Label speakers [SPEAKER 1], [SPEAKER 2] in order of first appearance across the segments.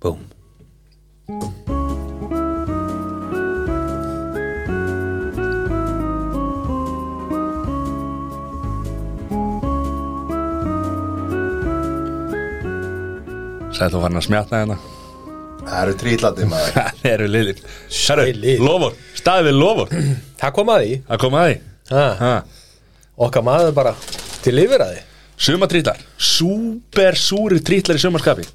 [SPEAKER 1] Boom. Sætla var hann að smjatna hérna
[SPEAKER 2] Það eru trýllandi maður
[SPEAKER 1] Það eru liðir
[SPEAKER 3] Sælir.
[SPEAKER 1] Herru, lofur, staðið við lofur
[SPEAKER 3] Það kom að því
[SPEAKER 1] Það kom að því
[SPEAKER 3] ha.
[SPEAKER 1] ha.
[SPEAKER 3] Okkar maður bara til yfir að því
[SPEAKER 1] Sumatrýtlar Súper súri trýtlar í sumarskapi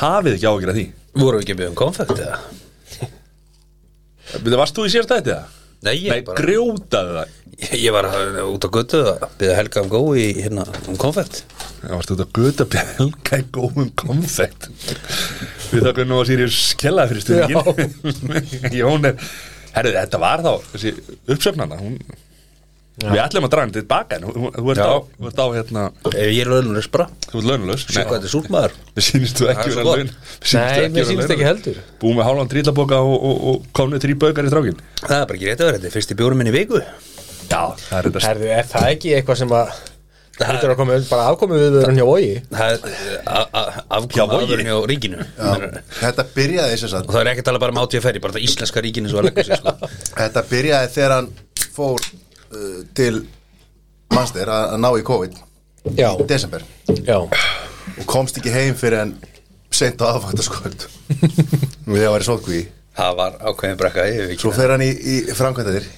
[SPEAKER 1] Hafið ekki áhyggjur af því
[SPEAKER 3] Voru ekki byggðum konfekt eða?
[SPEAKER 1] Bíddu, Varst þú í sérst þetta?
[SPEAKER 3] Nei, ég
[SPEAKER 1] Nei,
[SPEAKER 3] bara
[SPEAKER 1] grjótaði það
[SPEAKER 3] Ég ég var uh, út á götu að byggða Helga um gói í hérna um konfekt
[SPEAKER 1] Það varst út að guta belga í góðum konfekt Við þakkum nú að Sirius skella fyrir stuðingin Jón er Herru, þetta var þá, þessi uppsöfnana hún, Við ætlum að draga hann til baka En hún- hún- þú ert
[SPEAKER 3] Já.
[SPEAKER 1] á, þú ert á hérna
[SPEAKER 3] Eh, Ég er launulegs bara
[SPEAKER 1] Þú ert launalaus
[SPEAKER 3] Sjá hvað þetta er súrt maður
[SPEAKER 1] Mér sýnist þú
[SPEAKER 3] Það
[SPEAKER 1] ekki
[SPEAKER 3] er svo
[SPEAKER 1] vera
[SPEAKER 3] gott.
[SPEAKER 1] laun sýnist þú
[SPEAKER 3] Nei, mér
[SPEAKER 1] vera
[SPEAKER 3] sýnist
[SPEAKER 1] launaleg.
[SPEAKER 3] ekki heldur.
[SPEAKER 1] Búið með hálfan trýlaboka og, og, og komnið þrý bögar í strákin
[SPEAKER 3] Það er bara ekki rétt að vera, þetta er fyrsti bjórum minni í viku
[SPEAKER 1] Já, það er þetta
[SPEAKER 4] Herðu, er það ekki eitthvað sem að
[SPEAKER 3] Það-
[SPEAKER 4] Þetta er að koma bara afkomið við verðum hjá vogi
[SPEAKER 3] Það er eh,
[SPEAKER 1] Já,
[SPEAKER 3] afkvæm
[SPEAKER 1] vogi.
[SPEAKER 3] aðurinn hjá ríkinu
[SPEAKER 2] Já. Þetta byrjaði sem
[SPEAKER 3] Og
[SPEAKER 2] sagt
[SPEAKER 3] það er ekki að tala bara um átíðaferði, bara það íslenska ríkinu svo að leggja sig sko
[SPEAKER 2] Þetta byrjaði þegar hann fór uh, til Manster að, að ná í COVID
[SPEAKER 4] Já,
[SPEAKER 2] í desember
[SPEAKER 4] já
[SPEAKER 2] og komst ekki heim fyrir en seint á aðfættaskvöld og ég var í sótkví
[SPEAKER 3] Það var ákveðin brekka, ég hef
[SPEAKER 2] svo
[SPEAKER 3] ekki
[SPEAKER 2] fer hann í, í framkvæmtaðir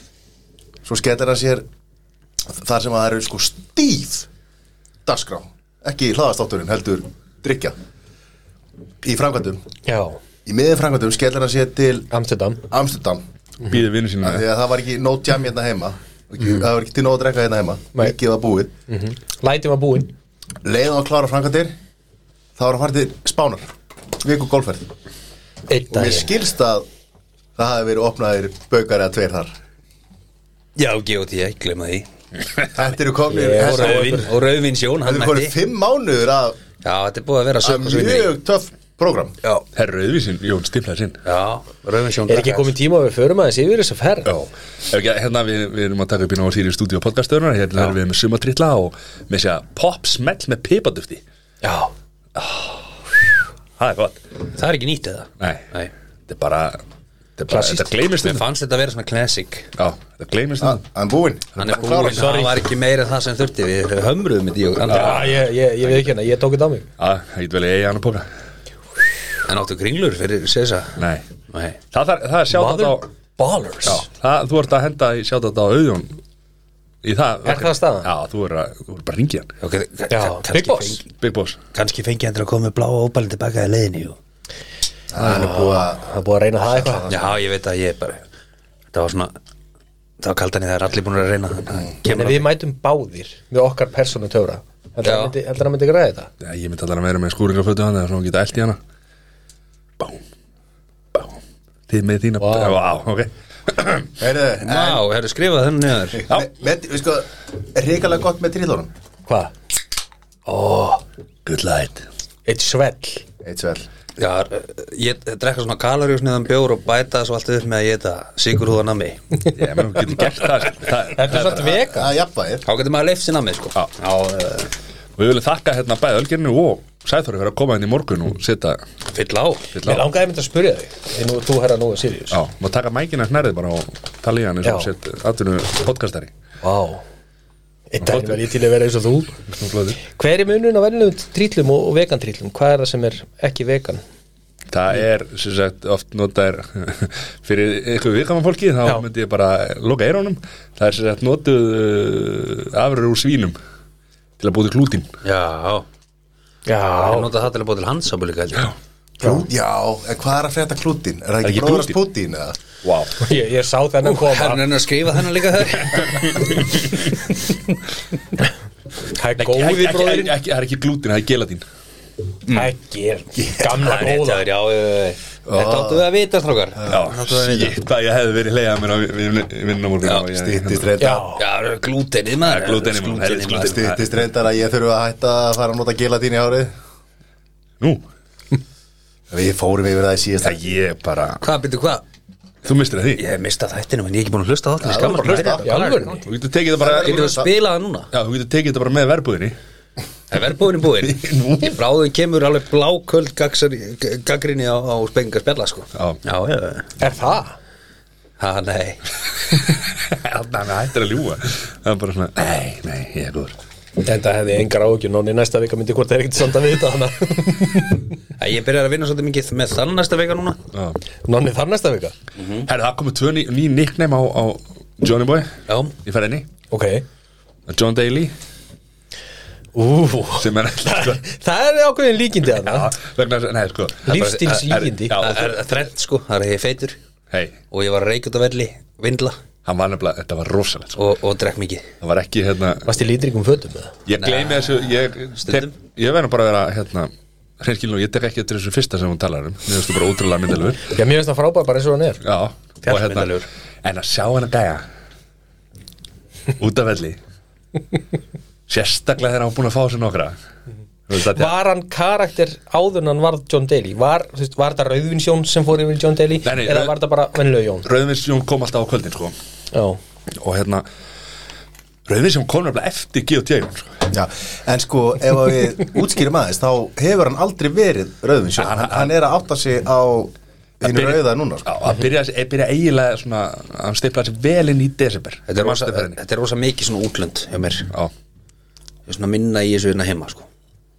[SPEAKER 2] svo skellir hann sér þar sem að það eru sko stíf dagskrá, ekki hlaðastátturinn heldur drikja í framkvæmtum,
[SPEAKER 4] Já,
[SPEAKER 2] í miðin framkvæmtum skellir hann sér til
[SPEAKER 4] Amsterdam
[SPEAKER 2] Amsterdam
[SPEAKER 1] Býðið vinnu sína
[SPEAKER 2] af því að það var ekki nót jam hérna heima ekki,
[SPEAKER 3] Mhm.
[SPEAKER 2] það var ekki til nót að drekka hérna heima
[SPEAKER 4] Nei.
[SPEAKER 2] mikið var búið,
[SPEAKER 4] Lætin var búinn
[SPEAKER 2] leiðan að klára framkvæmtir þá var hann farið til Spánar viku golferð og
[SPEAKER 4] Einn
[SPEAKER 2] mér
[SPEAKER 4] daginn
[SPEAKER 2] skilst að það hafi verið opnaðir baukar eða tveir þar
[SPEAKER 3] Já, GOT, ég glemma því
[SPEAKER 2] þetta eru komnir
[SPEAKER 4] Ég
[SPEAKER 2] þessar-
[SPEAKER 3] Og Rauðvin, og Rauðvinsjón, hann
[SPEAKER 2] Þetta er bara
[SPEAKER 3] mætti
[SPEAKER 2] fimm mánuður að,
[SPEAKER 3] Já, þetta er búið að vera
[SPEAKER 2] að
[SPEAKER 3] sökk og svinni
[SPEAKER 2] mjög töff prógram
[SPEAKER 3] Já,
[SPEAKER 1] Herru, auðvísin, Jón stiflaði sinn
[SPEAKER 3] já, Rauðvinsjón
[SPEAKER 4] Er ekki komið tíma að við förum aðeins yfir þess að ferð?
[SPEAKER 1] Já, ef ekki, hérna við, við erum að taka upp í náðu sýri stúdíu og podcastöðunar, hérna erum við með sumatrýtla og með sér að pop smell með pipadufti
[SPEAKER 3] Já,
[SPEAKER 1] Það er gott
[SPEAKER 3] það er ekki nýtt eða
[SPEAKER 1] Nei,
[SPEAKER 3] Nei.
[SPEAKER 1] þetta er bara, þetta er bara
[SPEAKER 4] Klassískt.
[SPEAKER 1] þetta gleymist
[SPEAKER 3] Mér
[SPEAKER 1] þetta
[SPEAKER 3] fannst þetta að vera svona classic
[SPEAKER 1] Já, þetta gleymist þetta
[SPEAKER 2] Ah, Hann er búinn
[SPEAKER 3] Hann er
[SPEAKER 2] Hann
[SPEAKER 3] búinn,
[SPEAKER 2] klárar.
[SPEAKER 3] það var ekki meira en það sem þurfti Við hömruðum þetta í okkur
[SPEAKER 4] Já, ég, ég, ég veit ekki hérna, ég tók þetta á mig
[SPEAKER 1] Já, það get vel í eigi hann að póka
[SPEAKER 3] En áttu kringlur fyrir Sesa
[SPEAKER 1] Nei,
[SPEAKER 3] Nei
[SPEAKER 1] það, þar, það er sjátt á
[SPEAKER 4] ballers
[SPEAKER 1] Já, það, þú ert að henda í sjátt á auðjón Í það
[SPEAKER 4] Er það staðan?
[SPEAKER 1] Já, þú er, að, þú er bara að ringi hann
[SPEAKER 3] okay,
[SPEAKER 4] Já,
[SPEAKER 3] kannski
[SPEAKER 4] Big Boss
[SPEAKER 3] fengi-
[SPEAKER 1] Big Boss
[SPEAKER 3] Kannski fengi hendur að koma með bláa óbælinn tilbaka í leiðinni jú.
[SPEAKER 2] Hann er búinn
[SPEAKER 3] Ah.
[SPEAKER 2] að
[SPEAKER 4] Það er búið að reyna það eitthvað
[SPEAKER 3] Já, ég veit að ég bara Það var svona Það var kaldan í það er allir búin að reyna þannig að
[SPEAKER 4] En
[SPEAKER 3] Kemur
[SPEAKER 4] við mætum báðir með okkar persónu töfra Heldur
[SPEAKER 3] Já.
[SPEAKER 4] hann myndi- heldur hann myndi græði þetta?
[SPEAKER 1] Já, ég myndi allar að vera með skúringafötu hann eða svona geta eld í hana Bám, bám Þið með þína
[SPEAKER 4] Vá.
[SPEAKER 1] wow, ok
[SPEAKER 2] Heyrðu,
[SPEAKER 3] Ná, hefur skrifað þennan niður
[SPEAKER 2] me- með- Við sko, reikalega gott með tríðlónum
[SPEAKER 4] Hvað?
[SPEAKER 1] Good light
[SPEAKER 4] Eitt svell
[SPEAKER 2] Eitt svel
[SPEAKER 3] Já, eh, ég drekka svona kalarjúsniðan bjór og bæta svo allt upp með að ég þetta sigur húðan að mig
[SPEAKER 1] Ég menn, hún getur gert það sko. Það-
[SPEAKER 4] Þetta er
[SPEAKER 1] það
[SPEAKER 4] svolítið veka
[SPEAKER 2] Það er jafnvægir
[SPEAKER 3] Þá getur maður leifsinn að mig sko
[SPEAKER 1] Já. Og við viljum þakka hérna bæði Ölgerinu og Sæþóri fyrir að koma inn í morgun og setja
[SPEAKER 3] Fyll á
[SPEAKER 1] fyll
[SPEAKER 4] Mér
[SPEAKER 1] á
[SPEAKER 4] langaði mynd að spyrja þig Því nú, þú herra nú að Sirius
[SPEAKER 1] Já, maður taka mækina snærið bara og tala í hann eins og
[SPEAKER 4] Já.
[SPEAKER 1] sett atvinnu podcastari
[SPEAKER 4] Vá Eitt dæmi var ég til að vera eins og þú
[SPEAKER 1] Nú flóðir.
[SPEAKER 4] Hver er munurinn á venjulegum trýtlum og, og vegan trýtlum? Hvað er það sem er ekki vegan?
[SPEAKER 1] Það er, sem sagt, oft notaðir fyrir eitthvað viðkama fólki þá
[SPEAKER 4] Já.
[SPEAKER 1] myndi ég bara loka eirónum það er sem sagt notuð uh, afrur úr svínum til að búti klútin
[SPEAKER 3] Já,
[SPEAKER 4] Já
[SPEAKER 3] Ég nota það til að búa til handsápu líka held ég.
[SPEAKER 2] Klút, já, en hvað er að frétta klútin? Er það
[SPEAKER 1] ekki
[SPEAKER 2] ekki bróðast Putin eða?
[SPEAKER 1] Wow.
[SPEAKER 4] Ég, ég sá þennan
[SPEAKER 3] Hann er
[SPEAKER 4] koma
[SPEAKER 3] að skrifa þennan líka þar
[SPEAKER 4] Það er
[SPEAKER 1] Ekki,
[SPEAKER 4] góði
[SPEAKER 1] ekki, ekki,
[SPEAKER 4] bróðirinn
[SPEAKER 1] ekki, það er ekki glútin, það er gelatín
[SPEAKER 4] Ekki Mm. er gamla
[SPEAKER 3] Hann er
[SPEAKER 4] góða
[SPEAKER 3] tjáður, já já, já. Þetta áttu við að vita strákar
[SPEAKER 1] Já, shit, hvað ég hefði verið leiðað mér á vinnum morgun
[SPEAKER 3] Já,
[SPEAKER 1] og ég-
[SPEAKER 2] Stýttist
[SPEAKER 4] Já,
[SPEAKER 2] reyndar
[SPEAKER 3] Já, glútenið maður
[SPEAKER 1] Já, glútenið, maður. Helvits glútenið.
[SPEAKER 2] Stýttist reyndar að ég þurfa að hætta að fara að nota gelatín í árið
[SPEAKER 1] Nú,
[SPEAKER 2] Við fórum yfir það í síðasta
[SPEAKER 1] það ég bara
[SPEAKER 3] Hvað, byrju, hvað?
[SPEAKER 1] Þú mistir það því
[SPEAKER 3] Ég hef mistað þættinum en ég er ekki búin að hlusta á þáttinni
[SPEAKER 2] Já,
[SPEAKER 3] Skamma
[SPEAKER 2] þú er bara að hlusta.
[SPEAKER 4] í alvörunni?
[SPEAKER 1] Þú getur tekið það bara
[SPEAKER 3] Getur við að spila það núna?
[SPEAKER 1] Já, þú getur tekið það bara með verbúðinni
[SPEAKER 3] Það er verðbúin í
[SPEAKER 1] Nú.
[SPEAKER 3] búin Bráðum kemur alveg bláköld gaggrinni á, á spengar spjalla sko
[SPEAKER 1] Já.
[SPEAKER 3] já, já, já.
[SPEAKER 4] Er það?
[SPEAKER 3] Ha, nei
[SPEAKER 1] Þannig að það hættir að ljúga Það er bara svona, nei, nei, ég er góður
[SPEAKER 4] Þetta hefði engar áhugjum Nóni næsta vika myndi hvort það er ekkert sanda við þetta hana
[SPEAKER 3] Æ, Ég byrjar að vinna svolítið mikið með þann næsta veika núna
[SPEAKER 1] Já.
[SPEAKER 4] Nóni þar næsta vika?
[SPEAKER 1] Herri, það komið tvö ný, ný nickname á, á Johnny Boy
[SPEAKER 3] Já,
[SPEAKER 1] Ég fær enni,
[SPEAKER 4] Ok
[SPEAKER 1] John Daly
[SPEAKER 4] Ú
[SPEAKER 1] sem er sko,
[SPEAKER 4] Það er ákveðin líkindi hana
[SPEAKER 1] já, vegna, þess að- nei, sko, það er bara-
[SPEAKER 4] Lífstílslíkindi.
[SPEAKER 1] Já,
[SPEAKER 3] það er þrennt sko, það er ég feitur
[SPEAKER 1] hei,
[SPEAKER 3] og ég var reykjöld að velli, vindla
[SPEAKER 1] hann var nefnilega, þetta var rosalegt sko.
[SPEAKER 3] og, og drekk mikið
[SPEAKER 1] Það var ekki, hérna,
[SPEAKER 4] Varst í lítringum fötum með það?
[SPEAKER 1] ég gleymi þessu Ég, tek,
[SPEAKER 3] Stundum.
[SPEAKER 1] ég verðum bara að vera, hérna Hreinskilin og ég tek ekki eftir þessu fyrsta sem hún talar um Mér finnst þú bara ótrúlega myndalur
[SPEAKER 4] Já, mér finnst það frábær bara eins og hann er
[SPEAKER 1] Já, og hérna,
[SPEAKER 3] Fjallmyndalegur.
[SPEAKER 1] en að sjá hann að gæja út af velli sérstaklega þegar hann var búin að fá sér nokkra Þú veist, að-
[SPEAKER 4] Var hann karakter áður en hann varð John Daly? Var, þú veist, var það Rauðvinsjón sem fór yfir í John Daly?
[SPEAKER 1] Nei, nei,
[SPEAKER 4] Eða
[SPEAKER 1] Rauð-
[SPEAKER 4] var það bara venlega Jón?
[SPEAKER 1] Rauðvinsjón kom alltaf á kvöldin sko.
[SPEAKER 4] Já
[SPEAKER 1] og hérna Rauðvinsjón kom nefnilega eftir G.O.T. Jón, sko.
[SPEAKER 2] Já, en sko ef að við útskýrum aðeins þá hefur hann aldrei verið rauðvinsjón
[SPEAKER 1] Hann-
[SPEAKER 2] hann, hann er að átta sig á hinn
[SPEAKER 1] byrja-
[SPEAKER 2] rauða núna sko.
[SPEAKER 1] Já,
[SPEAKER 3] Mhm.
[SPEAKER 1] að byrja, að byrja eiginlega svona, hann stiplaði sér vel inn í desember
[SPEAKER 3] Þetta er, rosa,
[SPEAKER 1] Desember inn í.
[SPEAKER 3] þetta er rosa mikið svona útlönd hjá mér
[SPEAKER 1] Já,
[SPEAKER 3] Ég er svona minna í þessu hérna heima sko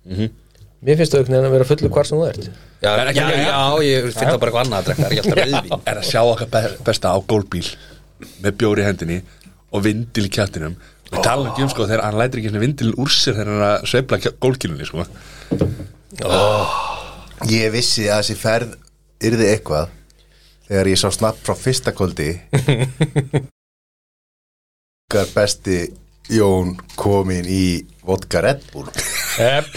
[SPEAKER 4] Mér finnst það auknir að vera fullu hvar sem þú ert
[SPEAKER 3] Já,
[SPEAKER 1] Það er
[SPEAKER 3] já,
[SPEAKER 1] ekki-
[SPEAKER 3] já, ég finn það bara eitthvað annað að drekka, það er ekki alltaf rauðvín
[SPEAKER 1] er að sjá okkar be- besta á gólbíl með bjóri hendinni og vindil í kjattinum við talum ekki um sko þegar hann lætir ekki svona vindil úr sér þegar hann er að sveifla gólkilunni sko.
[SPEAKER 2] Ég vissi að þessi ferð yrði eitthvað þegar ég sá snapp frá fyrsta kvöldi okkar besti Jón komin í vodka Red Bull
[SPEAKER 4] Epp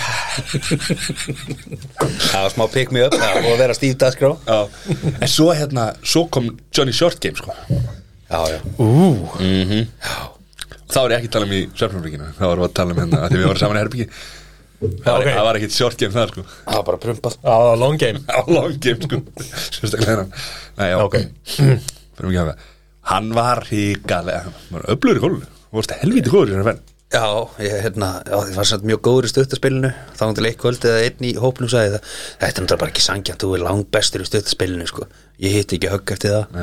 [SPEAKER 3] Það var smá pick me up það, og vera stíf dagskrá
[SPEAKER 1] en svo hérna, svo kom Johnny Short Game sko.
[SPEAKER 3] Já, já,
[SPEAKER 1] þá var ég ekki að tala um í Sörfumríkina þá varum við að tala um hérna, af því við varum saman í Herbyggi það var,
[SPEAKER 4] Ok.
[SPEAKER 1] það var ekkit Short Game það sko
[SPEAKER 3] það var bara prumpað
[SPEAKER 4] Á, long game
[SPEAKER 1] á long game sko sérstaklega hérna Nei, já,
[SPEAKER 4] Ok.
[SPEAKER 1] Förum ekki að það. hann var híkalega hann var öflugur í gólunni hann varst helvítið góður í hérna fenn
[SPEAKER 3] Já, ég, hérna, já, ég var samt mjög góður í stuttaspilinu þá hann til eitt kvöld eða einn í hópnum sagði það Þetta er náttúrulega bara ekki sangja, þú er langbestur í stuttaspilinu sko Ég hitti ekki högg eftir það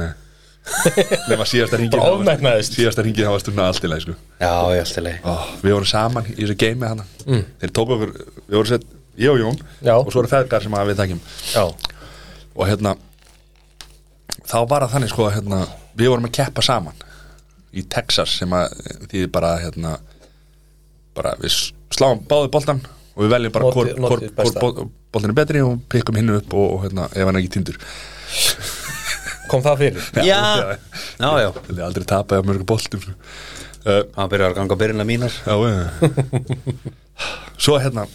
[SPEAKER 1] nema síðasta ringi
[SPEAKER 4] Bara ofmetnaðist.
[SPEAKER 1] síðasta ringi það var stundna allt í lagi sko
[SPEAKER 3] Já, ég alltaf leið
[SPEAKER 1] Ó, við vorum saman í þessu game með hann þeir tók okkur við vorum sett ég og Jón
[SPEAKER 4] Mm. Já.
[SPEAKER 1] og svo eru feðgar sem að við takkjum
[SPEAKER 4] Já
[SPEAKER 1] og hérna þá var það þannig sko að hérna, við vorum að keppa saman í Texas sem að því bara hérna bara við sláum báðu boltan og við veljum bara
[SPEAKER 4] Notið-
[SPEAKER 1] hvor, hvor,
[SPEAKER 4] notið
[SPEAKER 1] hvor
[SPEAKER 4] besta.
[SPEAKER 1] bol- boltin er betri og prikkum hinn upp og, og hérna, ef hann er ekki tindur
[SPEAKER 4] Kom það fyrir?
[SPEAKER 3] Já,
[SPEAKER 4] Ah.
[SPEAKER 3] já, já
[SPEAKER 1] vil ég aldrei tapa á mörgu boltum sko. uh,
[SPEAKER 3] Hann byrjar að ganga byrjunna mínar
[SPEAKER 1] Já, já. Svo hérna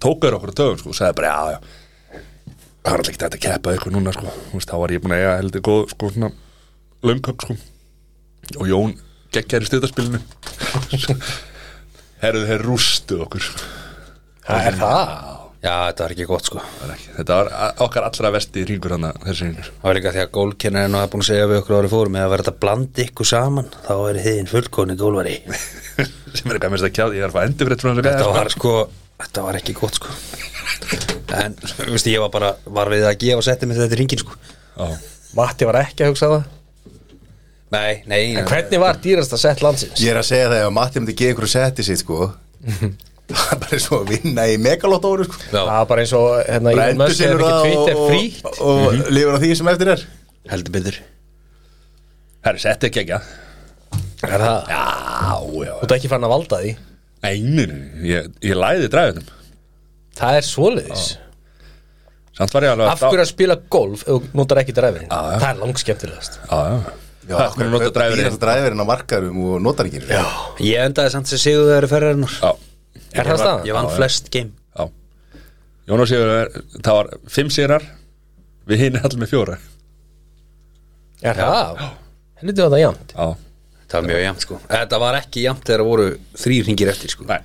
[SPEAKER 1] tókaður okkur á dögum sko, og sagði bara já, já Það var alltaf ekki þetta að keppa eitthvað núna sko. Þú veist, Þá var ég búin að eiga heldur góð sko, svona, löngköp sko. og Jón geggjaði í stöðaspilinu Herðu þeir rústu okkur sko.
[SPEAKER 4] Það er það
[SPEAKER 3] Já, þetta var ekki gott sko
[SPEAKER 1] Það var ekki- Þetta var a- okkar allra vesti ringur hann þessi ringur
[SPEAKER 3] Það var líka því að gólkennarinn var búin að segja við okkur árið fórum eða verið þetta blandi ykkur saman þá er þiðin fullkóni gólvari
[SPEAKER 1] sem er eitthvað mest að kjáði, ég er að fá endur fyrir þetta
[SPEAKER 3] Þetta var sko, þetta var ekki gott sko En, þú veist, ég var bara var við að gefa og setja mig þetta í ringin sko
[SPEAKER 4] Matti var ekki að hugsa það
[SPEAKER 3] Nei, nei
[SPEAKER 4] En hvernig var dýrasta sett landsins?
[SPEAKER 2] Ég er að segja það ef að Matti myndi gefa einhverju setti sitt sko það er bara svo að vinna í megalottóru sko
[SPEAKER 3] Já,
[SPEAKER 4] Það var bara eins og hérna Elon
[SPEAKER 2] Brendur
[SPEAKER 4] Musk hefur
[SPEAKER 2] sigur
[SPEAKER 4] ekki
[SPEAKER 2] það og,
[SPEAKER 4] Twitter frítt
[SPEAKER 2] og, og lifur á því sem eftir er
[SPEAKER 3] heldur byrður
[SPEAKER 1] Herru, setti ekki ekki
[SPEAKER 4] Er það?
[SPEAKER 1] Já, já,
[SPEAKER 4] Þú ert ekki fann að valda því
[SPEAKER 1] einur ég, ég læði dræðunum
[SPEAKER 4] Það er svoleiðis
[SPEAKER 1] Samt var ég alveg að-
[SPEAKER 4] Af hverju að spila golf ef þú notar ekki dræfirinn?
[SPEAKER 1] Já, já.
[SPEAKER 4] Það er langt skemmtilegast
[SPEAKER 1] Já, já. Það er hvernig nota dræfurinn
[SPEAKER 2] dræfurinn á markarum og notar ekki Já
[SPEAKER 3] Ég endaði samt sem sigur þeirri ferðarinnar
[SPEAKER 1] Já,
[SPEAKER 4] Er það staðan?
[SPEAKER 3] Ég vann
[SPEAKER 1] Já, já.
[SPEAKER 3] flest game
[SPEAKER 1] já Jón og Sigur, það var fimm sigrar Við hinn allir með fjóra
[SPEAKER 4] Er það? Helviti var það jæmt
[SPEAKER 1] Já,
[SPEAKER 3] Það var mjög jæmt sko Þetta var ekki jæmt þegar voru þrý ringir eftir sko
[SPEAKER 1] nei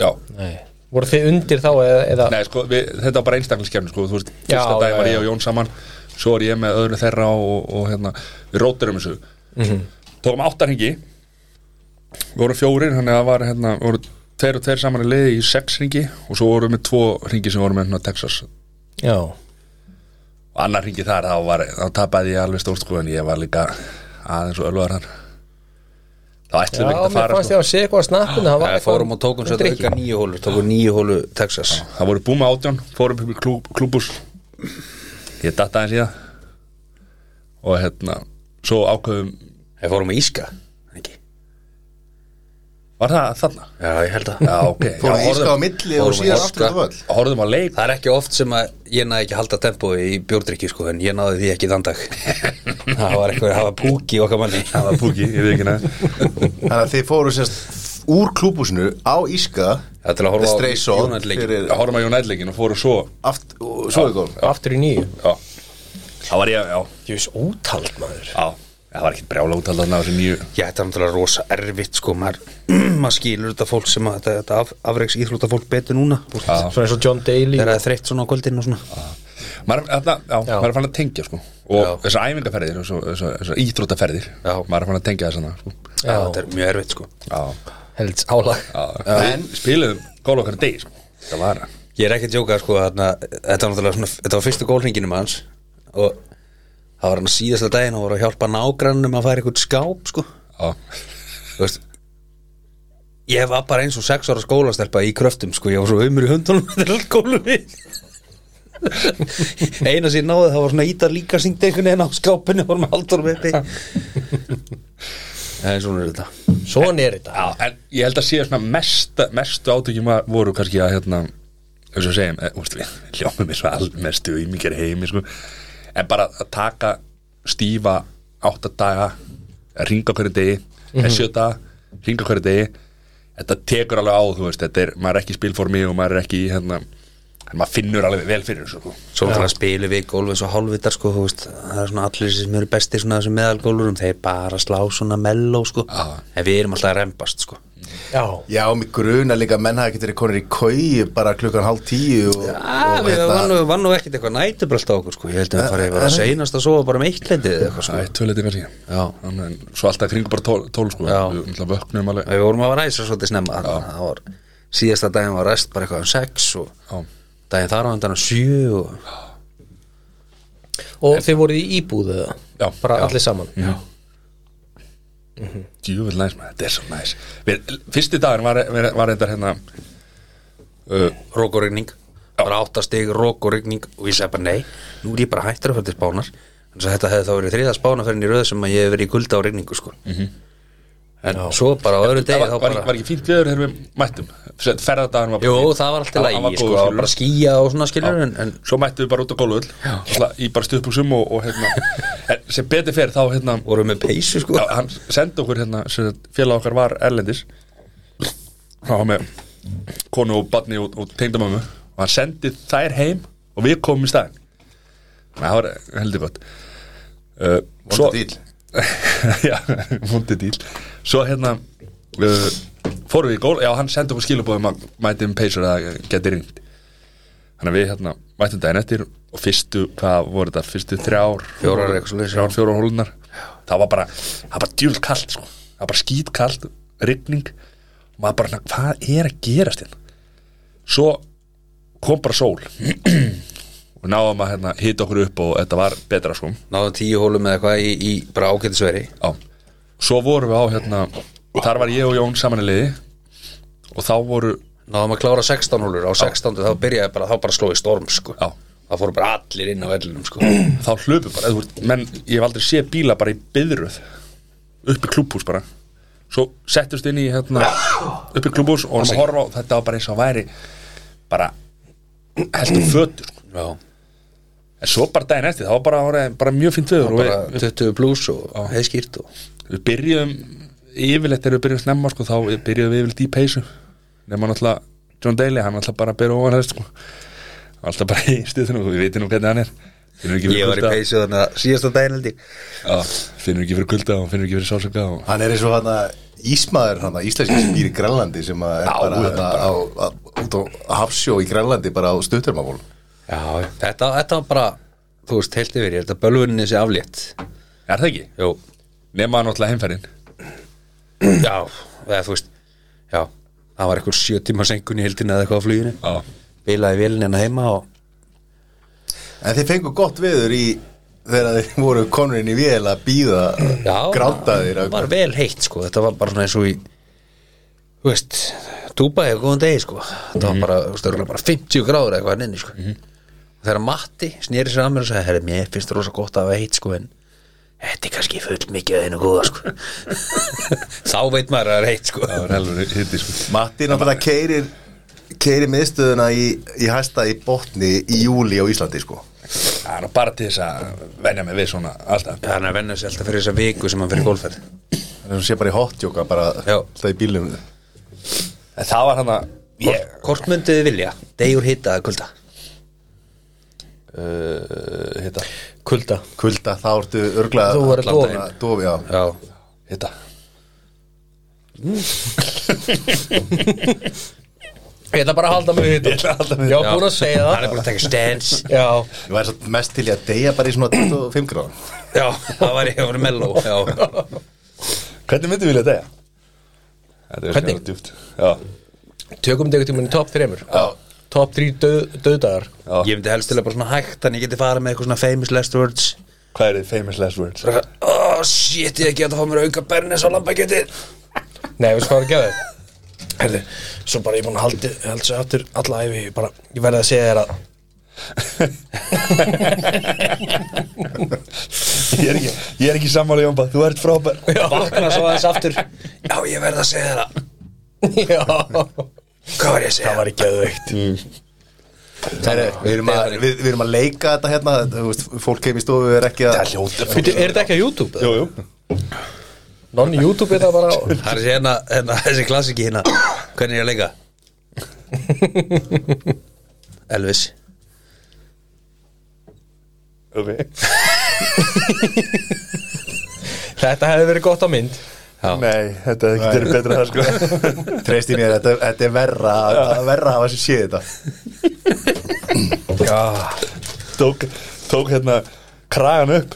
[SPEAKER 1] Já,
[SPEAKER 4] Nei Voru þið undir þá eða, eða
[SPEAKER 1] nei sko, við, þetta var bara einstaklingskeppni sko, þú veist,
[SPEAKER 4] Já,
[SPEAKER 1] fyrsta dag
[SPEAKER 4] já,
[SPEAKER 1] var
[SPEAKER 4] já.
[SPEAKER 1] ég og Jón saman Svo er ég með öðru þeirra og, og hérna, við róturum þessu
[SPEAKER 4] Mhm.
[SPEAKER 1] Tókum áttar hengi Við vorum fjórir, þannig að það var hérna, voru tveir og tveir saman í leiði í sex ringi og svo vorum við tvo ringi sem vorum með hérna Texas
[SPEAKER 4] já,
[SPEAKER 1] og annar ringi þar þá, var, þá tapaði ég alveg stórt sko en ég var líka aðeins og ölluðar þar þá
[SPEAKER 4] já
[SPEAKER 1] ætlum við ekki
[SPEAKER 4] mér
[SPEAKER 1] að fara
[SPEAKER 4] fannst ég
[SPEAKER 1] sko.
[SPEAKER 4] að sé eitthvað að snappinu það var
[SPEAKER 3] Við
[SPEAKER 4] eitthvað-
[SPEAKER 3] fórum og tókum svo
[SPEAKER 4] drykki.
[SPEAKER 3] þetta auka nýju hólu Tókum nýju hólu Texas
[SPEAKER 1] það voru búma átján, fórum upp í klúb, klúbus ég datt aðeins í það og hérna svo ákveðum,
[SPEAKER 3] Við fórum að Íska Ekki
[SPEAKER 1] var það þarna?
[SPEAKER 3] Já, ég held að
[SPEAKER 1] Já, ok, já,
[SPEAKER 2] Fórum íska á
[SPEAKER 1] horfðum,
[SPEAKER 2] milli og
[SPEAKER 3] horfum
[SPEAKER 2] síðan
[SPEAKER 3] á
[SPEAKER 2] aftur
[SPEAKER 3] Óska.
[SPEAKER 2] út á völl
[SPEAKER 1] horfðum á leik
[SPEAKER 3] Það er ekki oft sem að ég náði ekki að halda tempói í bjórdrykki sko en ég náði því ekki þann dag Það var eitthvað, það var púki okkar manni
[SPEAKER 1] það var púki, ég veit ekki nefn
[SPEAKER 2] Þannig að þið fóru sérst úr klúbúsinu á íska
[SPEAKER 3] Það er til að
[SPEAKER 2] The
[SPEAKER 3] horfa á
[SPEAKER 2] Stray Soul
[SPEAKER 3] United leikinn.
[SPEAKER 2] fyrir
[SPEAKER 1] horfum að United leikin og fórum svo
[SPEAKER 2] aft, og svo ekki
[SPEAKER 4] aftur í nýju
[SPEAKER 1] já, þá var ég, já
[SPEAKER 4] ég veist ótald maður
[SPEAKER 1] Já, það var ekkert brjála út alltaf á þessu nýju
[SPEAKER 3] Já, þetta er náttúrulega rosa erfitt sko maður, maður skilur þetta fólk sem að þetta, þetta af, afreiks íþróttafólk betur núna
[SPEAKER 1] Já.
[SPEAKER 4] svona eins og John Daly
[SPEAKER 3] þegar það er þreytt svona á kvöldin og svona
[SPEAKER 1] maður, þarna, já,
[SPEAKER 4] Já.
[SPEAKER 1] maður er fann að tengja sko og
[SPEAKER 3] Já.
[SPEAKER 1] þessar æfingarferðir og svo- þessar þessar íþróttaferðir
[SPEAKER 3] Já.
[SPEAKER 1] maður er fann að tengja þess að sko.
[SPEAKER 3] Já, þetta er mjög erfitt sko
[SPEAKER 1] já,
[SPEAKER 4] helds álag
[SPEAKER 1] já. En, spiluðum góla okkar degi sko. það var það
[SPEAKER 3] Ég er ekki að djóka sko þarna, þetta var náttúrulega svona, þetta var fyrstu gólringinum hans og það var hann síðasta daginn og voru að hjálpa nágrannum að færa eitthvað skáp sko
[SPEAKER 1] já,
[SPEAKER 3] Þú veist, Ég var bara eins og sex ára skólastelpa í kröftum sko, ég var svo umur í höndunum þetta er allt gólum við Eina sér náði það var svona ítar líka syngd einhvern veginn á skápinu vorum haldur með uppi En svona er þetta
[SPEAKER 4] svona er þetta
[SPEAKER 1] já, en ég held að sé svona mesta, mestu átökjum að voru kannski að hérna eins og segjum, e, úst, við ljómum eins og allmestu í mikið heimi sko. en bara að taka stífa áttadaga að ringa hverju degi mm
[SPEAKER 3] Mhm.
[SPEAKER 1] -hmm. sjö daga, ringa hverju degi þetta tekur alveg á, þú veist þetta er, maður er ekki í spilformi og maður er ekki í hérna, en maður finnur alveg vel fyrir þessu sko.
[SPEAKER 3] Svona það spilum við gólf eins og hálfvitar sko, þú veist, það er svona allir sem eru besti svona þessum meðalgólurum, þeir bara slá svona melló sko,
[SPEAKER 1] Já.
[SPEAKER 3] en við erum alltaf að rembast sko
[SPEAKER 4] já,
[SPEAKER 2] Já, mig gruna líka að menn hafi getur konir í kauði bara klukkan hálf tíu og,
[SPEAKER 3] Ah,
[SPEAKER 2] og
[SPEAKER 3] við
[SPEAKER 2] hérna-
[SPEAKER 3] var nú, var nú ekkert eitthvað nætubröld á okkur sko, ég held að við farið að seinast að sofa bara með eitt leitið eða eitthvað sko
[SPEAKER 1] það er tölitið kannski
[SPEAKER 3] Já.
[SPEAKER 1] Þannig, en svo alltaf kringu bara tól, tól sko.
[SPEAKER 3] Já.
[SPEAKER 1] við náttúrulega vöknum alveg
[SPEAKER 3] Við vorum að ræsa svolítið snemma þarna. það var, Síðasta daginn var rest bara eitthvað um sex og
[SPEAKER 1] Já.
[SPEAKER 3] daginn þar á endan um sjö og,
[SPEAKER 4] og þið voruð í íbúðu eða?
[SPEAKER 1] Já,
[SPEAKER 4] bara
[SPEAKER 1] já.
[SPEAKER 4] allir saman já,
[SPEAKER 1] djúvel næs maður, þetta er svo næs við, fyrsti dagur var, var, var þetta hérna uh,
[SPEAKER 3] Rók og rigning bara áttastig, rók og rigning og ég segi bara nei, nú er ég bara hættur að fyrir til spánar þannig að þetta hefði þá verið þriða spánaferðin í röð sem að ég hef verið í kulda á rigningu sko. en svo bara á öðru
[SPEAKER 1] Mhm. það
[SPEAKER 3] degi
[SPEAKER 1] var,
[SPEAKER 3] þá
[SPEAKER 1] var,
[SPEAKER 3] bara
[SPEAKER 1] ekki, var ekki fínt viður þegar við mættum ferðardagurinn var
[SPEAKER 3] Jú, það var
[SPEAKER 1] Hann- hann
[SPEAKER 3] alltaf lægi,
[SPEAKER 1] var
[SPEAKER 3] sko,
[SPEAKER 1] góður,
[SPEAKER 3] það var
[SPEAKER 1] skilur.
[SPEAKER 3] bara skýja og svona skilur en, en
[SPEAKER 1] svo mættum við bara út á góluðull í bara stuðbuxum og, og hérna en sem betur fyrir þá hérna
[SPEAKER 3] vorum með peysu sko.
[SPEAKER 1] já, hann sendi okkur hérna sem sagt, félag okkar var erlendis hann var með konu og badni og, og tengdamömmu og hann sendi þær heim og við komum í staðin það var heldur gott uh,
[SPEAKER 2] Vondur dýl
[SPEAKER 1] já, vondi dýl svo hérna uh, fórum við í gól, já hann sendi okkur skilabóðum að mætum peysur að geti ringt þannig að við hérna mætum daginn eftir og fyrstu, hvað voru þetta fyrstu þrjár,
[SPEAKER 3] Fjórar, eitthvað svoleiðis.
[SPEAKER 1] þrjár, fjórar hólunar það var bara, það var bara djúl kalt sko. það var bara skýt kalt, rigning og maður bara, hvað er að gerast hérna svo kom bara sól og náðum að hérna, hita okkur upp og þetta var betra sko
[SPEAKER 3] náðum tíu hólum eða eitthvað í, í bara ágætisveri
[SPEAKER 1] Já, svo vorum við á hérna Þar var ég og Jón saman í liði Og þá voru,
[SPEAKER 3] náðum að klára 16 hólur á 16. þá byrjaði bara, þá bara slói storm sko.
[SPEAKER 1] Já.
[SPEAKER 3] það fóru bara allir inn á vellinum sko.
[SPEAKER 1] þá hlöpu bara eða þú veist, Menn, ég hef aldrei séð bíla bara í byðruð Upp í klúbhús bara Svo settust inn í hérna Upp í klúbhús og vorum að horfa á Þetta var bara eins og væri Bara heldur fötur sko.
[SPEAKER 3] já,
[SPEAKER 1] En svo bara daginn eftir, þá var bara, bara, bara mjög fínt viður og
[SPEAKER 3] bara
[SPEAKER 1] við,
[SPEAKER 3] 20 pluss og heiðskýrt og
[SPEAKER 1] við byrjuðum yfirleitt þegar við byrjuðum snemma sko, þá byrjuðum við yfirleitt í peysu nema náttúrulega John Daly, hann náttúrulega bara byrjuð ofan þess sko. alltaf bara í stuðinu og við veitum nú hvernig hann er finnur ekki
[SPEAKER 3] ég
[SPEAKER 1] fyrir
[SPEAKER 3] var í
[SPEAKER 1] kulda
[SPEAKER 3] peysu þannig að síðasta daginn held ég
[SPEAKER 1] Já, finnur ekki fyrir kulda og finnur ekki fyrir sálsöka og...
[SPEAKER 2] Hann er eins og hann ísmaður hann íslenski sem býr í Grænlandi sem að er
[SPEAKER 1] Já,
[SPEAKER 2] bara
[SPEAKER 1] þetta
[SPEAKER 2] hana, á, á, út á hafsjó í Grænlandi bara á stutturmafól
[SPEAKER 3] já, þetta, þetta var bara þú veist, heilt yfir, ég held að bölvuninni sé aflétt
[SPEAKER 1] er það ekki?
[SPEAKER 3] jú,
[SPEAKER 1] nema náttúrulega heimferðin
[SPEAKER 3] já, eða þú veist já, það var eitthvað sjö tíma senkun í heldina eða eitthvað á fluginu
[SPEAKER 2] Já.
[SPEAKER 3] bilaði vélinn hérna heima og
[SPEAKER 1] En þið fengu gott veður í þegar þeir voru konurinn í vél að býða grandaðir
[SPEAKER 3] það var vel heitt sko, þetta var bara svona eins og í þú veist, Dubai og góðan degi sko, þetta
[SPEAKER 2] Mhm.
[SPEAKER 3] var bara, þú veist, örugglega bara 50 gráður eða eitthvað nynni sko og þegar Matti snýri sér að mér og sagði herri, mér finnst rosa gott að vera heitt sko en þetta er kannski full mikið að einu góða sko þá veit maður að það er heitt sko
[SPEAKER 2] Það var helvur hitti sko
[SPEAKER 1] Matti náttúrulega keirir keirir miðstöðuna í, í hæsta í botni í júli á Íslandi sko
[SPEAKER 2] Það er nú bara til þess að venja mig við svona alltaf
[SPEAKER 3] þannig að vennast alltaf fyrir þessa viku sem hann fyrir golfferð
[SPEAKER 1] þannig að sé bara í hotjóka bara
[SPEAKER 3] Já.
[SPEAKER 1] alltaf í bílum
[SPEAKER 2] En það var hann að ég,
[SPEAKER 3] hvort, hvort mynduð þið vilja, degur hitta að kulda
[SPEAKER 2] uh, hitta,
[SPEAKER 4] kulda
[SPEAKER 1] kulda þá ertu örglað
[SPEAKER 4] Þú verður dofin.
[SPEAKER 1] dofi já.
[SPEAKER 3] já,
[SPEAKER 2] hitta
[SPEAKER 4] Ég ætla bara að halda mig við
[SPEAKER 2] Ég ætla að halda mig við
[SPEAKER 4] Já,
[SPEAKER 3] Já.
[SPEAKER 4] búin að segja
[SPEAKER 3] hann er
[SPEAKER 4] það
[SPEAKER 3] búin að taka stens
[SPEAKER 4] Já,
[SPEAKER 1] ég væri satt mest til í að deyja bara í svona 25 gráðan
[SPEAKER 3] já, það var ég að vera melló já,
[SPEAKER 2] Hvernig myndum við vilja degja? Þetta er
[SPEAKER 4] Hvernig?
[SPEAKER 2] svona djúpt Já,
[SPEAKER 4] tökum þetta eitthvað tíma í top 3
[SPEAKER 2] Já.
[SPEAKER 4] Top 3 döð, döðdagar
[SPEAKER 2] já,
[SPEAKER 3] Ég myndi helst til að bara svona hægt Þannig ég geti farið með eitthvað svona famous last words
[SPEAKER 2] hvað er þið famous last words?
[SPEAKER 3] Bara, Oh shit, ég geti að fá mér auka bernis á lambakjöti
[SPEAKER 4] Nei, við skoðum að gefa þér
[SPEAKER 5] Herðu, svo bara ég er búin að haldi, held sér aftur alla æfi, ég bara, ég verði að segja þér að
[SPEAKER 2] Ég er ekki, ég er ekki sammála Jónba, þú ert frábær
[SPEAKER 3] Vakna svo aðeins aftur Já, ég verð að segja það
[SPEAKER 4] Já,
[SPEAKER 3] Hvað var ég að segja?
[SPEAKER 5] það var ekki að veikt.
[SPEAKER 1] við erum, að, við, við erum að leika þetta hérna þú veist, fólk heim í stofu er ekki að
[SPEAKER 4] Fyrir, er þetta ekki á YouTube?
[SPEAKER 2] Jú, jú
[SPEAKER 4] Nonni YouTube er það bara á
[SPEAKER 3] Það er þessi hérna, hérna, þessi klassiki hérna Hvernig er ég að leika? Elvis
[SPEAKER 2] okay.
[SPEAKER 4] Þetta hefði verið gott á mynd
[SPEAKER 2] Nei, þetta er ekki verið betra en það sko
[SPEAKER 1] treyst í mér, þetta, þetta er verra að- að verra að hafa sér séð þetta
[SPEAKER 2] tók, tók hérna kragan upp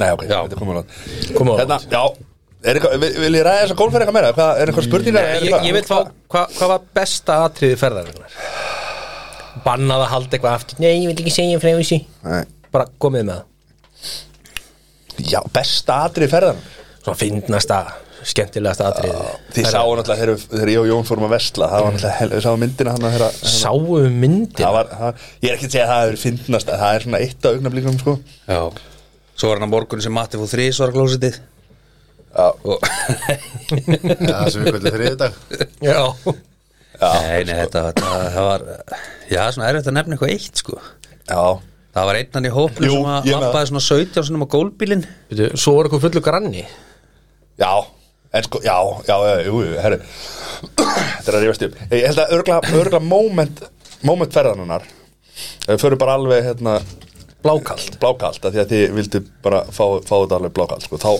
[SPEAKER 2] Nei, ok, þetta er komið langt
[SPEAKER 4] Komum á
[SPEAKER 2] Hérna, já er eitthvað, vil, vil ég ræða þess að golf er eitthvað meira? Hvað, er eitthvað spurningar?
[SPEAKER 4] Nei,
[SPEAKER 2] Er
[SPEAKER 4] Hérna, ég,
[SPEAKER 2] eitthvað-
[SPEAKER 4] ég veit hvað hva, hva var besta atriði ferðarinnar Bannað að halda eitthvað aftur Nei, ég vil ekki segja frá þessi
[SPEAKER 2] Nei.
[SPEAKER 4] Bara komið með það
[SPEAKER 2] Já, besta atrið ferðan
[SPEAKER 4] Svona fyndnasta, skemmtilegasta atriði
[SPEAKER 2] Þið sáu náttúrulega þegar, við- þegar ég og Jón fórum að vesla Það var náttúrulega, hel- við sáum myndina hann að þeirra
[SPEAKER 4] Sáum myndir
[SPEAKER 2] Það var, það, ég er ekki að segja að það hefur fyndnast að það er svona eitt af augnablíkum sko
[SPEAKER 3] Já Svo var hann á morgun sem Matti fór þrís var að klósitið Já og,
[SPEAKER 1] Ja, það sem við kvöldum þriðið dag
[SPEAKER 4] Já,
[SPEAKER 3] Nei, nei, þetta, þetta það var Já, svona er þetta nefna eitthvað eitt sko
[SPEAKER 2] Já,
[SPEAKER 3] Það var einnan í hópinu
[SPEAKER 2] Jú,
[SPEAKER 3] sem að
[SPEAKER 2] ég með það.
[SPEAKER 3] lappaði svona 17 sinum á gólbílinn
[SPEAKER 4] Veitu, svo var eitthvað fullu granni
[SPEAKER 2] já, en sko, já, já, já, jú, jú, herri Þetta er að rífast upp Ég held að örgla, örgla moment, moment ferðanunar Við förum bara alveg hérna
[SPEAKER 4] Blákald
[SPEAKER 2] blákalt af því að þið vildu bara fá, fá þetta alveg blákalt sko. þá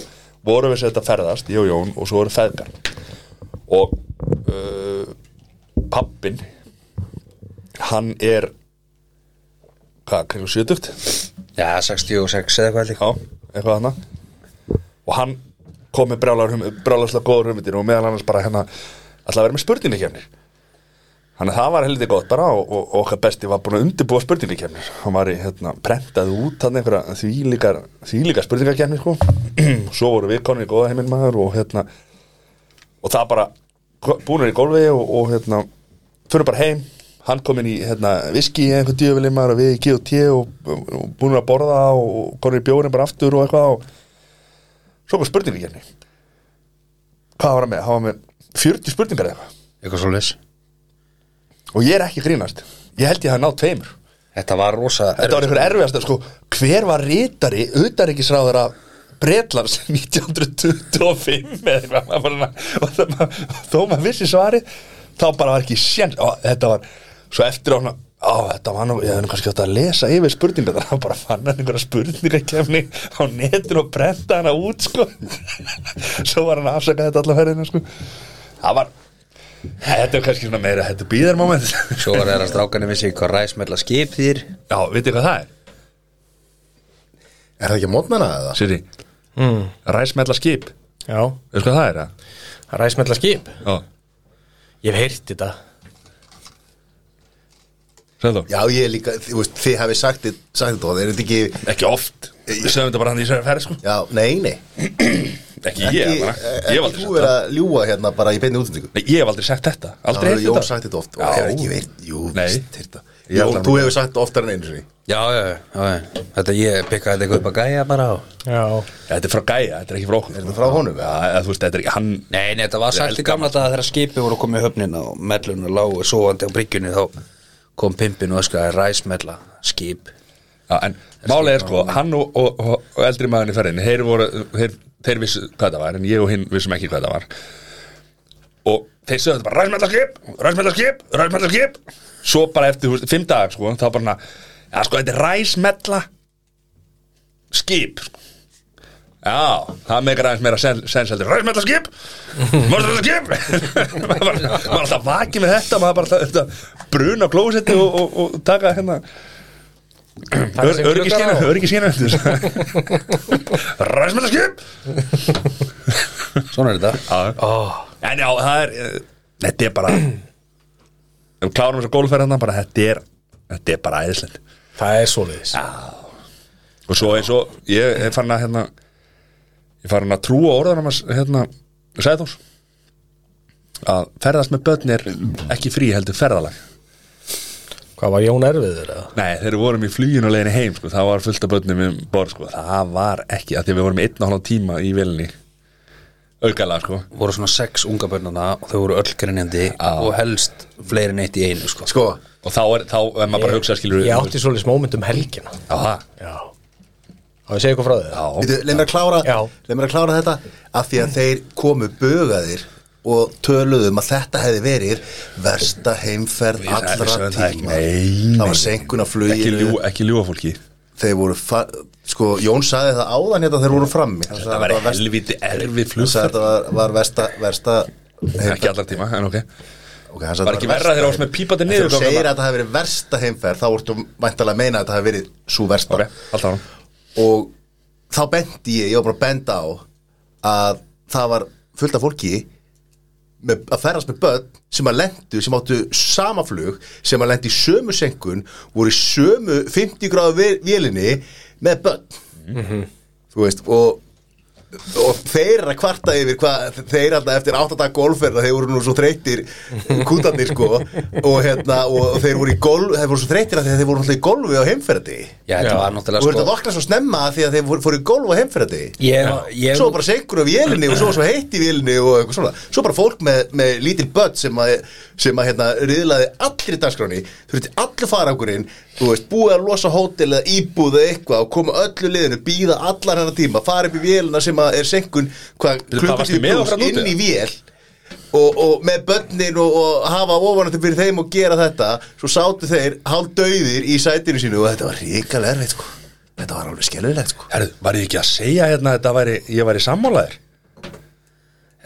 [SPEAKER 2] vorum við sem þetta ferðast, ég og Jón og svo voru feðgar og uh, pappin hann er hvað, kringum 70
[SPEAKER 3] Já, 66 eða eitthvað líka
[SPEAKER 2] já, eitthvað hann og hann kom með brjálarslega góður hugmyndir og meðal annars bara hérna alltaf að vera með spurningarkefnir Þannig að það var heldur gott bara og, og og okkar besti var búin að undirbúa spurningarkefnir. Hann var í, hérna, prentaði út þannig einhverja þvílíkar, þvílíkar spurningarkefnir, sko. Svo voru við konur í góða heiminn maður og hérna, og það bara, búinur í gólfi og, og hérna, fyrir bara heim, hann kom inn í, hérna, viski eða einhver djöfili maður og við í G&T og, og, og búinur að borða og, og konur í bjórin bara aftur og eitthvað og svo kom spurningarkefni. Hvað var hann með? Hann var með 40 spurningar eða eitthvað
[SPEAKER 3] Eitthvað svo
[SPEAKER 2] og ég er ekki að grínast ég held ég hafi náð tveimur
[SPEAKER 3] Þetta var rosa
[SPEAKER 2] þetta var einhver erfiðast sko, hver var rítari utanríkisráður af Bretlands 1925 eða eitthvað maður bara- og það- maður- þó maður vissi svari þá bara var ekki sjens og þetta var svo eftir á hana Á, þetta var nú, ég hefði nú kannski átt að lesa yfir spurningar þannig að bara fann hann einhverja spurningakefni á netinu og brenda hana út sko svo var hann að afsaka þetta allaferðina sko það var, þetta er kannski svona meira þetta býðar moment
[SPEAKER 3] Svo var þeirra strákanum vissi hvað ræsmella skip þýr
[SPEAKER 2] Já, vitið hvað það er?
[SPEAKER 1] er það ekki að mótna hana eða?
[SPEAKER 2] Siri mm. Ræsmella skip
[SPEAKER 4] Já,
[SPEAKER 1] Veist hvað það er að?
[SPEAKER 4] ræsmella skip
[SPEAKER 1] Já,
[SPEAKER 4] Ég hef heyrt þetta
[SPEAKER 1] Sæðló
[SPEAKER 2] Já, ég er líka, þú veist, þið hafi sagt, þið- sagt þetta og þeir eru þetta ekki
[SPEAKER 1] Ekki oft Við sögum þetta bara hann í sér ferð sko
[SPEAKER 2] Já, nei, nei
[SPEAKER 1] Ekki ég bara Ég hef aldrei
[SPEAKER 2] Ekki
[SPEAKER 1] sagt
[SPEAKER 2] þú er
[SPEAKER 1] þetta
[SPEAKER 2] að ljúga hérna bara í beinni útlendingu
[SPEAKER 1] Nei, ég hef aldrei sagt þetta Aldrei
[SPEAKER 2] Já,
[SPEAKER 1] heyrt
[SPEAKER 2] Jón
[SPEAKER 1] þetta
[SPEAKER 2] sagt þetta oft og
[SPEAKER 1] Já.
[SPEAKER 2] hefur ekki veit, jú,
[SPEAKER 1] Nei.
[SPEAKER 2] veist, þetta
[SPEAKER 1] Ég
[SPEAKER 2] Jón,
[SPEAKER 1] ætla að
[SPEAKER 2] þú
[SPEAKER 1] nota-
[SPEAKER 2] hefur sagt þetta oftar en einu sinni
[SPEAKER 3] Já, já, já, já. Þetta ég pikkaði þetta eitthvað upp að gæja bara á
[SPEAKER 4] Já
[SPEAKER 1] Þetta er frá gæja, þetta er ekki frá okkur
[SPEAKER 2] Er þetta frá honum?
[SPEAKER 1] Já, eða þú veist, þetta er ekki hann
[SPEAKER 3] Nei, nei, þetta var sagt í gamla daga þegar skipi voru komið í höfnina og mellunum lágu sofandi á bryggjunni þá kom pimpin og öskraði ræsmella skip
[SPEAKER 1] Já, en málið er sko, hann og, og, og, og eldri maðurinn í ferðinni, þeir voru, þeir, þeir vissu hvað það var, en ég og hinn vissum ekki hvað það var. Og þeir sögðu þetta bara, ræsmællarskip, ræsmællarskip, ræsmællarskip. Svo bara eftir, þú veist, fimm dagar sko, þá bara, já sko, þetta er ræsmella skip, sko. Já, það meikar aðeins meira sen- sens heldur Ræsmællarskip, mörðmællarskip Maður var maður var alltaf vakið með þetta Maður bara alltaf bruna glósetti og, og, og taka hérna
[SPEAKER 4] sig
[SPEAKER 1] Öryggiskina
[SPEAKER 4] gluggar á.
[SPEAKER 1] Öryggiskina Ræsmællarskip
[SPEAKER 3] Svona er þetta
[SPEAKER 1] En já, það er eh, Þetta er bara Ef við klárum þess að gólferðan bara þetta er Þetta er bara æðislegt
[SPEAKER 6] Það er svoleiðis
[SPEAKER 1] og svo eins og ég er farin að hérna, ég er farin að trúa orðanum hans, hérna, Sæðós að ferðast með börn er ekki frí heldur ferðalag
[SPEAKER 4] Hvað var Jón erfiður eða?
[SPEAKER 1] Nei, þegar við vorum í fluginu og leiðinni heim sko, það var fullt af börnum um borð sko. það var ekki, af því að við vorum í einn og hálf tíma í vilni aukalega sko
[SPEAKER 3] voru svona sex unga bönnana og þau voru öll grinjandi og helst fleiri en eitt í einu sko.
[SPEAKER 2] Sko,
[SPEAKER 1] og þá er, þá er maður bara að hugsa skilur
[SPEAKER 4] Ég átti svoleiðis moment um helgina
[SPEAKER 1] á það
[SPEAKER 4] Já Á ég segja eitthvað frá þau?
[SPEAKER 1] Já.
[SPEAKER 2] leið mér að klára
[SPEAKER 4] Já.
[SPEAKER 2] leið mér að klára þetta af því að þeir komu bugaðir og töluðum að þetta hefði verið versta heimferð
[SPEAKER 1] Ég sagði-
[SPEAKER 2] allra
[SPEAKER 1] sagði það ekki.
[SPEAKER 2] tíma
[SPEAKER 1] Nei,
[SPEAKER 2] það
[SPEAKER 1] nei.
[SPEAKER 2] var senkun á
[SPEAKER 1] ekki,
[SPEAKER 2] fluginu
[SPEAKER 1] ljú, ekki ljúa fólki
[SPEAKER 2] þeir voru, fa- sko, Jón saði það áðan hérna þeir voru frammi Hann sagði
[SPEAKER 1] það var
[SPEAKER 2] þetta verst-
[SPEAKER 1] helviti erfið
[SPEAKER 2] hann sagði
[SPEAKER 1] flugferð
[SPEAKER 2] þetta var, var versta, versta
[SPEAKER 1] ekki allar tíma, en ok
[SPEAKER 2] okay, hann sagði
[SPEAKER 1] var
[SPEAKER 2] þetta
[SPEAKER 1] ekki
[SPEAKER 2] versta
[SPEAKER 1] verra þegar þú varst með pípandi
[SPEAKER 2] En þegar þú
[SPEAKER 1] niður
[SPEAKER 2] segir að þetta hafi verið versta heimferð þá ertu væntalega að meina að þetta hafi verið svo versta
[SPEAKER 1] ok, allt á
[SPEAKER 2] og þá bendi ég, ég var bara að benda á að það var fullt af fólki með, að ferðast með börn sem að lendu, sem áttu sama flug sem að lendi í sömu senkun voru í sömu 50 gráðu vélinni með börn þú veist og og þeir eru að kvarta yfir hvað þeir alltaf eftir áttadag golfferð að þeir voru nú svo þreytir kútarnir sko og hérna og þeir voru í golf þeir voru svo þreytir að þeir voru alltaf í golfi á heimferði
[SPEAKER 3] Já, þetta var
[SPEAKER 2] og voru
[SPEAKER 3] náttúrulega
[SPEAKER 2] þetta
[SPEAKER 3] sko,
[SPEAKER 2] vakna svo snemma af því að þeir voru, fóru í golf á heimferði
[SPEAKER 3] ég, ég,
[SPEAKER 2] svo bara senkur af vélinni og svo var svo heitt í vélinni og eitthvað svona svo bara fólk með, með lítil börn sem að, sem að hérna riðlaði allir í dagskráni þurfti allir farangurinn þú veist, búið að losa hótel eða íbúð eða eitthvað og koma öllu liðinu býða allar hennar tíma, fara upp í vélina sem að er senkun hvað
[SPEAKER 1] Bíddu, hvað, varstu
[SPEAKER 2] klukkutími
[SPEAKER 1] með
[SPEAKER 2] plús
[SPEAKER 1] okkur þarna úti,
[SPEAKER 2] inn í vél og, og með börnin og, og hafa ofanandi fyrir þeim og gera þetta svo sátu þeir hálf döðir í sætinu sínu og þetta var ríkalega erfitt sko. þetta var alveg skelvilegt sko.
[SPEAKER 1] Herru, var ég ekki að segja hérna að þetta væri, ég væri sammálaður?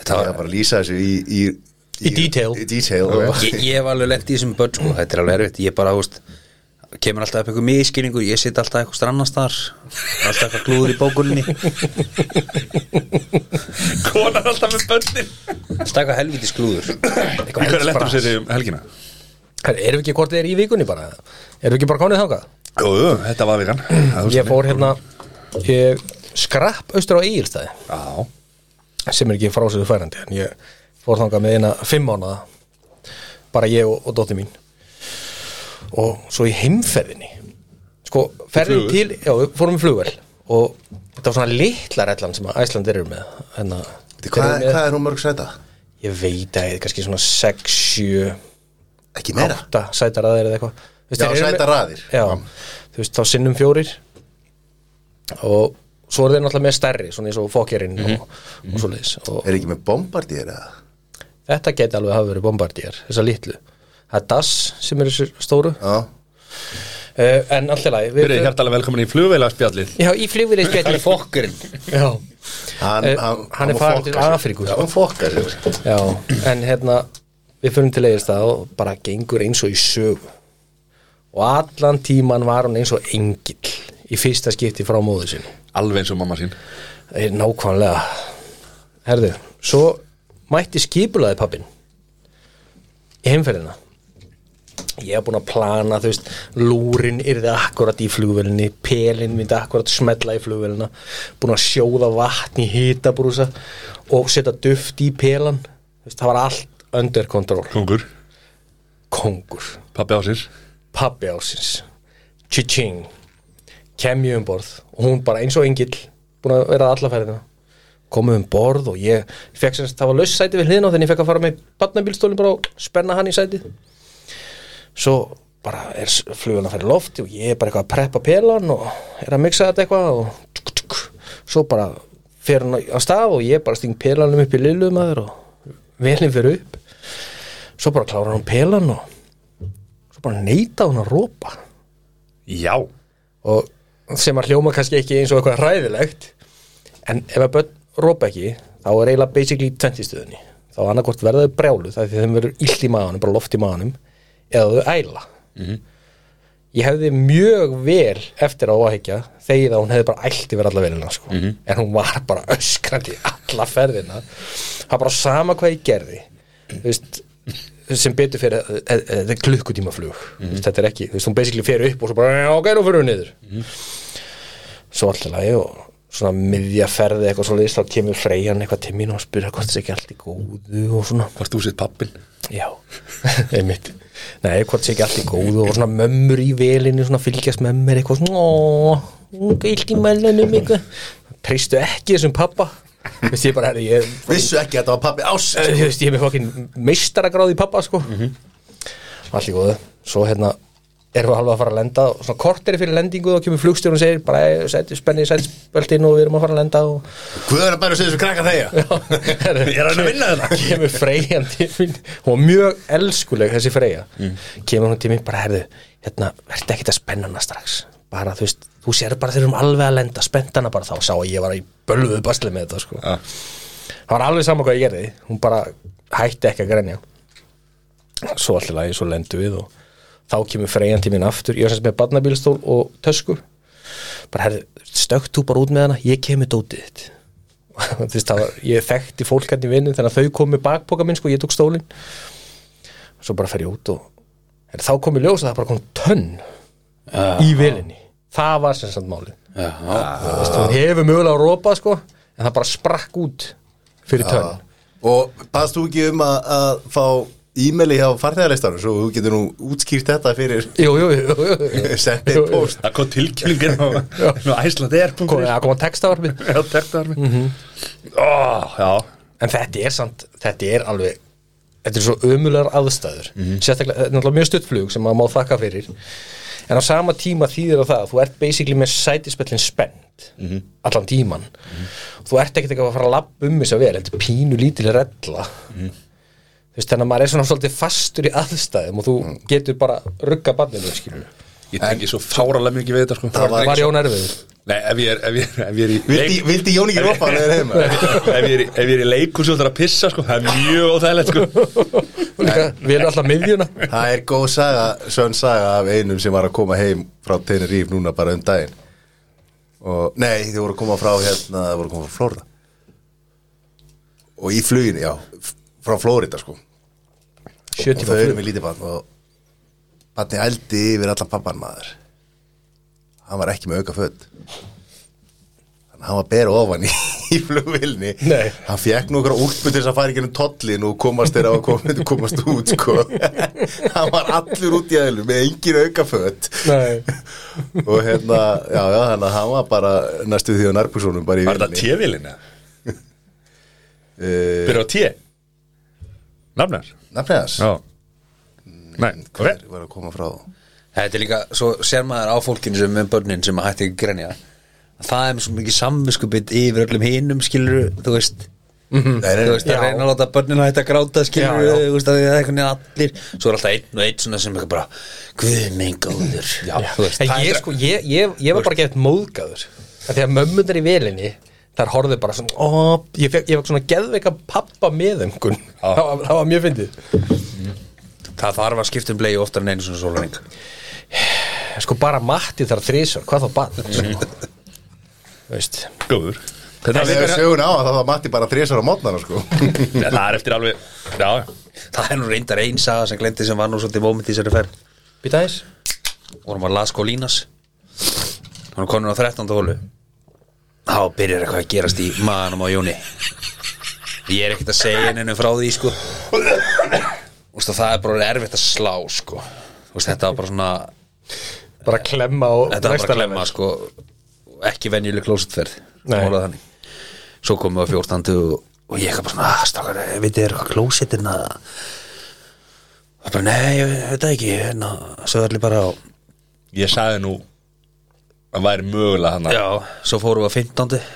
[SPEAKER 2] það var bara að lýsa þessu í í,
[SPEAKER 4] Í detail.
[SPEAKER 2] í detail og,
[SPEAKER 3] ég, ég hef alveg lent í þessum börn sko, þetta er alveg erfitt, ég bara, þú veist kemur alltaf upp einhver miskilningur, ég sitt alltaf eitthvað strannast þar, alltaf eitthvað klúður í bókunni alltaf
[SPEAKER 1] Konan alltaf með börnin
[SPEAKER 3] eitthvað helviti sklúður
[SPEAKER 1] Í hverju lettum sér um helgina?
[SPEAKER 4] Herra, Erum við ekki hvort þið er í vikunni bara? Erum við ekki bara konið þangað?
[SPEAKER 1] Jú, jú, þetta var vikan Það þú
[SPEAKER 4] Ég
[SPEAKER 1] veist
[SPEAKER 4] fór hérna Ég skrapp austur á Egilstæði
[SPEAKER 1] Já,
[SPEAKER 4] sem er ekki frá sér færandi en ég fór þangað með eina fimm mánuða bara ég og, og dóttir mín og svo í heimferðinni sko, ferðin til já, við fórum í flugvel og þetta var svona litla rellan sem að Æsland eru með hérna,
[SPEAKER 2] hvað, hvað er hún mörg sæta?
[SPEAKER 4] ég veit að ég kannski svona 6, 7,
[SPEAKER 2] ekki meira
[SPEAKER 4] 8 sætaraðir eða eitthvað Þú veist,
[SPEAKER 2] Já,
[SPEAKER 4] þeir eru með-
[SPEAKER 2] sætaraðir.
[SPEAKER 4] já, þú veist, þá sinnum fjórir og svo eru þeir náttúrulega með stærri svona eins og fokkerinn
[SPEAKER 2] Mhm,
[SPEAKER 4] og, og svoleiðis og
[SPEAKER 2] er ekki með bombardýr eða?
[SPEAKER 4] Þetta geti alveg hafa verið bombardýr, þessa litlu. Það er DAS sem er þessu stóru.
[SPEAKER 2] já
[SPEAKER 4] Uh, en alltaf lagi, við...
[SPEAKER 1] byrjuði
[SPEAKER 2] hérna-
[SPEAKER 1] hjartalega velkomin í flugveila spjallið
[SPEAKER 4] Já, í flugvilið spjallir.
[SPEAKER 3] fokkurinn
[SPEAKER 4] Já,
[SPEAKER 2] hann,
[SPEAKER 4] Eh,
[SPEAKER 2] hann,
[SPEAKER 4] hann er
[SPEAKER 2] má
[SPEAKER 4] farin
[SPEAKER 2] fokka
[SPEAKER 4] til
[SPEAKER 2] sér.
[SPEAKER 4] Afríku,
[SPEAKER 2] já,
[SPEAKER 4] sko.
[SPEAKER 2] hann fokkar sér
[SPEAKER 4] já, en hérna, við förum til eigist það og bara gengur eins og í sögu. Og allan tíman var hún eins og engill í fyrsta skipti frá móðu sinni.
[SPEAKER 1] Alveg eins og mamma sín
[SPEAKER 4] Eh, Nákvæmlega. herðu, svo mætti skipulaði pappin í heimferðina ég hef búin að plana, þú veist lúrin yrði akkurat í flugvelinni pelin myndi akkurat smetla í flugvelina búin að sjóða vatn í hitabrúsa og setja duft í pelan þú veist, það var allt under control
[SPEAKER 1] Kongur,
[SPEAKER 4] kongur,
[SPEAKER 1] pappi á sér
[SPEAKER 4] pappi ásins tji-ching kem ég um borð og hún bara eins og engill búin að vera allaferðina komið um borð og ég fekk sem sagt- það var laus sæti við hliðina á þannig ég fekk að fara með barnabílstólin bara og spenna hann í sætið svo bara er fluguna fyrir lofti og ég er bara eitthvað að preppa pelan og er að mixa þetta eitthvað og tuk, tuk, svo bara fer hann á stað og ég bara sting pelanum upp í lillum aður og velin fyrir upp svo bara klárar hann pelan og svo bara neyta hún að rópa
[SPEAKER 1] Já,
[SPEAKER 4] og sem að hljóma kannski ekki eins og eitthvað hræðilegt en ef að börn rópa ekki þá er eiginlega basically í 20 stöðunni þá annarkort verða þau brjáluð það er því þeim verður illt í maðanum, bara loft í maðanum eða þau æla ég hefði mjög vel eftir á að hekja þegar hún hefði bara ælt yfir alla velina sko. en hún var bara öskrandi alla ferðina það var bara sama hvað ég gerði þú veist sem betur fyrir eh, eh, þetta er klukkutímaflug mm -hmm. þetta er ekki, þú veist, hún basically fer upp og svo bara, "Já, ok, nú fyrir hún niður svo alltaf lagi og svona miðja ferði eitthvað svo þá kemur Freyjan eitthvað til mín og spyrir hvort þessi ekki allt í góðu og svona
[SPEAKER 1] varst þú sitt pappin
[SPEAKER 4] Já, einmitt Nei, hvort sé ekki allt í góðu og svona mömmur í velinni, svona fylgjast mömmur eitthvað svona, óóó, gilt í mælunum eitthvað Treystu ekki þessum pappa Vist ég bara, herri, ég
[SPEAKER 2] Vissu ekki að þetta var pappi ás
[SPEAKER 4] Eh, Þú veist, ég er með fokkin meistaragráð í pappa, sko Allt í góðu Svo hérna erum við alveg að fara að lenda og svona kort er fyrir lendingu og kemur flugstjórn og segir bara, "Eh, sæti, spennið sætspöldin og við erum að fara að lenda og
[SPEAKER 2] Hvað er að bæra að segja þessu krakka þegar?
[SPEAKER 1] Ég er að vinna þetta
[SPEAKER 4] kemur freyjan til mín hún var mjög elskuleg þessi freyja kemur hún til mín bara herðu hérna, verði ekkert að spenna hana strax bara þú veist, þú sér bara þegar um alveg að lenda spennt hana bara þá, sá að ég var í bölvuðu basli með þetta sko
[SPEAKER 1] Ja.
[SPEAKER 4] það var alveg saman hvað ég gerði, hún bara hætti ekki að grenja svo allir lagi, svo lendu við og þá kemur freyjan til mín aftur ég var sem sagt með barnabílstól og tösku bara herðu, stökkt þú bara út með hana ég kemur dótið þitt Þú veist, það var, ég þekkti fólk hérna í vinnu þannig að þau komu með bakpoka minn sko, ég tók stólin svo bara fer ég út og en þá kom í ljós að það bara kom tönn í velinni það var sem sagt málið Þú veist, hún hefur mögulega að rópa sko en það bara sprakk út fyrir tönn
[SPEAKER 2] Og baðst þú ekki um að, að fá e-maili hjá farþegarleistanum Svo þú getur nú útskýrt þetta fyrir
[SPEAKER 4] jú, jú, jú, jú, jú.
[SPEAKER 2] sendið post
[SPEAKER 1] Það kom tilkynningin á, á
[SPEAKER 4] Kom,
[SPEAKER 1] Æsland.is
[SPEAKER 4] það kom að textavarpi
[SPEAKER 1] Já, þetta var mér Já,
[SPEAKER 4] en þetta er samt, þetta er alveg þetta er svo ömulegar aðstæður
[SPEAKER 2] Mhm.
[SPEAKER 4] sérstaklega, þetta er náttúrulega mjög stuttflug sem maður má þakka fyrir en á sama tíma þýðir það að þú ert basically með sætispellin spennt
[SPEAKER 2] Mhm.
[SPEAKER 4] allan tíman þú ert ekkert eitthvað að fara að labba um þess að vera, þetta er pínu lítil rella
[SPEAKER 2] Mhm.
[SPEAKER 4] þú veist, þannig að maður er svona svolítið fastur í aðstæðum og þú
[SPEAKER 2] Mhm.
[SPEAKER 4] getur bara rugga banninu, skilur
[SPEAKER 1] ég tengi svo fáralega mikið við þetta sko
[SPEAKER 2] Það
[SPEAKER 4] var Jón Erfiður
[SPEAKER 1] Nei, ef ég er, ef ég er, ef ég er í
[SPEAKER 2] Vildi,
[SPEAKER 1] leik-
[SPEAKER 2] vildi Jón ekki ropa þegar þeim?
[SPEAKER 1] ef ég er, í- ef ég er í leikus og það er að pissa sko, það er mjög óþægilegt sko
[SPEAKER 4] Líka, við erum alltaf miðjuna
[SPEAKER 2] Það er góð saga, svön saga af einum sem var að koma heim frá Tenerife núna bara um daginn og nei, þau voru að koma frá hérna, þau voru að koma frá Florida og í fluginu, já f- frá Florida sko og
[SPEAKER 4] 70
[SPEAKER 2] þau eru
[SPEAKER 4] flug.
[SPEAKER 2] með lítið barn og barni ældi yfir allan pappan maður hann var ekki með auka föt þannig að hann var bera ofan í, í flugvilni
[SPEAKER 4] Nei.
[SPEAKER 2] hann fekk nú okkur úlpu til þess að fara ekki um tollin og komast þeirra og komast, komast út sko hann var allur út í aðlum með engin auka föt
[SPEAKER 4] Nei.
[SPEAKER 2] og hérna, já, já, þannig að hann var bara næstu því á nærbúrsónum bara í
[SPEAKER 1] Var þetta
[SPEAKER 2] vilni
[SPEAKER 1] T-vilina? Byrja á T? Nafnar?
[SPEAKER 2] nafnið Eh, hans
[SPEAKER 1] Já Nei, ok
[SPEAKER 2] var að koma frá
[SPEAKER 3] Þetta er líka, svo sér maður á fólkinu sem er með börnin sem að hætti ekki að grenja það er með svo mikið samviskupið yfir öllum hinum skilur, þú veist
[SPEAKER 1] Mm.
[SPEAKER 2] Nei, nei,
[SPEAKER 3] þú veist,
[SPEAKER 4] Já.
[SPEAKER 3] að reyna að láta börnin að hætta að gráta skilur,
[SPEAKER 4] Já, já.
[SPEAKER 3] þú veist, að það er einhvern veginn allir svo er alltaf einn og einn svona sem eitthvað bara guð minn góður já, þú veist,
[SPEAKER 4] En
[SPEAKER 3] það
[SPEAKER 4] ég,
[SPEAKER 3] er-
[SPEAKER 4] sko, ég, ég, ég var bara gett móðgæður að því að mömmunar í velinni þar horfðu bara svona ó, ég, fekk, ég fekk svona geðveika pappa með einhvern það, var- það var mjög fyndið
[SPEAKER 3] það þarf að skipta um blei oftar en einu svona sólaring
[SPEAKER 4] En sko bara matti þar þrísar, hvað þá bann sko. veist
[SPEAKER 1] Góður
[SPEAKER 2] Það er sögun á að það var Matti bara þrísar á mótnana sko
[SPEAKER 1] Ja, það er eftir alveg Já, já.
[SPEAKER 3] Það er nú reyndar einn saga sem glendi sem var nú svolítið moment í sér að fer
[SPEAKER 4] Býta aðeins
[SPEAKER 3] vorum að Lasko Línas hann er konur á 13. hólu þá byrjar eitthvað að gerast í maðanum á Jóni ég er ekkert að segja henni frá því sko Ústu, það er bara orðið erfitt að slá sko Ústu, þetta var bara svona
[SPEAKER 4] Bara klemma og
[SPEAKER 3] þetta var bara að klemma sko ekki venjuleg klósetferð
[SPEAKER 4] Nei.
[SPEAKER 3] Málað þannig. svo komum við á 14. og, og ég eitthvað bara svona, "Ah, strákar, við þið eru hvað klósetin að það bara, nei, ég veit það ekki hérna, svo er allir bara á
[SPEAKER 1] Ég sagði nú að væri mögulega hann að
[SPEAKER 3] Já, svo fórum við að 15.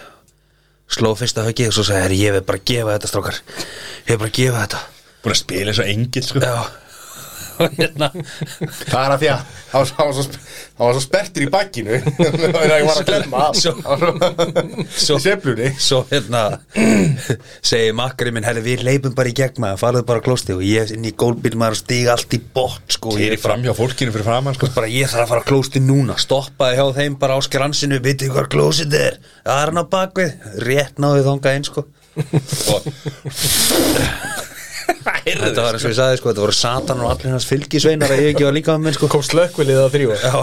[SPEAKER 3] Sló fyrsta höggið og svo sagði "Herri, ég vil bara gefa þetta strákar Ég vil bara gefa þetta
[SPEAKER 1] búin að spila eins og engil sko.
[SPEAKER 3] Já Og hérna
[SPEAKER 2] Það er að því að hann var- hann var svo, sp- hann var svo spertur í bakkinu þegar ég var að klemma af.
[SPEAKER 3] Svo-
[SPEAKER 2] Hann var svo- í seflunni
[SPEAKER 3] Svo hérna Segir makkari minn, herri við leipum bara í gegn maður Farðu bara klósti og ég inn í gólbíl maður og Stig allt í bótt sko
[SPEAKER 1] Ég er
[SPEAKER 3] bara-
[SPEAKER 1] fram hjá fólkinu fyrir framann sko.
[SPEAKER 3] bara ég þarf að fara að klósti núna stoppaði hjá þeim bara á skransinu vitið hvað klósið er, það er hann á bakvið rétt náðu þangað einn sko
[SPEAKER 1] og
[SPEAKER 3] þetta var eins og ég sagði sko, þetta voru satan og allir hans fylgisveinar að ég ekki var líka með minn sko
[SPEAKER 4] Kom slökkvilið að þrjú
[SPEAKER 3] Já,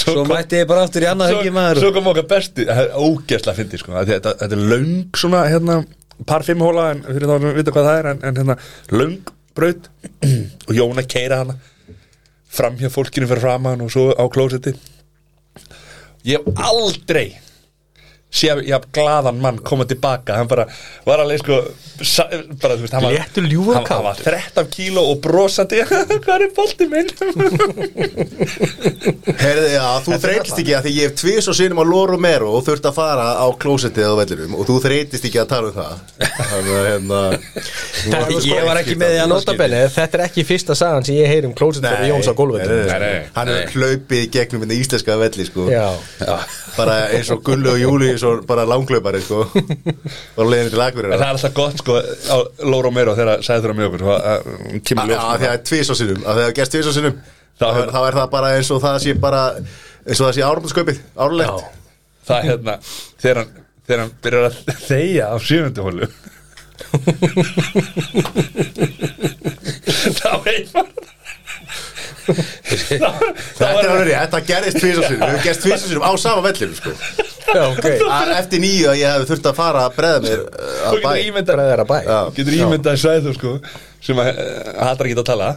[SPEAKER 3] svo
[SPEAKER 1] kom-
[SPEAKER 3] mætti ég bara aftur í annað huggi maður
[SPEAKER 1] Svo kom okkar besti, það er ógeðslega fyndi sko. Af því að þetta, þetta er löng svona hérna, par fimm hóla en fyrir þá að vita hvað það er en, en hérna, löng braut og Jón að keira hana fram hjá fólkinu fyrir framann og svo á klósetti ég hef aldrei sé að ég haf glaðan mann koma tilbaka hann bara var alveg sko sa, bara, þú veist, hann var,
[SPEAKER 4] Léttur ljúfur
[SPEAKER 1] hann, hann var 13 kíló og brosandi hvað er bolti minn
[SPEAKER 2] Herði, já, þú þreytist ekki að því ég hef tvis og sinum á Loro Mero og þurft að fara á klósettið á vellinum og þú þreytist ekki að tala um það Þannig að hérna
[SPEAKER 3] Ég var ekki með því að nota benni
[SPEAKER 4] Notabene, þetta er ekki fyrsta sagan sem ég heyri um klóset fyrir Jóns á gólfið
[SPEAKER 1] Nei, nei,
[SPEAKER 2] Hann
[SPEAKER 1] nei.
[SPEAKER 2] er hlaupið í gegnum þetta íslenska velli sko
[SPEAKER 4] Já,
[SPEAKER 2] bara eins og Gullu og Júli eins og bara langlaupari sko og leiðin til
[SPEAKER 1] En
[SPEAKER 2] Akureyra
[SPEAKER 1] það er alltaf gott sko á Lóra Meiro þegar sæði þurra með okkur svo að- að hún kemur
[SPEAKER 2] Já,
[SPEAKER 1] ljós
[SPEAKER 2] af því að það er tvís á sinnum af því að það er gerst tvís á sinnum þá
[SPEAKER 1] Það
[SPEAKER 2] er,
[SPEAKER 1] hefur-
[SPEAKER 2] þá er það bara eins og það sé bara eins og það sé árumskaupið, árlegt ah.
[SPEAKER 1] Það er hérna þegar hann, þegar hann byrjar að þegja á sjöfundu hólu Þá veit maður Þá- þá
[SPEAKER 2] Þetta er
[SPEAKER 1] var-
[SPEAKER 2] alveg rétt, það gerist tvís á sinnum við hefum gerst tvís á sinnum á sama vellinu sko
[SPEAKER 4] já, ok
[SPEAKER 2] Að- eftir nýju að ég hefði þurft að fara að breða mér uh,
[SPEAKER 1] Þú
[SPEAKER 2] að bæ
[SPEAKER 1] getur ímyndað
[SPEAKER 4] Bræðara bæ
[SPEAKER 2] Já.
[SPEAKER 1] þú Getur ímyndað sæðu sko sem að eh, hattar ekki að tala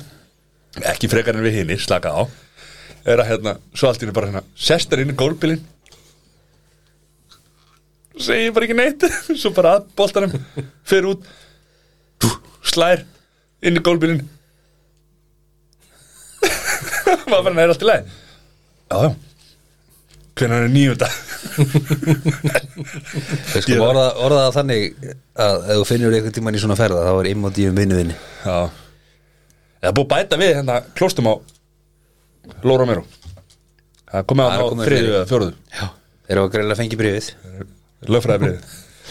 [SPEAKER 1] ekki frekar en við hinni, slaka á er að hérna, svo allt í henni bara hérna sestar inn í gólbílinn segir bara ekki neitt svo bara að boltanum fer út tú, slær inn í gólbílinn maður bara næri allt í lagi já, já hvernig hann er nýjunda
[SPEAKER 3] Við skulum orða, orða það þannig að ef þú finnur einhvern tímann í svona ferða þá er immodíum vinnuvinni
[SPEAKER 1] já það er búið að bæta við hérna klóstum á Lóra Mero það er komið á
[SPEAKER 3] Það er
[SPEAKER 1] hann á
[SPEAKER 3] komið
[SPEAKER 1] þriðu
[SPEAKER 3] fleiri.
[SPEAKER 1] eða fjóruðu
[SPEAKER 3] Já Þeir eru að greiðlega fengi brífið
[SPEAKER 1] lögfræðabriðið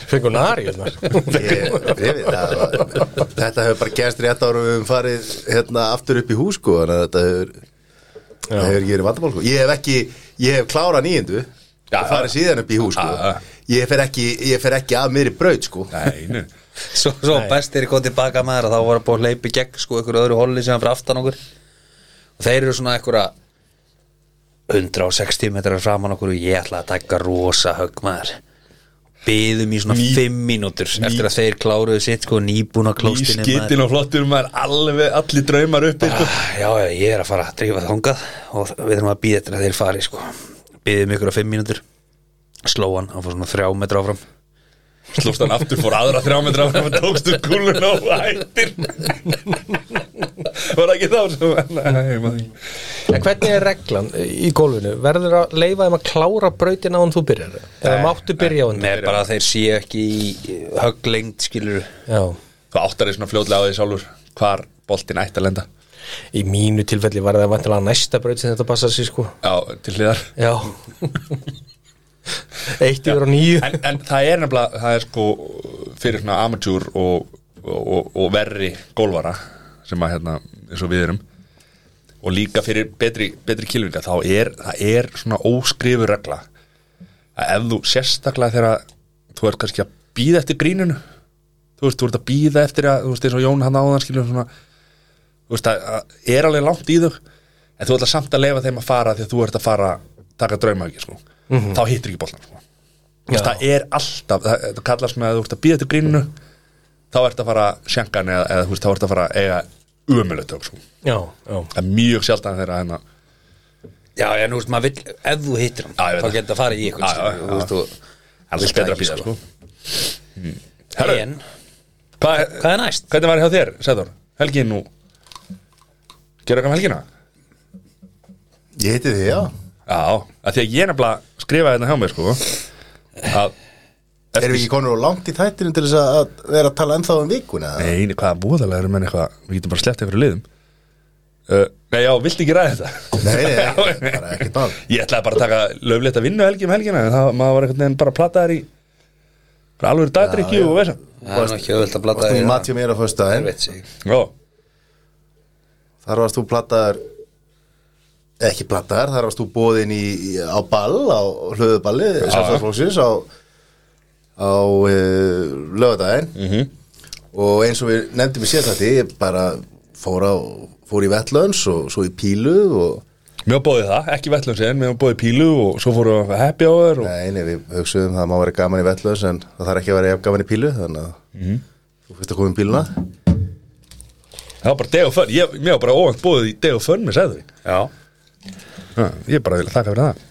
[SPEAKER 4] Fengur nari hérna
[SPEAKER 2] Ég- ég- það var- þetta hefur bara gerst rétt ára við höfum farið hérna aftur upp í hús sko þannig að þetta hefur það hefur ekki verið vandamál sko ég hef ekki, ég hef klárað nýjendu
[SPEAKER 1] Já,
[SPEAKER 2] og farið síðan upp í hús
[SPEAKER 1] Já, já.
[SPEAKER 2] sko ég fer ekki, ég fer ekki að mér í braut sko
[SPEAKER 1] nei, nei
[SPEAKER 3] Svo, svo best þeir kom tilbaka maður að þá voru að búið að hleypi gegn sko einhverju öðru holli sem fyrir aftan okkur og þeir eru svona einhverja 160 metrar framan okkur og ég ætla að taka rosa högg maður Byðum í svona 5 mínútur eftir að þeir kláruðu sitt sko nýbúna klóstinu
[SPEAKER 1] Ískittin og flottur maður alveg allir draumar uppi sko.
[SPEAKER 3] Ah, Já, já, ég er að fara að drífa þangað og við erum að býða eftir að þeir fari sko. býðum ykkur á fimm mínútur sló hann, hann fór svona þrjá metra áfram
[SPEAKER 1] Slóst hann aftur, fór aðra þrjá metra og tókstu kúlun á hættir Var ekki þá sem Nei, maður
[SPEAKER 4] En hvernig er reglan í gólfinu? Verður að leifa þeim að klára brautin á hann þú byrjar? Eða máttu byrja á hann?
[SPEAKER 3] með bara að þeir séu ekki í högglengd skilur
[SPEAKER 4] Já
[SPEAKER 1] Þú áttar því svona fljótlega á því sjálfur hvar boltinn ætti að lenda
[SPEAKER 4] Í mínu tilfelli var það vantilega næsta braut sem þetta passar sér sko
[SPEAKER 1] Já, til hliðar
[SPEAKER 4] Já Eitt yfir á nýju
[SPEAKER 1] en, en það er nefnilega, það er sko fyrir svona amatúr og, og, og verri gólvara sem að hérna, eins og við erum og líka fyrir betri, betri kilvinga þá er, það er svona óskrifu regla að ef þú sérstaklega þegar þú ert kannski að býða eftir gríninu þú veist, þú ert að býða eftir að þú veist, eins og Jón hann áðan skilur svona þú veist, það það er alveg langt í þau en þú ætlar samt að leifa þeim að fara því að þú ert að fara að taka drauma ekki, sko þá hittir ekki bollan, sko Þú veist, það er alltaf, það, það kallast með að þú ert að býða eftir gríninu þá ert að fara að sjanka hann eða, eða þú veist, þá ert að fara að eiga umjölu tök, sko
[SPEAKER 4] já, já,
[SPEAKER 1] það er hérna mjög sjaldan þeirra hennar
[SPEAKER 3] Já, já, nú veist, maður vill, ef þú hittir hann
[SPEAKER 1] Já, ég veit
[SPEAKER 3] þá
[SPEAKER 1] það.
[SPEAKER 3] getur það að fara í ykkur
[SPEAKER 1] Já,
[SPEAKER 3] skilur,
[SPEAKER 1] já,
[SPEAKER 3] þú
[SPEAKER 1] já.
[SPEAKER 3] veist, og-
[SPEAKER 1] allir
[SPEAKER 3] Vilt
[SPEAKER 1] betra
[SPEAKER 3] ekki,
[SPEAKER 1] býða,
[SPEAKER 3] sko.
[SPEAKER 1] sko Herru.
[SPEAKER 3] En,
[SPEAKER 1] Hvað,
[SPEAKER 3] hvað er næst?
[SPEAKER 1] Hvernig var hjá þér, Sæður? Helgin nú Gerðu eitthvað um helgina?
[SPEAKER 2] Ég heiti þið, já
[SPEAKER 1] Já, að því að ég nefnilega skrifaði hérna hjá mér sko að
[SPEAKER 2] Erum við ekki konur og langt í þættinu til þess að að vera að tala ennþá um vikuna? eða?
[SPEAKER 1] Nei, hvaða búðalega erum enn eitthvað Við getum bara sleppt einhverju liðum uh, Nei, já, viltu ekki ræða þetta?
[SPEAKER 2] Nei, nei, nei, bara ekkert mál.
[SPEAKER 1] Ég ætlaði bara að taka löflétt að vinna helgi um helgina En það, maður var einhvern veginn bara að plata þær í Bara alveg dagdrykju og veist
[SPEAKER 3] það er nú ekki auðvelt að blata
[SPEAKER 2] Varst þú
[SPEAKER 3] þér
[SPEAKER 2] mat hjá mér á föstudaginn?
[SPEAKER 3] veit sig
[SPEAKER 1] Já,
[SPEAKER 2] Þar varst þú plattaðar ekki plattaðar, þar varst þú bóðin í, í, á ball, á hlöðuballi sjálfstæðarflóksins á, á e, lögadaginn og eins og við nefndum í sérstætti, ég bara fór, á, fór í Vetlunds og svo í Pílu og
[SPEAKER 1] mér bóði það, ekki vettlum sér Mér bóði pílu og svo fóru að happy hour og...
[SPEAKER 2] Nei, nei, við hugsuðum það að maður verið gaman í Vetlunds en það þarf ekki að vera jafn gaman í Pílu þannig að þú fyrst að koma um Píluna
[SPEAKER 1] Það var bara deg og fönn Ég- Mér var bara óvænt bóðið í deg og fönn með Sæður
[SPEAKER 3] Já,
[SPEAKER 1] Ég bara vil þakka fyrir það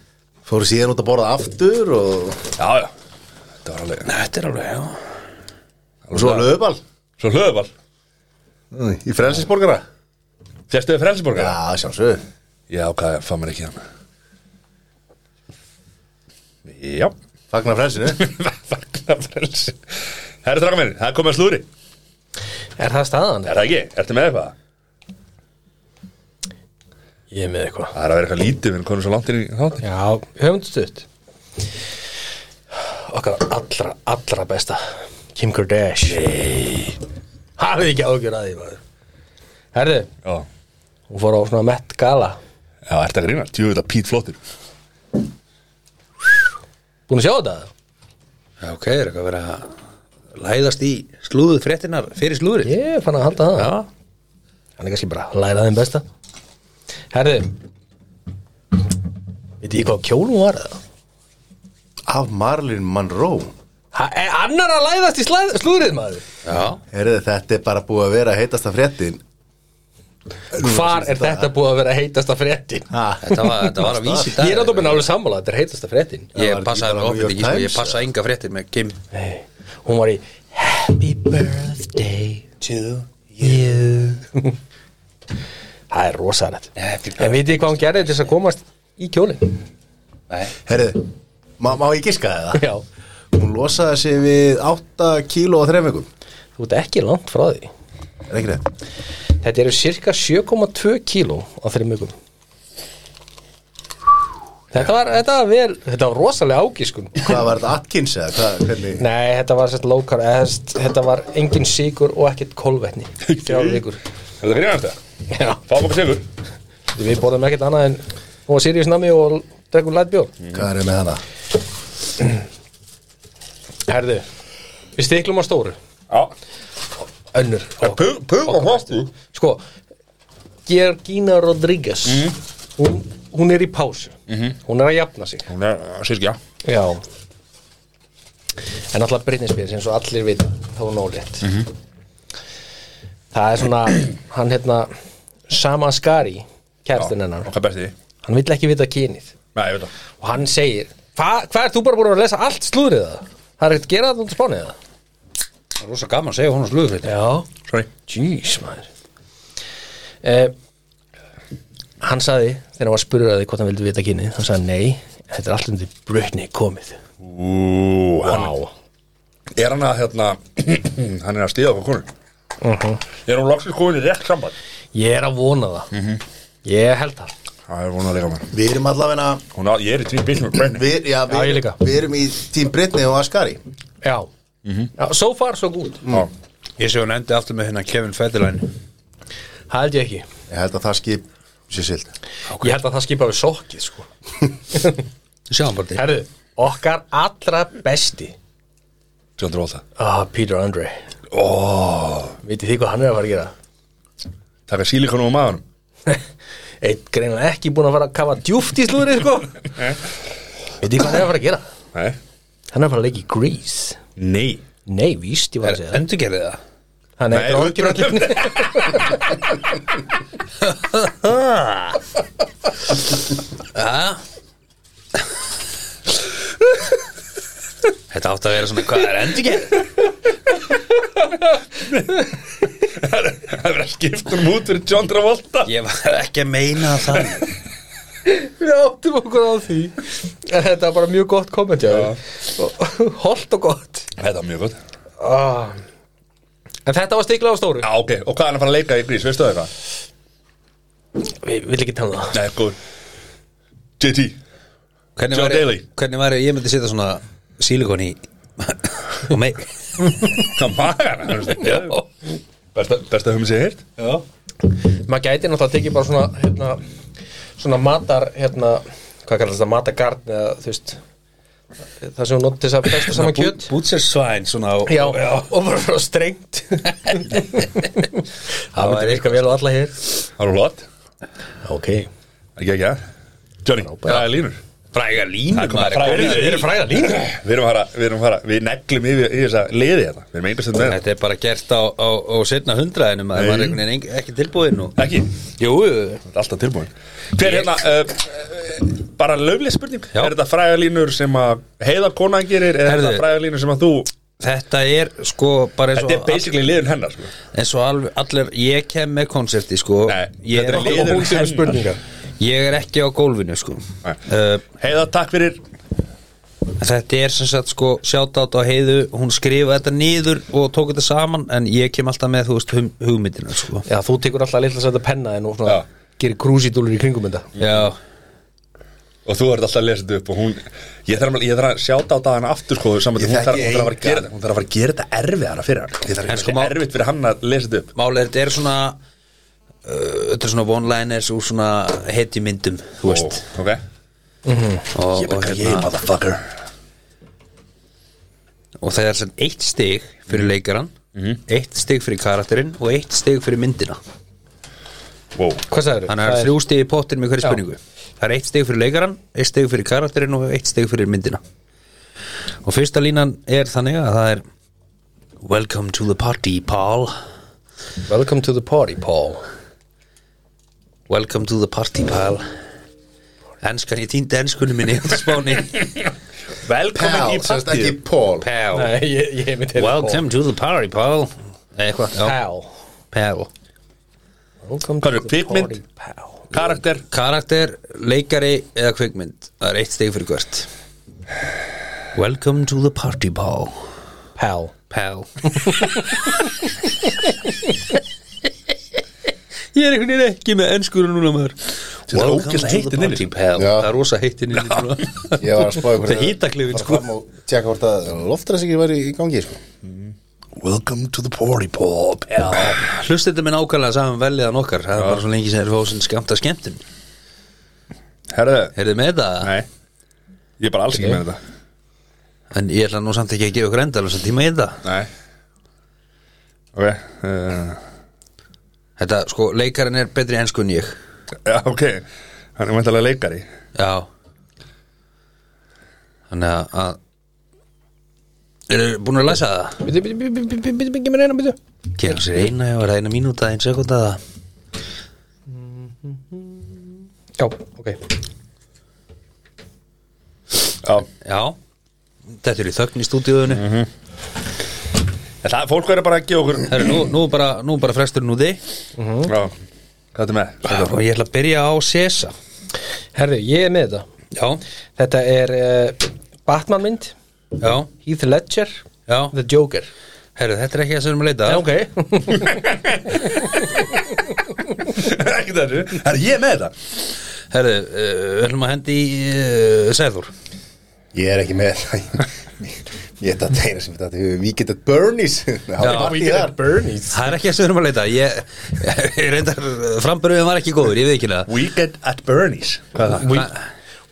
[SPEAKER 2] fór síðan út að borða aftur og,
[SPEAKER 1] Já, já, þetta var alveg
[SPEAKER 3] þetta er alveg, já
[SPEAKER 2] og svo á hlöðuball
[SPEAKER 1] Svo hlöðuball,
[SPEAKER 2] í frelsisborgara
[SPEAKER 1] fjastuðið frelsborgar
[SPEAKER 2] Já, sjálfsög
[SPEAKER 1] Já, hvað, fann mér ekki þannig Já
[SPEAKER 2] Fagnar frelsinu
[SPEAKER 1] Fagnar frelsi Herri draka minni, það er komið að slúri Er
[SPEAKER 4] er það staðan?
[SPEAKER 1] það ekki? Ertu með eitthvað?
[SPEAKER 4] Ég er með eitthvað
[SPEAKER 1] Það er að vera eitthvað lítið, við erum komin svo langt inn í þáttin
[SPEAKER 4] Já, höfundstutt Okkar allra, allra besta Kim Kardashian Nei Hafið ekki ágjör að því maður Herðu,
[SPEAKER 1] Já,
[SPEAKER 4] hún fór á svona Met Gala
[SPEAKER 1] já, ertu að grína? Tjú, þetta pít flottir
[SPEAKER 4] Búin að sjá þetta?
[SPEAKER 3] Já, ok, er eitthvað að vera að læðast í slúðu fréttinar fyrir slúðrið
[SPEAKER 4] Ég fann að halda það
[SPEAKER 3] Já,
[SPEAKER 4] Hann er kannski bara að læra þeim besta Herðu Veit ég hvað kjólum var það?
[SPEAKER 2] Af Marlin Monroe
[SPEAKER 4] Ha, er annar að læðast í slæð, slúðrið maður
[SPEAKER 3] já,
[SPEAKER 2] Herðu, þetta er bara búið að vera að heitast að fréttin
[SPEAKER 4] Hvar er þetta búið að vera heitasta fréttin?
[SPEAKER 3] þetta var, þetta var að vísi í dag
[SPEAKER 4] Ég er náttúrulega alveg sammála, þetta er heitasta fréttin
[SPEAKER 3] Ég
[SPEAKER 2] var
[SPEAKER 3] passaði
[SPEAKER 2] ekki
[SPEAKER 3] alveg
[SPEAKER 2] bara New
[SPEAKER 3] ofnit
[SPEAKER 2] York
[SPEAKER 3] ekki, sko, ég
[SPEAKER 2] Times,
[SPEAKER 3] passaði enga fréttir með Kim
[SPEAKER 4] Nei, hún var í Happy birthday to you Það er rosalegt
[SPEAKER 3] Happy
[SPEAKER 4] En vitið þið hvað hún gerði til þess að komast í kjólinn?
[SPEAKER 3] Nei,
[SPEAKER 2] Herðu, má, má ég giska það?
[SPEAKER 4] Já
[SPEAKER 2] Hún losaði sig við 8 kíló og 3 vikum
[SPEAKER 4] Þú ert ekki langt frá því
[SPEAKER 2] Er ekki rétt?
[SPEAKER 4] Þetta eru cirka 7,2 kíló á þeirri mjögum Þetta var, þetta var vel, þetta var rosalega ágiskun
[SPEAKER 2] Hvað var þetta Atkins eða? Hvað, hvernig?
[SPEAKER 4] Nei, þetta var sérst lókar, þetta var engin síkur og ekkert kolvetni Þrjár vikur
[SPEAKER 1] Er þetta grína eftir?
[SPEAKER 4] Já
[SPEAKER 1] Fáum okkur sigur
[SPEAKER 4] Við borðum ekkert annað en og Sirius nami og drekkum lætbjór
[SPEAKER 2] Hvað er með hana?
[SPEAKER 4] Herðu, við stiklum á stóru
[SPEAKER 1] Já,
[SPEAKER 4] Önnur
[SPEAKER 1] pug, pug og hlosti
[SPEAKER 4] Sko, Georgina Rodriguez hún, hún er í pásu Hún er að jafna sig
[SPEAKER 1] Hún er uh, sirkja
[SPEAKER 4] Já En alltaf Britney Spears, eins og allir vita þá er hún ólétt Það er svona, hann hérna Sama Skari, kærastinn hennar
[SPEAKER 1] Okkar besti
[SPEAKER 4] Hann vill ekki vita kynið
[SPEAKER 1] Nei, ég veit það
[SPEAKER 4] og hann segir Hva, Hvað er þú bara búin að lesa allt slúðrið það? Það er ekkert að gera það út að spánið það?
[SPEAKER 3] það er rosa gaman að segja hún á slúðu fréttir
[SPEAKER 4] Já
[SPEAKER 1] Sorry
[SPEAKER 4] Jeez, maður eh, Hann saði þegar hann var spurður að því hvort hann vildi vita kynni hann saði nei, þetta er allt undir Britney komið
[SPEAKER 1] Ú, hann
[SPEAKER 4] wow.
[SPEAKER 1] er hann að hérna hann er að stíða okkur konur
[SPEAKER 4] Mhm.
[SPEAKER 1] er hún loksins komin í rétt samband
[SPEAKER 4] Ég er að vona það
[SPEAKER 1] Mhm.
[SPEAKER 4] Ég held það
[SPEAKER 1] það er hún að leika mér
[SPEAKER 2] Við erum allavega
[SPEAKER 1] hún á, ég er í tvið bíl með Brenni
[SPEAKER 2] við, já, við,
[SPEAKER 4] Já, ég líka.
[SPEAKER 2] við erum í Team Britney og Ascari
[SPEAKER 4] Já,
[SPEAKER 1] Mhm.
[SPEAKER 4] Já So far, so good
[SPEAKER 1] mm.
[SPEAKER 3] Ég sé hún endi aftur með hérna Kevin Federline
[SPEAKER 4] Það held ég ekki
[SPEAKER 2] Ég held að það skip sér sild
[SPEAKER 4] Ég held að það skipa við sokkið sko
[SPEAKER 3] Sjáum bara til
[SPEAKER 4] Herðu, okkar allra besti
[SPEAKER 1] John Travolta
[SPEAKER 4] Ah, Peter Andre
[SPEAKER 1] Ó,
[SPEAKER 4] Vitið þið hvað hann er að fara að gera?
[SPEAKER 1] taka sílikonu á maðurum
[SPEAKER 4] Eitt greinlega ekki búin að fara að kafa djúft í slúðri sko Vitið þið hvað hann er að fara að gera?
[SPEAKER 1] Nei,
[SPEAKER 4] Hann er að fara að leika í Grease
[SPEAKER 1] Nei.
[SPEAKER 4] Nei, víst, ég var að segja það
[SPEAKER 3] Endur gerði það
[SPEAKER 4] Hann er
[SPEAKER 1] Nei,
[SPEAKER 4] ekki ráðgjur allir
[SPEAKER 3] Þetta átti að vera svona Hvað er endur gerði?
[SPEAKER 1] Það verður að skipta um út fyrir John Travolta
[SPEAKER 3] Ég var ekki að meina það
[SPEAKER 4] Við áttum okkur á því En Þetta er bara mjög gott komment hjá þér. Og- Holt og gott
[SPEAKER 1] Þetta er mjög gott
[SPEAKER 4] ah. En þetta var stiklað á stóru
[SPEAKER 1] Já, ok, og hvað er hann að fara að leika í grís, veistu það eitthvað?
[SPEAKER 4] Við vil ekki tala um það
[SPEAKER 1] Nei, góð JT
[SPEAKER 3] Hvernig
[SPEAKER 1] John
[SPEAKER 3] væri,
[SPEAKER 1] Daly.
[SPEAKER 3] hvernig væri, ég myndi setja svona sílikon í og mig
[SPEAKER 1] Hvað maður hann? Já Besta, besta höfum sér hirt
[SPEAKER 4] Mm. Maður gæti náttúrulega tekið bara svona hérna, Svona matar hérna, Hvað kallast það, matagarn eða, þú veist, Það sem hún nótti þess að festa saman kjöt
[SPEAKER 3] Bútsir svæn svona og,
[SPEAKER 4] Já, og bara frá strengt Það myndi virka vel á alla hér
[SPEAKER 1] Það eru hlott
[SPEAKER 4] Ok
[SPEAKER 1] Ekki, ekki, ja Johnny, hvað er línur?
[SPEAKER 3] Fræga línur
[SPEAKER 1] koma
[SPEAKER 3] maður,
[SPEAKER 1] frægar
[SPEAKER 3] komið-
[SPEAKER 1] línur.
[SPEAKER 4] eru fræða líka
[SPEAKER 1] Við erum að fara, við erum að fara Við neglum yfir, yfir þessa liði hérna Við erum einbæstum með
[SPEAKER 3] Þetta er bara gert á, á, á setna hundraðinum að
[SPEAKER 1] Nei.
[SPEAKER 3] maður er einhvern veginn en- ekki tilbúinn og...
[SPEAKER 1] það. Ekki,
[SPEAKER 3] Jú,
[SPEAKER 1] þetta er alltaf tilbúin Hver er hérna, uh, uh, bara löfleg spurning
[SPEAKER 3] Já.
[SPEAKER 1] Er þetta fræðalínur sem að heiða konan gerir Eða er
[SPEAKER 3] Herðu.
[SPEAKER 1] þetta fræðalínur sem að þú
[SPEAKER 3] þetta er sko bara eins og,
[SPEAKER 1] Þetta er basically liðin hennar sko.
[SPEAKER 3] eins og alveg, allir, ég kem með konserti sko
[SPEAKER 1] Nei,
[SPEAKER 3] ég,
[SPEAKER 1] þetta
[SPEAKER 3] er
[SPEAKER 1] er
[SPEAKER 3] ekki,
[SPEAKER 1] liður
[SPEAKER 4] Og hún sem
[SPEAKER 1] hennar.
[SPEAKER 4] spurningar
[SPEAKER 3] ég er ekki á gólfinu sko
[SPEAKER 1] Nei.
[SPEAKER 3] uh,
[SPEAKER 1] Heiða, takk fyrir
[SPEAKER 3] Þetta er sem sagt sko sjátátt á heiðu, hún skrifa þetta niður og tók þetta saman en ég kem alltaf með þú veist hum, hugmyndina sko
[SPEAKER 4] Já, þú tekur alltaf litla sæta penna en og svona
[SPEAKER 1] Já.
[SPEAKER 4] gerir krúsidúlur í kringum þetta
[SPEAKER 3] Já,
[SPEAKER 1] Og þú ert alltaf að lesa þetta upp og hún Ég þarf að, ég þarf að sjáta á dagana aftur sko saman,
[SPEAKER 2] Ég
[SPEAKER 1] hún, þarf,
[SPEAKER 2] þekki
[SPEAKER 1] hún, þarf að fara að
[SPEAKER 2] engan.
[SPEAKER 1] gera, þetta- hún þarf að fara að gera þetta erfiðara fyrir hann Ég þarf
[SPEAKER 3] En
[SPEAKER 1] að
[SPEAKER 3] sko,
[SPEAKER 1] gera
[SPEAKER 3] má-
[SPEAKER 1] þetta erfitt fyrir hann að lesa þetta upp
[SPEAKER 3] málið er, þetta er svona uh, þetta er svona one-liners úr svona heiti myndum, þú veist
[SPEAKER 1] Ó, Ok hérna.
[SPEAKER 3] og,
[SPEAKER 1] Ég
[SPEAKER 3] og, hérna-
[SPEAKER 1] bara, ég motherfucker
[SPEAKER 3] og það er sem eitt stig
[SPEAKER 1] Mhm.
[SPEAKER 3] fyrir leikaran eitt stig fyrir karakterinn og eitt stig fyrir myndina
[SPEAKER 1] Wow
[SPEAKER 4] Hvað sagður?
[SPEAKER 3] þannig að það er þrjú stig í pottinum í hverju spurningu það er eitt stig fyrir leikaran, eitt stig fyrir karakterinn og eitt stig fyrir myndina og fyrsta línan er þannig að það er Welcome to the party, Paul
[SPEAKER 4] Welcome to the party, Paul
[SPEAKER 3] Welcome to the party, Paul Enskan, ég týndi enskunni minni á spáni
[SPEAKER 1] Velkomin
[SPEAKER 2] Pál,
[SPEAKER 1] í
[SPEAKER 2] semst ekki
[SPEAKER 1] partíð
[SPEAKER 2] Pól
[SPEAKER 3] Pal
[SPEAKER 4] Nei, ég, ég myndi heyrði
[SPEAKER 3] Welcome to the party, Paul Eitthvað, já,
[SPEAKER 4] Paul
[SPEAKER 3] Pal
[SPEAKER 4] Welcome
[SPEAKER 1] Hvað
[SPEAKER 4] to
[SPEAKER 1] er
[SPEAKER 4] the
[SPEAKER 1] kvikmynd?
[SPEAKER 4] party, Paul
[SPEAKER 1] Karakter
[SPEAKER 3] Karakter, leikari eða kvikmynd Það er eitt steg fyrir hvert Welcome to the party, Paul
[SPEAKER 4] Paul
[SPEAKER 3] Pal Ég er einhvern veginn ekki með ennskur núna maður
[SPEAKER 1] Þetta er ógeðslega heitt inni.
[SPEAKER 3] Pal
[SPEAKER 2] Já.
[SPEAKER 3] Það er rosa heitin inni núna
[SPEAKER 2] Ég var að spáði
[SPEAKER 3] Þetta er hitaklefin sko
[SPEAKER 2] Tjekka hvort að loftræsingi væri í gangi sko.
[SPEAKER 1] Welcome to the party, Paul pal.
[SPEAKER 3] Hlust þetta minn ákvæmlega saman veliðan okkar Það er bara svo lengi sem þeir fá sinn skamta skemmtun
[SPEAKER 1] Herðu
[SPEAKER 3] Er þið með það?
[SPEAKER 1] Nei Ég er bara alls ekki með þetta
[SPEAKER 3] En ég ætla nú samt ekki að gefa okkur endalösa tíma í þetta
[SPEAKER 1] Nei Ok uh,
[SPEAKER 3] Þetta, sko, leikarinn er betri ennsku en ég
[SPEAKER 1] Já, ok Hann er mæntalega leikari
[SPEAKER 3] Já Þannig að- að Eru búin að læsa það?
[SPEAKER 4] Bíddu, bíddu, bíddu, bíddu, bíddu, bíddu, bíddu, mér eina, bíddu
[SPEAKER 3] Gera sér eina, já, er það eina mínúta, einn sekunda það
[SPEAKER 4] Já, ok
[SPEAKER 1] Já
[SPEAKER 3] Já Þetta er í þögn í stúdíuðinu mm -hmm.
[SPEAKER 1] En Það, fólk verður bara að gefa okkur
[SPEAKER 3] nú, nú, er bara, nú er bara fresturinn úti
[SPEAKER 1] Já Hvað er með?
[SPEAKER 3] Og ég ætla að byrja á Sesa
[SPEAKER 4] Herðu, ég er með þetta
[SPEAKER 3] Já,
[SPEAKER 4] Þetta er uh, Batman mynd
[SPEAKER 3] já,
[SPEAKER 4] Heath Ledger
[SPEAKER 3] já
[SPEAKER 4] The Joker
[SPEAKER 3] Herru, þetta er ekki það sem við erum að leita
[SPEAKER 4] Já, ok
[SPEAKER 1] Ekki þessu Það er ég með þetta
[SPEAKER 3] Herru, uh, við ætlum að hendi í uh, Sæður
[SPEAKER 2] Ég er ekki með það Ég ætla að tegna sem þetta Weekend at Bernie's Það var partí þar.
[SPEAKER 4] Bernies
[SPEAKER 3] Það er ekki það sem við erum að leita Ég, ég reyndar, framburðin var ekki góður, ég veit ekki það
[SPEAKER 1] Weekend at Bernie's Hvað er það?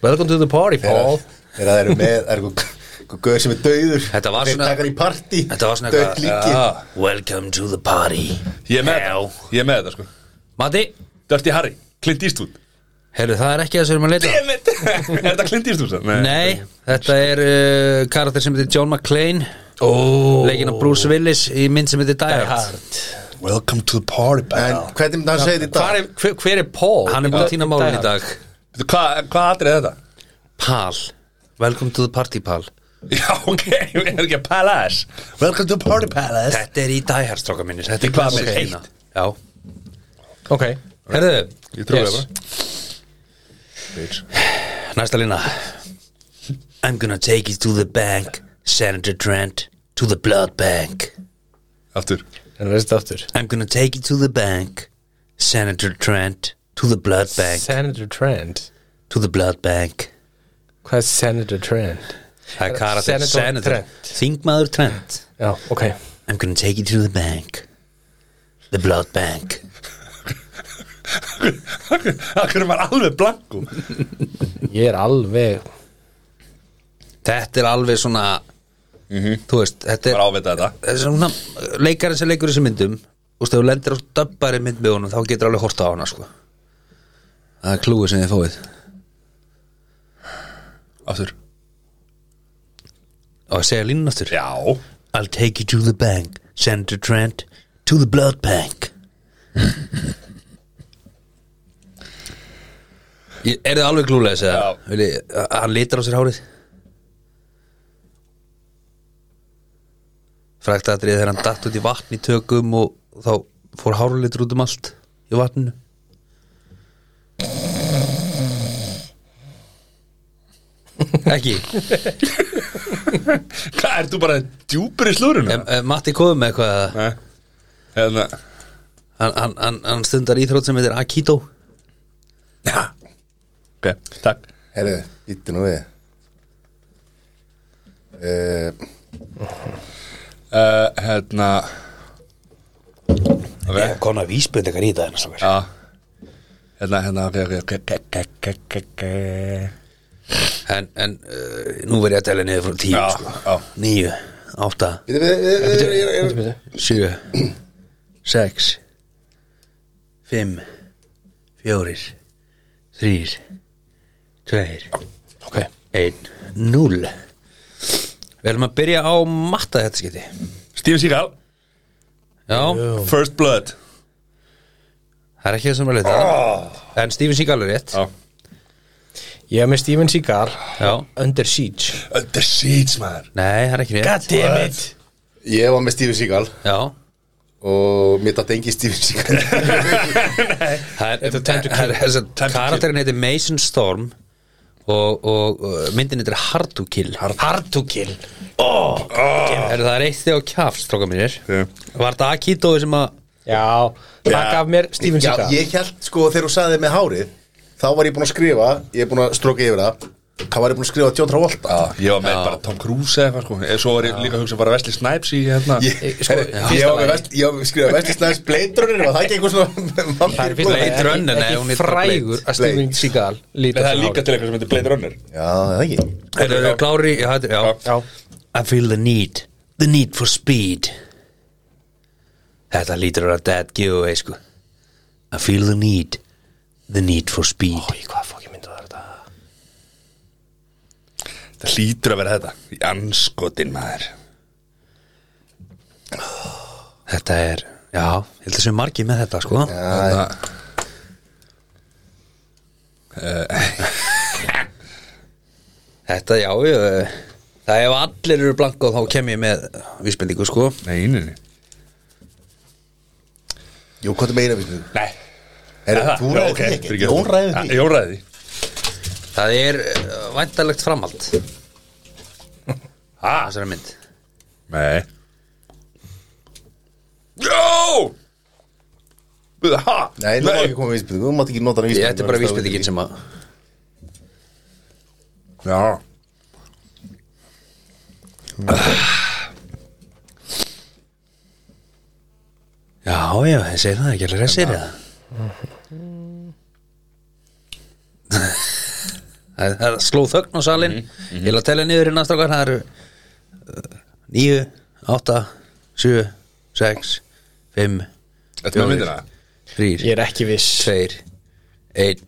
[SPEAKER 4] Welcome to the party, Paul
[SPEAKER 2] Þeirra- Þeirra þeir eru með er einhver Guður sem er dauður
[SPEAKER 3] Þetta var
[SPEAKER 2] Þeir
[SPEAKER 3] svona-
[SPEAKER 2] taka hann í partí
[SPEAKER 3] Þetta var svona
[SPEAKER 2] Dauð líki
[SPEAKER 1] Já.
[SPEAKER 3] Welcome to the party
[SPEAKER 1] Ég er með
[SPEAKER 3] Hell.
[SPEAKER 1] þetta, ég er með þetta sko
[SPEAKER 3] Matti,
[SPEAKER 1] Dirty Harry, Clint Eastwood
[SPEAKER 3] heyrðu það er ekki það sem við erum að leita að.
[SPEAKER 1] Damn it! Er þetta Clint Eastwood? sann?
[SPEAKER 3] Nei, þetta er uh, karakter sem heitir John McClane
[SPEAKER 1] Ó.
[SPEAKER 3] Leikinn af Bruce Willis í mynd sem heitir Die Hard
[SPEAKER 1] Welcome to the party
[SPEAKER 2] En
[SPEAKER 1] pal
[SPEAKER 2] hvernig myndi hann segja þetta í
[SPEAKER 4] Hvar
[SPEAKER 2] dag?
[SPEAKER 4] er, hver, hver er Paul?
[SPEAKER 3] Hann er búin að týna málun í dag
[SPEAKER 1] Veitu, Hvað hva atrið er þetta?
[SPEAKER 3] Pal, welcome to the party pal
[SPEAKER 1] Já, ok, er ekki að palace Welcome to the party palace
[SPEAKER 3] Þetta er í Die Hard stróka minni
[SPEAKER 1] Í
[SPEAKER 3] Þetta er
[SPEAKER 1] hvað
[SPEAKER 3] klassísk
[SPEAKER 1] mynd?
[SPEAKER 3] eina. Já,
[SPEAKER 4] Ok,
[SPEAKER 3] heyrðu,
[SPEAKER 1] Ég trúi
[SPEAKER 4] Yes.
[SPEAKER 1] það bara
[SPEAKER 3] næsta lína I'm gonna take you to the bank Senator Trent To the blood bank
[SPEAKER 1] Aftur
[SPEAKER 4] en veist þetta aftur
[SPEAKER 3] I'm gonna take you to the bank Senator Trent To the blood bank
[SPEAKER 4] Senator Trent
[SPEAKER 3] To the blood bank
[SPEAKER 4] Hvað er Senator Trent?
[SPEAKER 3] Það er karakter
[SPEAKER 4] Senator
[SPEAKER 3] Senator
[SPEAKER 4] Trent.
[SPEAKER 3] Þingmaður Trent
[SPEAKER 4] Já, ok
[SPEAKER 3] I'm gonna take you to the bank The blood bank
[SPEAKER 1] Akkur er maður alveg blanku
[SPEAKER 4] Ég er alveg
[SPEAKER 3] Þetta er alveg svona Þú veist, þetta
[SPEAKER 1] Mhm. Bara
[SPEAKER 3] er,
[SPEAKER 1] ávita þetta
[SPEAKER 3] þetta er svona, Leikari sem leikur í þessum myndum Þú veist, ef þú lendir á döbbari mynd með honum Þá getur alveg horta á hana, sko Það er klúið sem þið fóið
[SPEAKER 1] Aftur
[SPEAKER 3] Og að segja línun aftur
[SPEAKER 1] Já
[SPEAKER 3] I'll take you to the bank Senator Trent To the blood bank Ég- Er þið alveg klúlega þess
[SPEAKER 1] Já.
[SPEAKER 3] að Hann litar á sér hárið Frækt aðrið þegar hann datt út í vatn í tökum og þá fór hárlitur út um allt í vatninu Ekki
[SPEAKER 1] Hvað, ert þú bara djúpur í slúrinu?
[SPEAKER 3] Em, em, Matti komið með eitthvað að-
[SPEAKER 1] Nei Hérna
[SPEAKER 3] hann, hann, hann, hann stundar íþrótt sem heitir Aikido
[SPEAKER 1] Já Ok, takk
[SPEAKER 2] Herru, býttu nú við uh,
[SPEAKER 1] uh, Hérna Ok
[SPEAKER 3] konar vísbyrð eitthvað í það hennar strókar
[SPEAKER 1] Já Hérna, hérna, ok, ok, ok, ok, ok, ok, ok
[SPEAKER 3] En, en uh, nú verð ég að tella niður frá tíu
[SPEAKER 1] Já, já.
[SPEAKER 3] sko. Níu, átta,
[SPEAKER 2] Býttu við
[SPEAKER 3] sjö Sex Fimm Fjórir Þrýr Tveir
[SPEAKER 4] Ok
[SPEAKER 3] Einn, núl Við erum að byrja á matta þetta skiti
[SPEAKER 1] Steven Seagal
[SPEAKER 3] Já,
[SPEAKER 1] First Blood
[SPEAKER 3] það er ekki það sem er leita
[SPEAKER 1] Ah.
[SPEAKER 3] En Steven Seagal er rétt
[SPEAKER 1] Já
[SPEAKER 4] Ég er með Steven Seagal
[SPEAKER 3] Já.
[SPEAKER 4] Under Siege
[SPEAKER 1] Under Siege, Uh, maður
[SPEAKER 3] Nei, það er ekki rétt
[SPEAKER 4] Dammit
[SPEAKER 2] Ég var með Steven Seagal
[SPEAKER 3] Já
[SPEAKER 2] Og mér datt engi Steven Seagal
[SPEAKER 3] Það er- það er- þess að
[SPEAKER 1] Time to kill.
[SPEAKER 3] Karakterinn heitir Mason Storm og, og uh, myndin heitir Hard to Kill Hard, to Kill oh, er, Það er eitt þig á kjafs, stróka mínir
[SPEAKER 1] Já.
[SPEAKER 3] Var það Akito sem að
[SPEAKER 4] Já, það
[SPEAKER 1] Já.
[SPEAKER 4] gaf mér Steven
[SPEAKER 2] Já,
[SPEAKER 4] Seagal
[SPEAKER 2] ég held sko þegar þú sagði með hárið Þá var ég búinn að skrifa Ég er búinn að stroka yfir það Þá var ég búinn að skrifa John Travolta
[SPEAKER 1] Já, ég var með bara Tom Cruise eða eitthvað sko Eða Svo var ég líka að hugsa bara Wesley Snipes í hérna
[SPEAKER 2] Ég,
[SPEAKER 4] sko,
[SPEAKER 2] herru,
[SPEAKER 4] já.
[SPEAKER 2] ég
[SPEAKER 4] fyrsta
[SPEAKER 2] var
[SPEAKER 4] lagi-
[SPEAKER 2] með vest- ég var með skrifað Vestisnæðis Bleidrunir og það gengur svona
[SPEAKER 4] Það er fyrst
[SPEAKER 2] vampírblóð.
[SPEAKER 3] lagi- Blade
[SPEAKER 4] ekki-
[SPEAKER 3] Runner, nei, hún
[SPEAKER 4] ekki
[SPEAKER 3] heitir bara
[SPEAKER 4] frægur
[SPEAKER 3] Blade.
[SPEAKER 4] að Steven
[SPEAKER 2] Blade.
[SPEAKER 4] Seagal
[SPEAKER 1] Nei,
[SPEAKER 4] lítur
[SPEAKER 1] það er líka til eitthvað sem heitir Blade Runner
[SPEAKER 2] Já, það er ekki
[SPEAKER 3] Er það klári? Já, þetta er- já.
[SPEAKER 4] Já,
[SPEAKER 3] I feel the need The need for speed Þetta lítur að vera dead giveaway sko I feel the need The need for speed Ó, í hvað fók ég myndi það þetta?
[SPEAKER 1] Það hlýtur að vera þetta Í anskotin maður
[SPEAKER 3] Þetta er, já, ég held að sem margir með þetta sko Já
[SPEAKER 1] Það
[SPEAKER 3] Eh. Þetta, já, ég, það ef allir eru blanka þá kem ég með vísbendingu, sko
[SPEAKER 1] Nei, nei, nei
[SPEAKER 2] Jú, hvað er meina við snið?
[SPEAKER 1] Nei
[SPEAKER 2] Er
[SPEAKER 1] Er það?
[SPEAKER 2] þú
[SPEAKER 1] Já,
[SPEAKER 2] ræðið
[SPEAKER 1] ok,
[SPEAKER 2] því ekki?
[SPEAKER 1] fyrirgefðu.
[SPEAKER 2] Jón ræðið
[SPEAKER 1] Ja,
[SPEAKER 2] því
[SPEAKER 1] Jón ræði því
[SPEAKER 3] Það er uh, væntalegt framhald Ha? Þessari mynd
[SPEAKER 1] Nei Jó Buðu, ha
[SPEAKER 2] Nei, nú má ekki koma vísbyrðing Þú mátt ekki nota hann
[SPEAKER 3] Ég
[SPEAKER 2] vísbyrðing
[SPEAKER 3] ætti bara vísbendingin sem að
[SPEAKER 1] Já
[SPEAKER 3] Já, já, ég segi það ekki alveg resir það það, það sló þögn á salin ég ætla að telja niður í næstakar það eru uh, níu, átta, sjö, sex fimm,
[SPEAKER 1] Þetta með myndina
[SPEAKER 3] þrýr
[SPEAKER 6] Ég er ekki viss
[SPEAKER 3] tveir, einn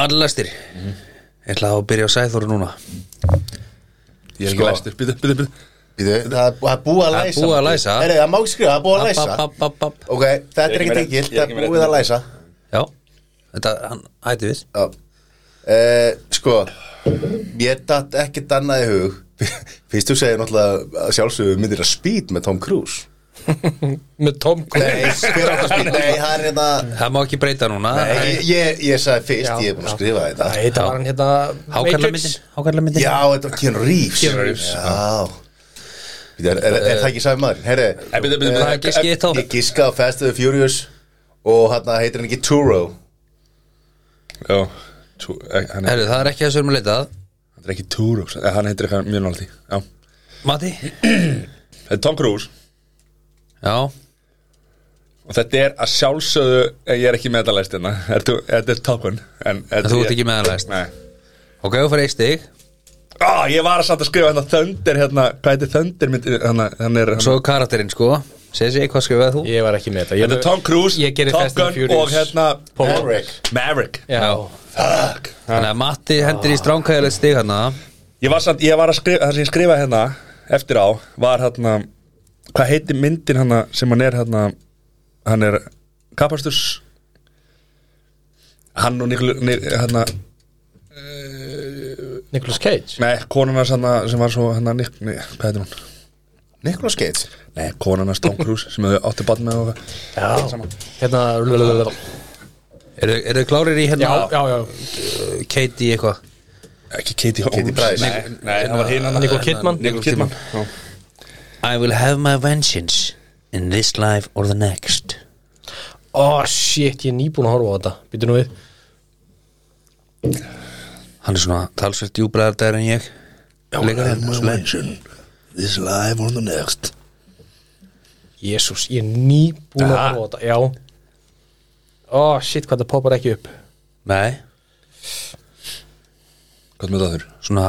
[SPEAKER 3] allastir ég ætla að byrja á sæþóru núna
[SPEAKER 1] Ég er
[SPEAKER 3] Sko.
[SPEAKER 1] ekki læstur, býðu, býðu, býðu
[SPEAKER 2] Býðu, það er- það er búið að
[SPEAKER 3] Það er
[SPEAKER 2] læsa
[SPEAKER 3] búið að læsa.
[SPEAKER 2] Heyrðu, það má ekki skrifa, það er búið
[SPEAKER 3] App,
[SPEAKER 2] að læsa
[SPEAKER 3] app, app, app, app.
[SPEAKER 2] Ok, þetta er
[SPEAKER 1] Ég er ekki með
[SPEAKER 2] ekkert engil,
[SPEAKER 1] rétt- ég er
[SPEAKER 2] það
[SPEAKER 1] ekki
[SPEAKER 2] er
[SPEAKER 1] með
[SPEAKER 2] búið
[SPEAKER 1] rétt.
[SPEAKER 2] að læsa
[SPEAKER 3] já, þetta, hann hætti við
[SPEAKER 2] Já Eh, Sko Mér datt ekkert annað í hug Fyrst þú segir náttúrulega að sjálfsögðu myndir að speed með Tom Cruise
[SPEAKER 4] með Tom Cruise
[SPEAKER 2] Nei, hver átt að speed? Nei, það er hérna
[SPEAKER 3] það má ekki breyta núna
[SPEAKER 2] Nei, ég, ég, ég sagði fyrst, ég er búin að skrifa þetta
[SPEAKER 4] Nei, þetta var hann hérna
[SPEAKER 3] hákallamyndin hákallamyndin
[SPEAKER 2] Já, þetta var Keanu Reeves
[SPEAKER 1] Keanu Reeves.
[SPEAKER 2] Já Býtu, Er, er, er það ekki sami maður? Herri,
[SPEAKER 1] Nei, býðu, býðu,
[SPEAKER 3] það er ekki
[SPEAKER 1] býðu
[SPEAKER 3] skitt á
[SPEAKER 2] ég giska á Fast and the Furious og hérna heitir hann ekki Turo
[SPEAKER 1] Já, tú- eh, hann er-
[SPEAKER 3] Herru, það er ekki þessu um að leitað
[SPEAKER 1] hann er ekki Túrós eh, Hann heitir eitthvað mjög nála því Já,
[SPEAKER 3] Mati?
[SPEAKER 1] þetta er Tom Cruise
[SPEAKER 3] Já,
[SPEAKER 1] Og þetta er að sjálfsögðu eh, Ég er ekki með þetta læst hérna Ertu- Þetta er topun En
[SPEAKER 3] en þú ert ekki með hann læst
[SPEAKER 1] Nei
[SPEAKER 3] Ok, þú fyrir eitt stig
[SPEAKER 1] Á, ég var að samt að skrifa hérna Thunder hérna Hvað heitir Thunder myndi Þannig að hann er hann-
[SPEAKER 3] Svo er karakterinn sko Sessi, hvað skrifaði þú?
[SPEAKER 4] Ég var ekki með þetta
[SPEAKER 1] Þetta er Tom Cruise
[SPEAKER 4] Ég gerði
[SPEAKER 1] Top
[SPEAKER 4] Fast and
[SPEAKER 1] Gun
[SPEAKER 4] Furious.
[SPEAKER 1] Og hérna
[SPEAKER 2] Maverick.
[SPEAKER 1] Maverick
[SPEAKER 4] Já,
[SPEAKER 1] Fuck
[SPEAKER 3] Þannig að Matti hendir í stránkæðilegt stig hérna. hana
[SPEAKER 1] Ég var, samt, ég var að skrifa, það sem ég skrifa hérna eftir á, var hérna hvað heitir myndin hérna sem hann er hérna, hann er kapasturs hann og Niklu, ni, hérna
[SPEAKER 4] Nicolas Cage
[SPEAKER 1] nei, konan hans hérna sem var svo hérna, Nik, nei, hvað heitir hún?
[SPEAKER 2] Nicolas Cage
[SPEAKER 1] Nei, konan hans Tom Cruise sem þau áttu bann með og eitthvað.
[SPEAKER 4] Já, hérna
[SPEAKER 3] Eru eru þið klárir í
[SPEAKER 4] Já,
[SPEAKER 3] hérna
[SPEAKER 4] já, já
[SPEAKER 3] uh, Katie eitthvað?
[SPEAKER 1] ekki Katie Holmes
[SPEAKER 2] Katie Price.
[SPEAKER 1] Nei, nei, það var hinn hann
[SPEAKER 4] Nicole Kidman.
[SPEAKER 1] Nicole Kidman Já.
[SPEAKER 3] I will have my vengeance in this life or the next
[SPEAKER 4] Ó, shit, ég er nýbúin að horfa á þetta Býtu nú við
[SPEAKER 3] Hann er svona talsvært djúbræðar dæri en ég Leikar
[SPEAKER 2] hérna, This live on the next
[SPEAKER 4] Jésús, ég er nýbúin að
[SPEAKER 1] Aha.
[SPEAKER 4] horfa á þetta Já Ó, shit, hvað það poppar ekki upp
[SPEAKER 3] Nei,
[SPEAKER 1] hvað með það þurr?
[SPEAKER 3] svona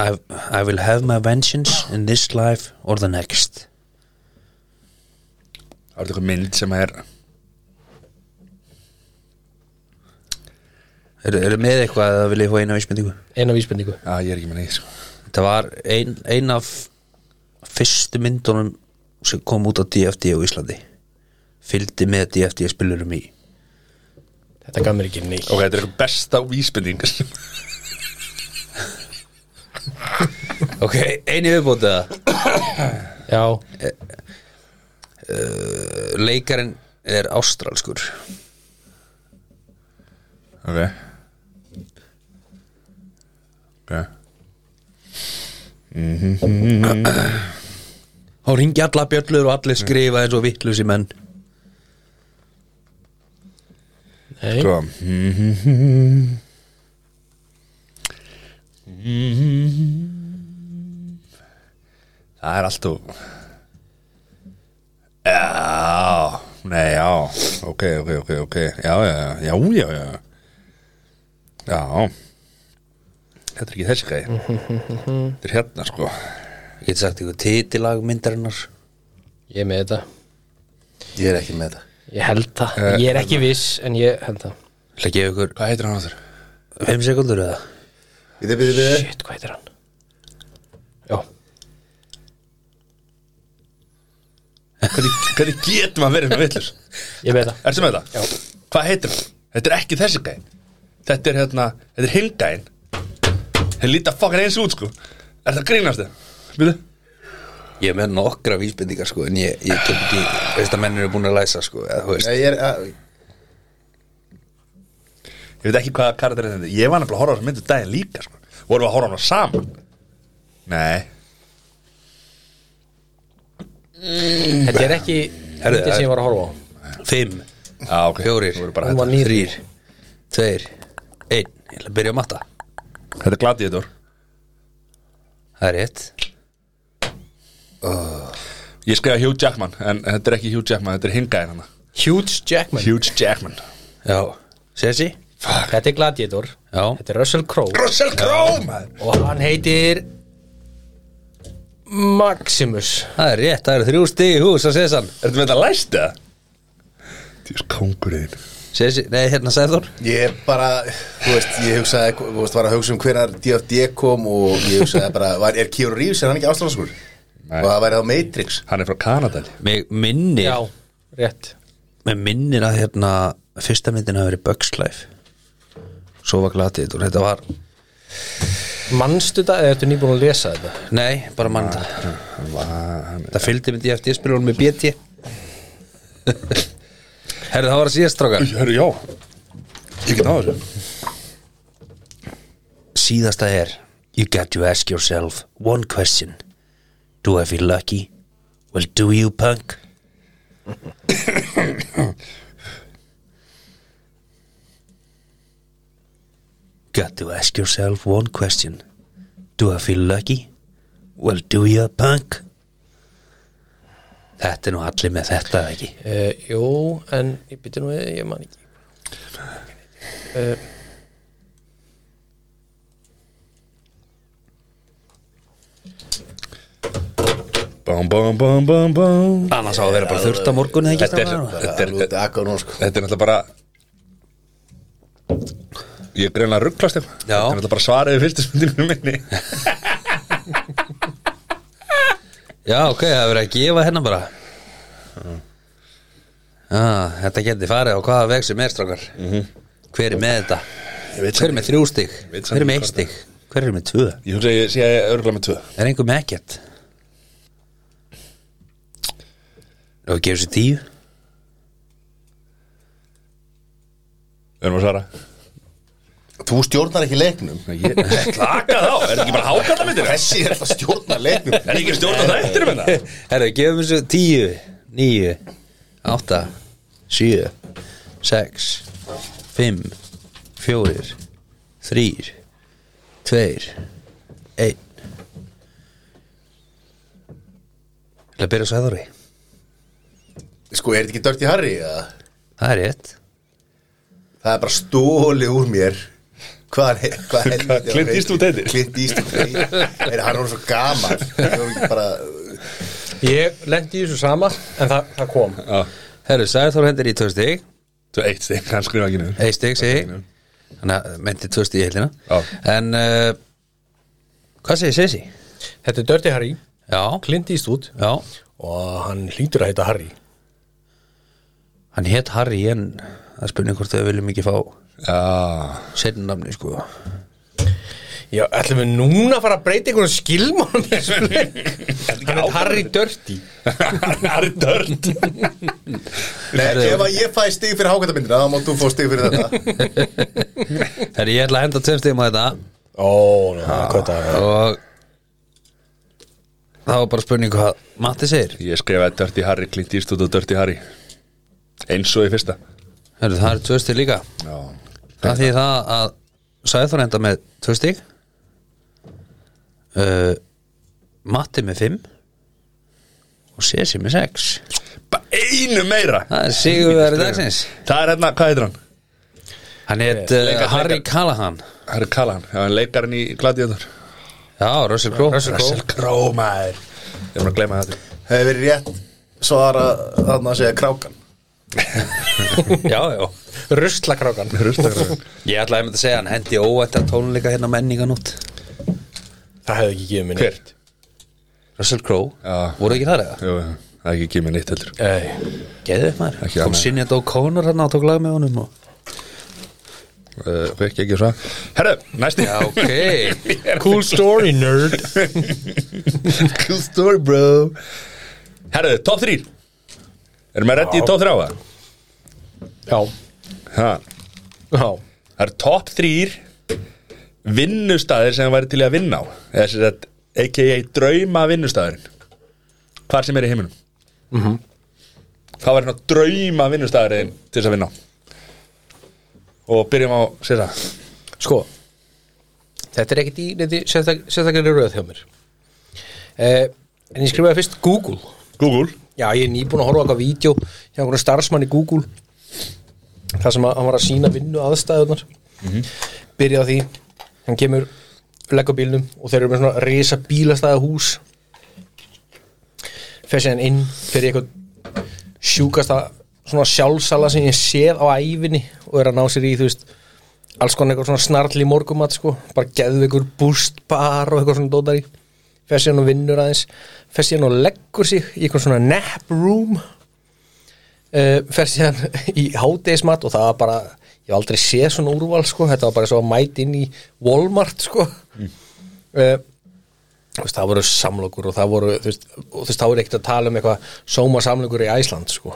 [SPEAKER 3] I, I will have my vengeance in this life or the next
[SPEAKER 1] Það var eitthvað mynd sem er
[SPEAKER 3] Eru, eru með eitthvað að vilja fá eina vísmyndingu?
[SPEAKER 4] Eina vísbendingu
[SPEAKER 1] að ég er ekki með neitt sko.
[SPEAKER 3] Þetta var ein, ein af fyrstu myndunum sem kom út á DFD á Íslandi fylgdi með DFD spilurum í
[SPEAKER 4] Þetta gaf mér ekki neitt
[SPEAKER 1] ok, þetta er eitthvað besta vísbending sem
[SPEAKER 3] Ok, eini viðbóta
[SPEAKER 4] Já,
[SPEAKER 3] Eh, Leikarinn er ástralskur
[SPEAKER 1] Ok Ok
[SPEAKER 3] Hún ringi alla bjöllur og allir skrifa eins og vittlusi menn
[SPEAKER 4] nei
[SPEAKER 1] Sko Það er alltaf Já Nei, já Ok, ok, ok, ok Já, já, já, já, já Já, já. Þetta er ekki þessi gæði Þetta er hérna, sko
[SPEAKER 3] Ég get sagt ykkur titilag myndarinnar
[SPEAKER 4] Ég er með þetta
[SPEAKER 2] Ég er ekki með þetta
[SPEAKER 4] Ég held það
[SPEAKER 3] Eh,
[SPEAKER 4] Ég er
[SPEAKER 3] hérna.
[SPEAKER 4] ekki viss, en ég held það
[SPEAKER 3] Það gefa ykkur
[SPEAKER 1] Hvað heitir hann á þér?
[SPEAKER 3] 5 sekundur eða
[SPEAKER 2] Býðu, býðu, býðu
[SPEAKER 4] Shit, hvað heitir hann? Já,
[SPEAKER 1] Hvernig, hvernig getum að vera með villur?
[SPEAKER 4] ég veit það
[SPEAKER 1] Ertu með þetta? Já Hvað heitir hann? Þetta er ekki þessi gæn Þetta er hérna, þetta er hinn gæn Þeir líta fokkar eins út sko Er það grínast þið? Býðu?
[SPEAKER 3] Ég er með nokkra vísbendingar sko en ég, ég get ekki, veist að menn eru búin að læsa sko eða, þú veist.
[SPEAKER 2] Nei, ég er, að,
[SPEAKER 1] Ég veit ekki hvað karakter er þetta Ég var nefnilega að horfa á þessu myndu daginn líka sko Vorum við að horfa á hana saman? Nei
[SPEAKER 4] Þetta er ekki
[SPEAKER 3] Mm. Herðu, eh,
[SPEAKER 4] myndið sem ég var að horfa á
[SPEAKER 3] Fimm,
[SPEAKER 1] Já, ok
[SPEAKER 3] fjórir,
[SPEAKER 1] Þú voru bara
[SPEAKER 4] Hún var
[SPEAKER 1] þetta
[SPEAKER 4] ný. nýr.
[SPEAKER 3] þrýr, tveir, einn Ég ætla að byrja að matta
[SPEAKER 1] Þetta er glatið þetta
[SPEAKER 3] Það er rétt
[SPEAKER 1] Ég skrifa Hugh Jackman En þetta er ekki Hugh Jackman, þetta er hinn gæn hana
[SPEAKER 4] Huge Jackman
[SPEAKER 1] Hugh Jackman
[SPEAKER 3] Já, Sessi
[SPEAKER 4] Þetta er Gladiator
[SPEAKER 3] Já,
[SPEAKER 4] Þetta er Russell Crowe
[SPEAKER 1] Russell Crowe maður.
[SPEAKER 4] og hann heitir Maximus
[SPEAKER 3] það er rétt, það eru þrjú stig í hús að Sesan
[SPEAKER 1] Ertu með þetta læst eða? Þjós kongurinn
[SPEAKER 3] Sesi, nei, hérna Sæður
[SPEAKER 2] Ég bara, þú veist, ég hugsaði þú veist, var að hugsa um hvenar DFD kom og ég hugsaði bara, var, er Keanu Reeves er hann ekki ástæðanskur?
[SPEAKER 1] Nei.
[SPEAKER 2] Og það væri þá Matrix
[SPEAKER 1] Hann er frá Kanadali
[SPEAKER 3] Mig minnir,
[SPEAKER 4] Já, rétt
[SPEAKER 3] mig minnir að hérna fyrsta myndin hafi verið Bugs Life Svo var glatið og þetta var
[SPEAKER 4] Manstu þetta eða ertu nýbúin að lesa þetta?
[SPEAKER 3] Nei, bara mann þetta Það fylgdi myndi ég eftir spilunum með BT Herðu, það var að síðast strákar
[SPEAKER 1] Hörru, já Ég get á þessu
[SPEAKER 3] Síðasta er You got to ask yourself one question Do I feel lucky? Well, do you punk? Got to ask yourself one question Do I feel lucky? Well, do you punk? Þetta er nú allir með þetta ekki
[SPEAKER 4] Uh, jú, en ég byrja nú við, ég man ekki uh,
[SPEAKER 1] Bám, bám, bám, bám, bám
[SPEAKER 3] Annars á að vera bara þurft á morgun eða ekki
[SPEAKER 1] Þetta er-
[SPEAKER 3] strákar?
[SPEAKER 1] Þetta er-
[SPEAKER 2] Alveg út að akka nú, sko.
[SPEAKER 1] Þetta er náttúrulega bara Ég er greinlega að rugglast eitthvað Þetta er náttúrulega bara svaraði fyrstu spendinu minni
[SPEAKER 3] Já, ok, það er verið að gefa hennar bara Já, þetta geti farið á hvaða veg sem er strákar Hver er með þetta?
[SPEAKER 1] veit
[SPEAKER 3] Hver er með þrjú stig?
[SPEAKER 1] veit
[SPEAKER 3] Hver er
[SPEAKER 1] samt
[SPEAKER 3] með
[SPEAKER 1] ekki hvað
[SPEAKER 3] eitt stig? Hver er með tvö?
[SPEAKER 1] Ég hugsa að ég sé örgulega með tvö
[SPEAKER 3] Er einhver með ekkert? Og gefur sér tíu?
[SPEAKER 1] Við erum að svara
[SPEAKER 2] Þú stjórnar ekki leiknum
[SPEAKER 1] Laka þá, er þetta ekki bara hákalla myndir?
[SPEAKER 2] Þessi er alltaf stjórnar leiknum
[SPEAKER 1] Er ekki stjórn á þættir með það?
[SPEAKER 3] Herru, gefum sér tíu Níu Átta Sjö Sex Fimm Fjórir Þrýr Tveir Einn Það byrja svo hefðari
[SPEAKER 2] Sko, er þetta ekki Dirty Harry? eða?
[SPEAKER 3] Það er rétt
[SPEAKER 2] Það er bara stóli úr mér Hvað er hvað helviti
[SPEAKER 1] Hvað, Clint
[SPEAKER 2] var
[SPEAKER 1] Eastwood
[SPEAKER 2] veitir?
[SPEAKER 1] heitir?
[SPEAKER 2] Clint Eastwood heitir Er hann orðinn svo gaman Það er ekki bara
[SPEAKER 4] Ég lendi í þessu sama en það, það kom
[SPEAKER 3] Herru, Sæður hendur í tvö stig
[SPEAKER 1] Svo eitt stig, hann skrifa ekki niður
[SPEAKER 3] Eitt stig, segi ég. Þannig að meinti tvö stig í heilina
[SPEAKER 1] Já.
[SPEAKER 3] En uh, Hvað segir Sessi?
[SPEAKER 4] Þetta er Dirty Harry,
[SPEAKER 3] Já
[SPEAKER 4] Clint Eastwood
[SPEAKER 3] Já
[SPEAKER 4] og hann hlýtur að heita Harry
[SPEAKER 3] Hann hétt Harry en Það spurning hvort þau viljum ekki fá
[SPEAKER 1] Já,
[SPEAKER 3] Seinna nafni sko
[SPEAKER 4] Já, ætlum við núna að fara að breyta einhvern skilmánum í þessu leik? Hann er
[SPEAKER 1] ákvörðun?
[SPEAKER 4] Harry Dirty
[SPEAKER 1] hann er dörd
[SPEAKER 2] Nei, ef að ég fæ stig fyrir hákvæmdamindina þá máttu fá stig fyrir þetta
[SPEAKER 3] Herri, ég ætla að henda tveim stigum á þetta
[SPEAKER 4] Ó, ná, hvað það er
[SPEAKER 3] og það var bara spurning hvað Matti segir
[SPEAKER 1] Ég skrifaði Dirty Harry, Clint Eastwood og Dirty Harry Eins og í fyrsta
[SPEAKER 3] Herri, það er tvö stig líka
[SPEAKER 1] Já
[SPEAKER 3] það því það að Sæður enda með tvö stig uh, Matti með fimm og Sesi með sex
[SPEAKER 1] Bara einu meira
[SPEAKER 3] það er sigurverið dagsins
[SPEAKER 1] Það er hérna, hvað heitir hann?
[SPEAKER 3] hann heit uh,
[SPEAKER 1] Leikar-
[SPEAKER 3] Harry
[SPEAKER 1] leikar.
[SPEAKER 3] Callahan
[SPEAKER 1] Harry Callahan, já, hann leikar hann í Gladiator
[SPEAKER 3] já, Russell Crowe Russell
[SPEAKER 1] Crowe, maður Ég er maður að gleyma þetta
[SPEAKER 2] Hefur verið rétt svara þarna að segja krákan
[SPEAKER 3] já, já
[SPEAKER 4] Ruslakrákan
[SPEAKER 1] Rustakræðin
[SPEAKER 3] ég ætla að ég myndi að segja hann hendi óvænt að tónleika hérna menninganótt
[SPEAKER 4] Það hefði ekki gefið mér
[SPEAKER 1] Hver?
[SPEAKER 3] Russell Crowe,
[SPEAKER 1] Já.
[SPEAKER 3] voru ekki þar eða?
[SPEAKER 1] Jú, jú, það er ekki ekki mér neitt heldur
[SPEAKER 4] Nei
[SPEAKER 3] Geðið maður,
[SPEAKER 1] Ekki
[SPEAKER 3] kom
[SPEAKER 1] annað.
[SPEAKER 3] Sinjad O'Connor hann hérna og tók lag með honum og...
[SPEAKER 1] uh, Fekk ekki svo Herru, næsti
[SPEAKER 3] Já, ok
[SPEAKER 4] Cool story, nerd
[SPEAKER 1] Cool story, bro Herru, top 3 Erum við reddi í top 3 á það?
[SPEAKER 4] Já,
[SPEAKER 1] Ha,
[SPEAKER 4] já
[SPEAKER 1] Það eru top 3 vinnustæðir sem væri til í að vinna á eða sem sagt, a.k.a. drauma vinnustæðurinn hvar sem er í heiminum mm
[SPEAKER 3] Mhm.
[SPEAKER 1] -hmm. hvað var hérna drauma vinnustæðurinn til þess að vinna á og byrjum á sér það
[SPEAKER 4] Sko, þetta er ekkit í neði sérstaklega röð hjá mér eh, En ég skrifaði fyrst Google
[SPEAKER 1] Google
[SPEAKER 4] Já, ég er nýbúin að horfa á eitthvað vídeo hjá einhvern starfsmann í Google þar sem að hann var að sína vinnu aðstæðunar byrja á því hann kemur, leggur bílnum og þeir eru með svona risa bílastæða hús fer sér hann inn fyrir eitthvað sjúkasta svona sjálfsala sem ég séð á ævinni og er að ná sér í þú veist alls konar eitthvað svona snarl í morgumat sko bara geðu eitthvað bústbar og eitthvað svona dótar í fer sér hann og vinnur aðeins fer sér hann og leggur sig í eitthvað svona nap room uh, fer síðan í hádegismat og það var bara, ég hef aldrei séð svona úrval sko, þetta var bara svo að mæta inn í Walmart sko mm. veist, það voru samlokur og það voru, þú veist, og þú veist það voru ekkert að tala um eitthvað sóma samlokur í Æsland sko,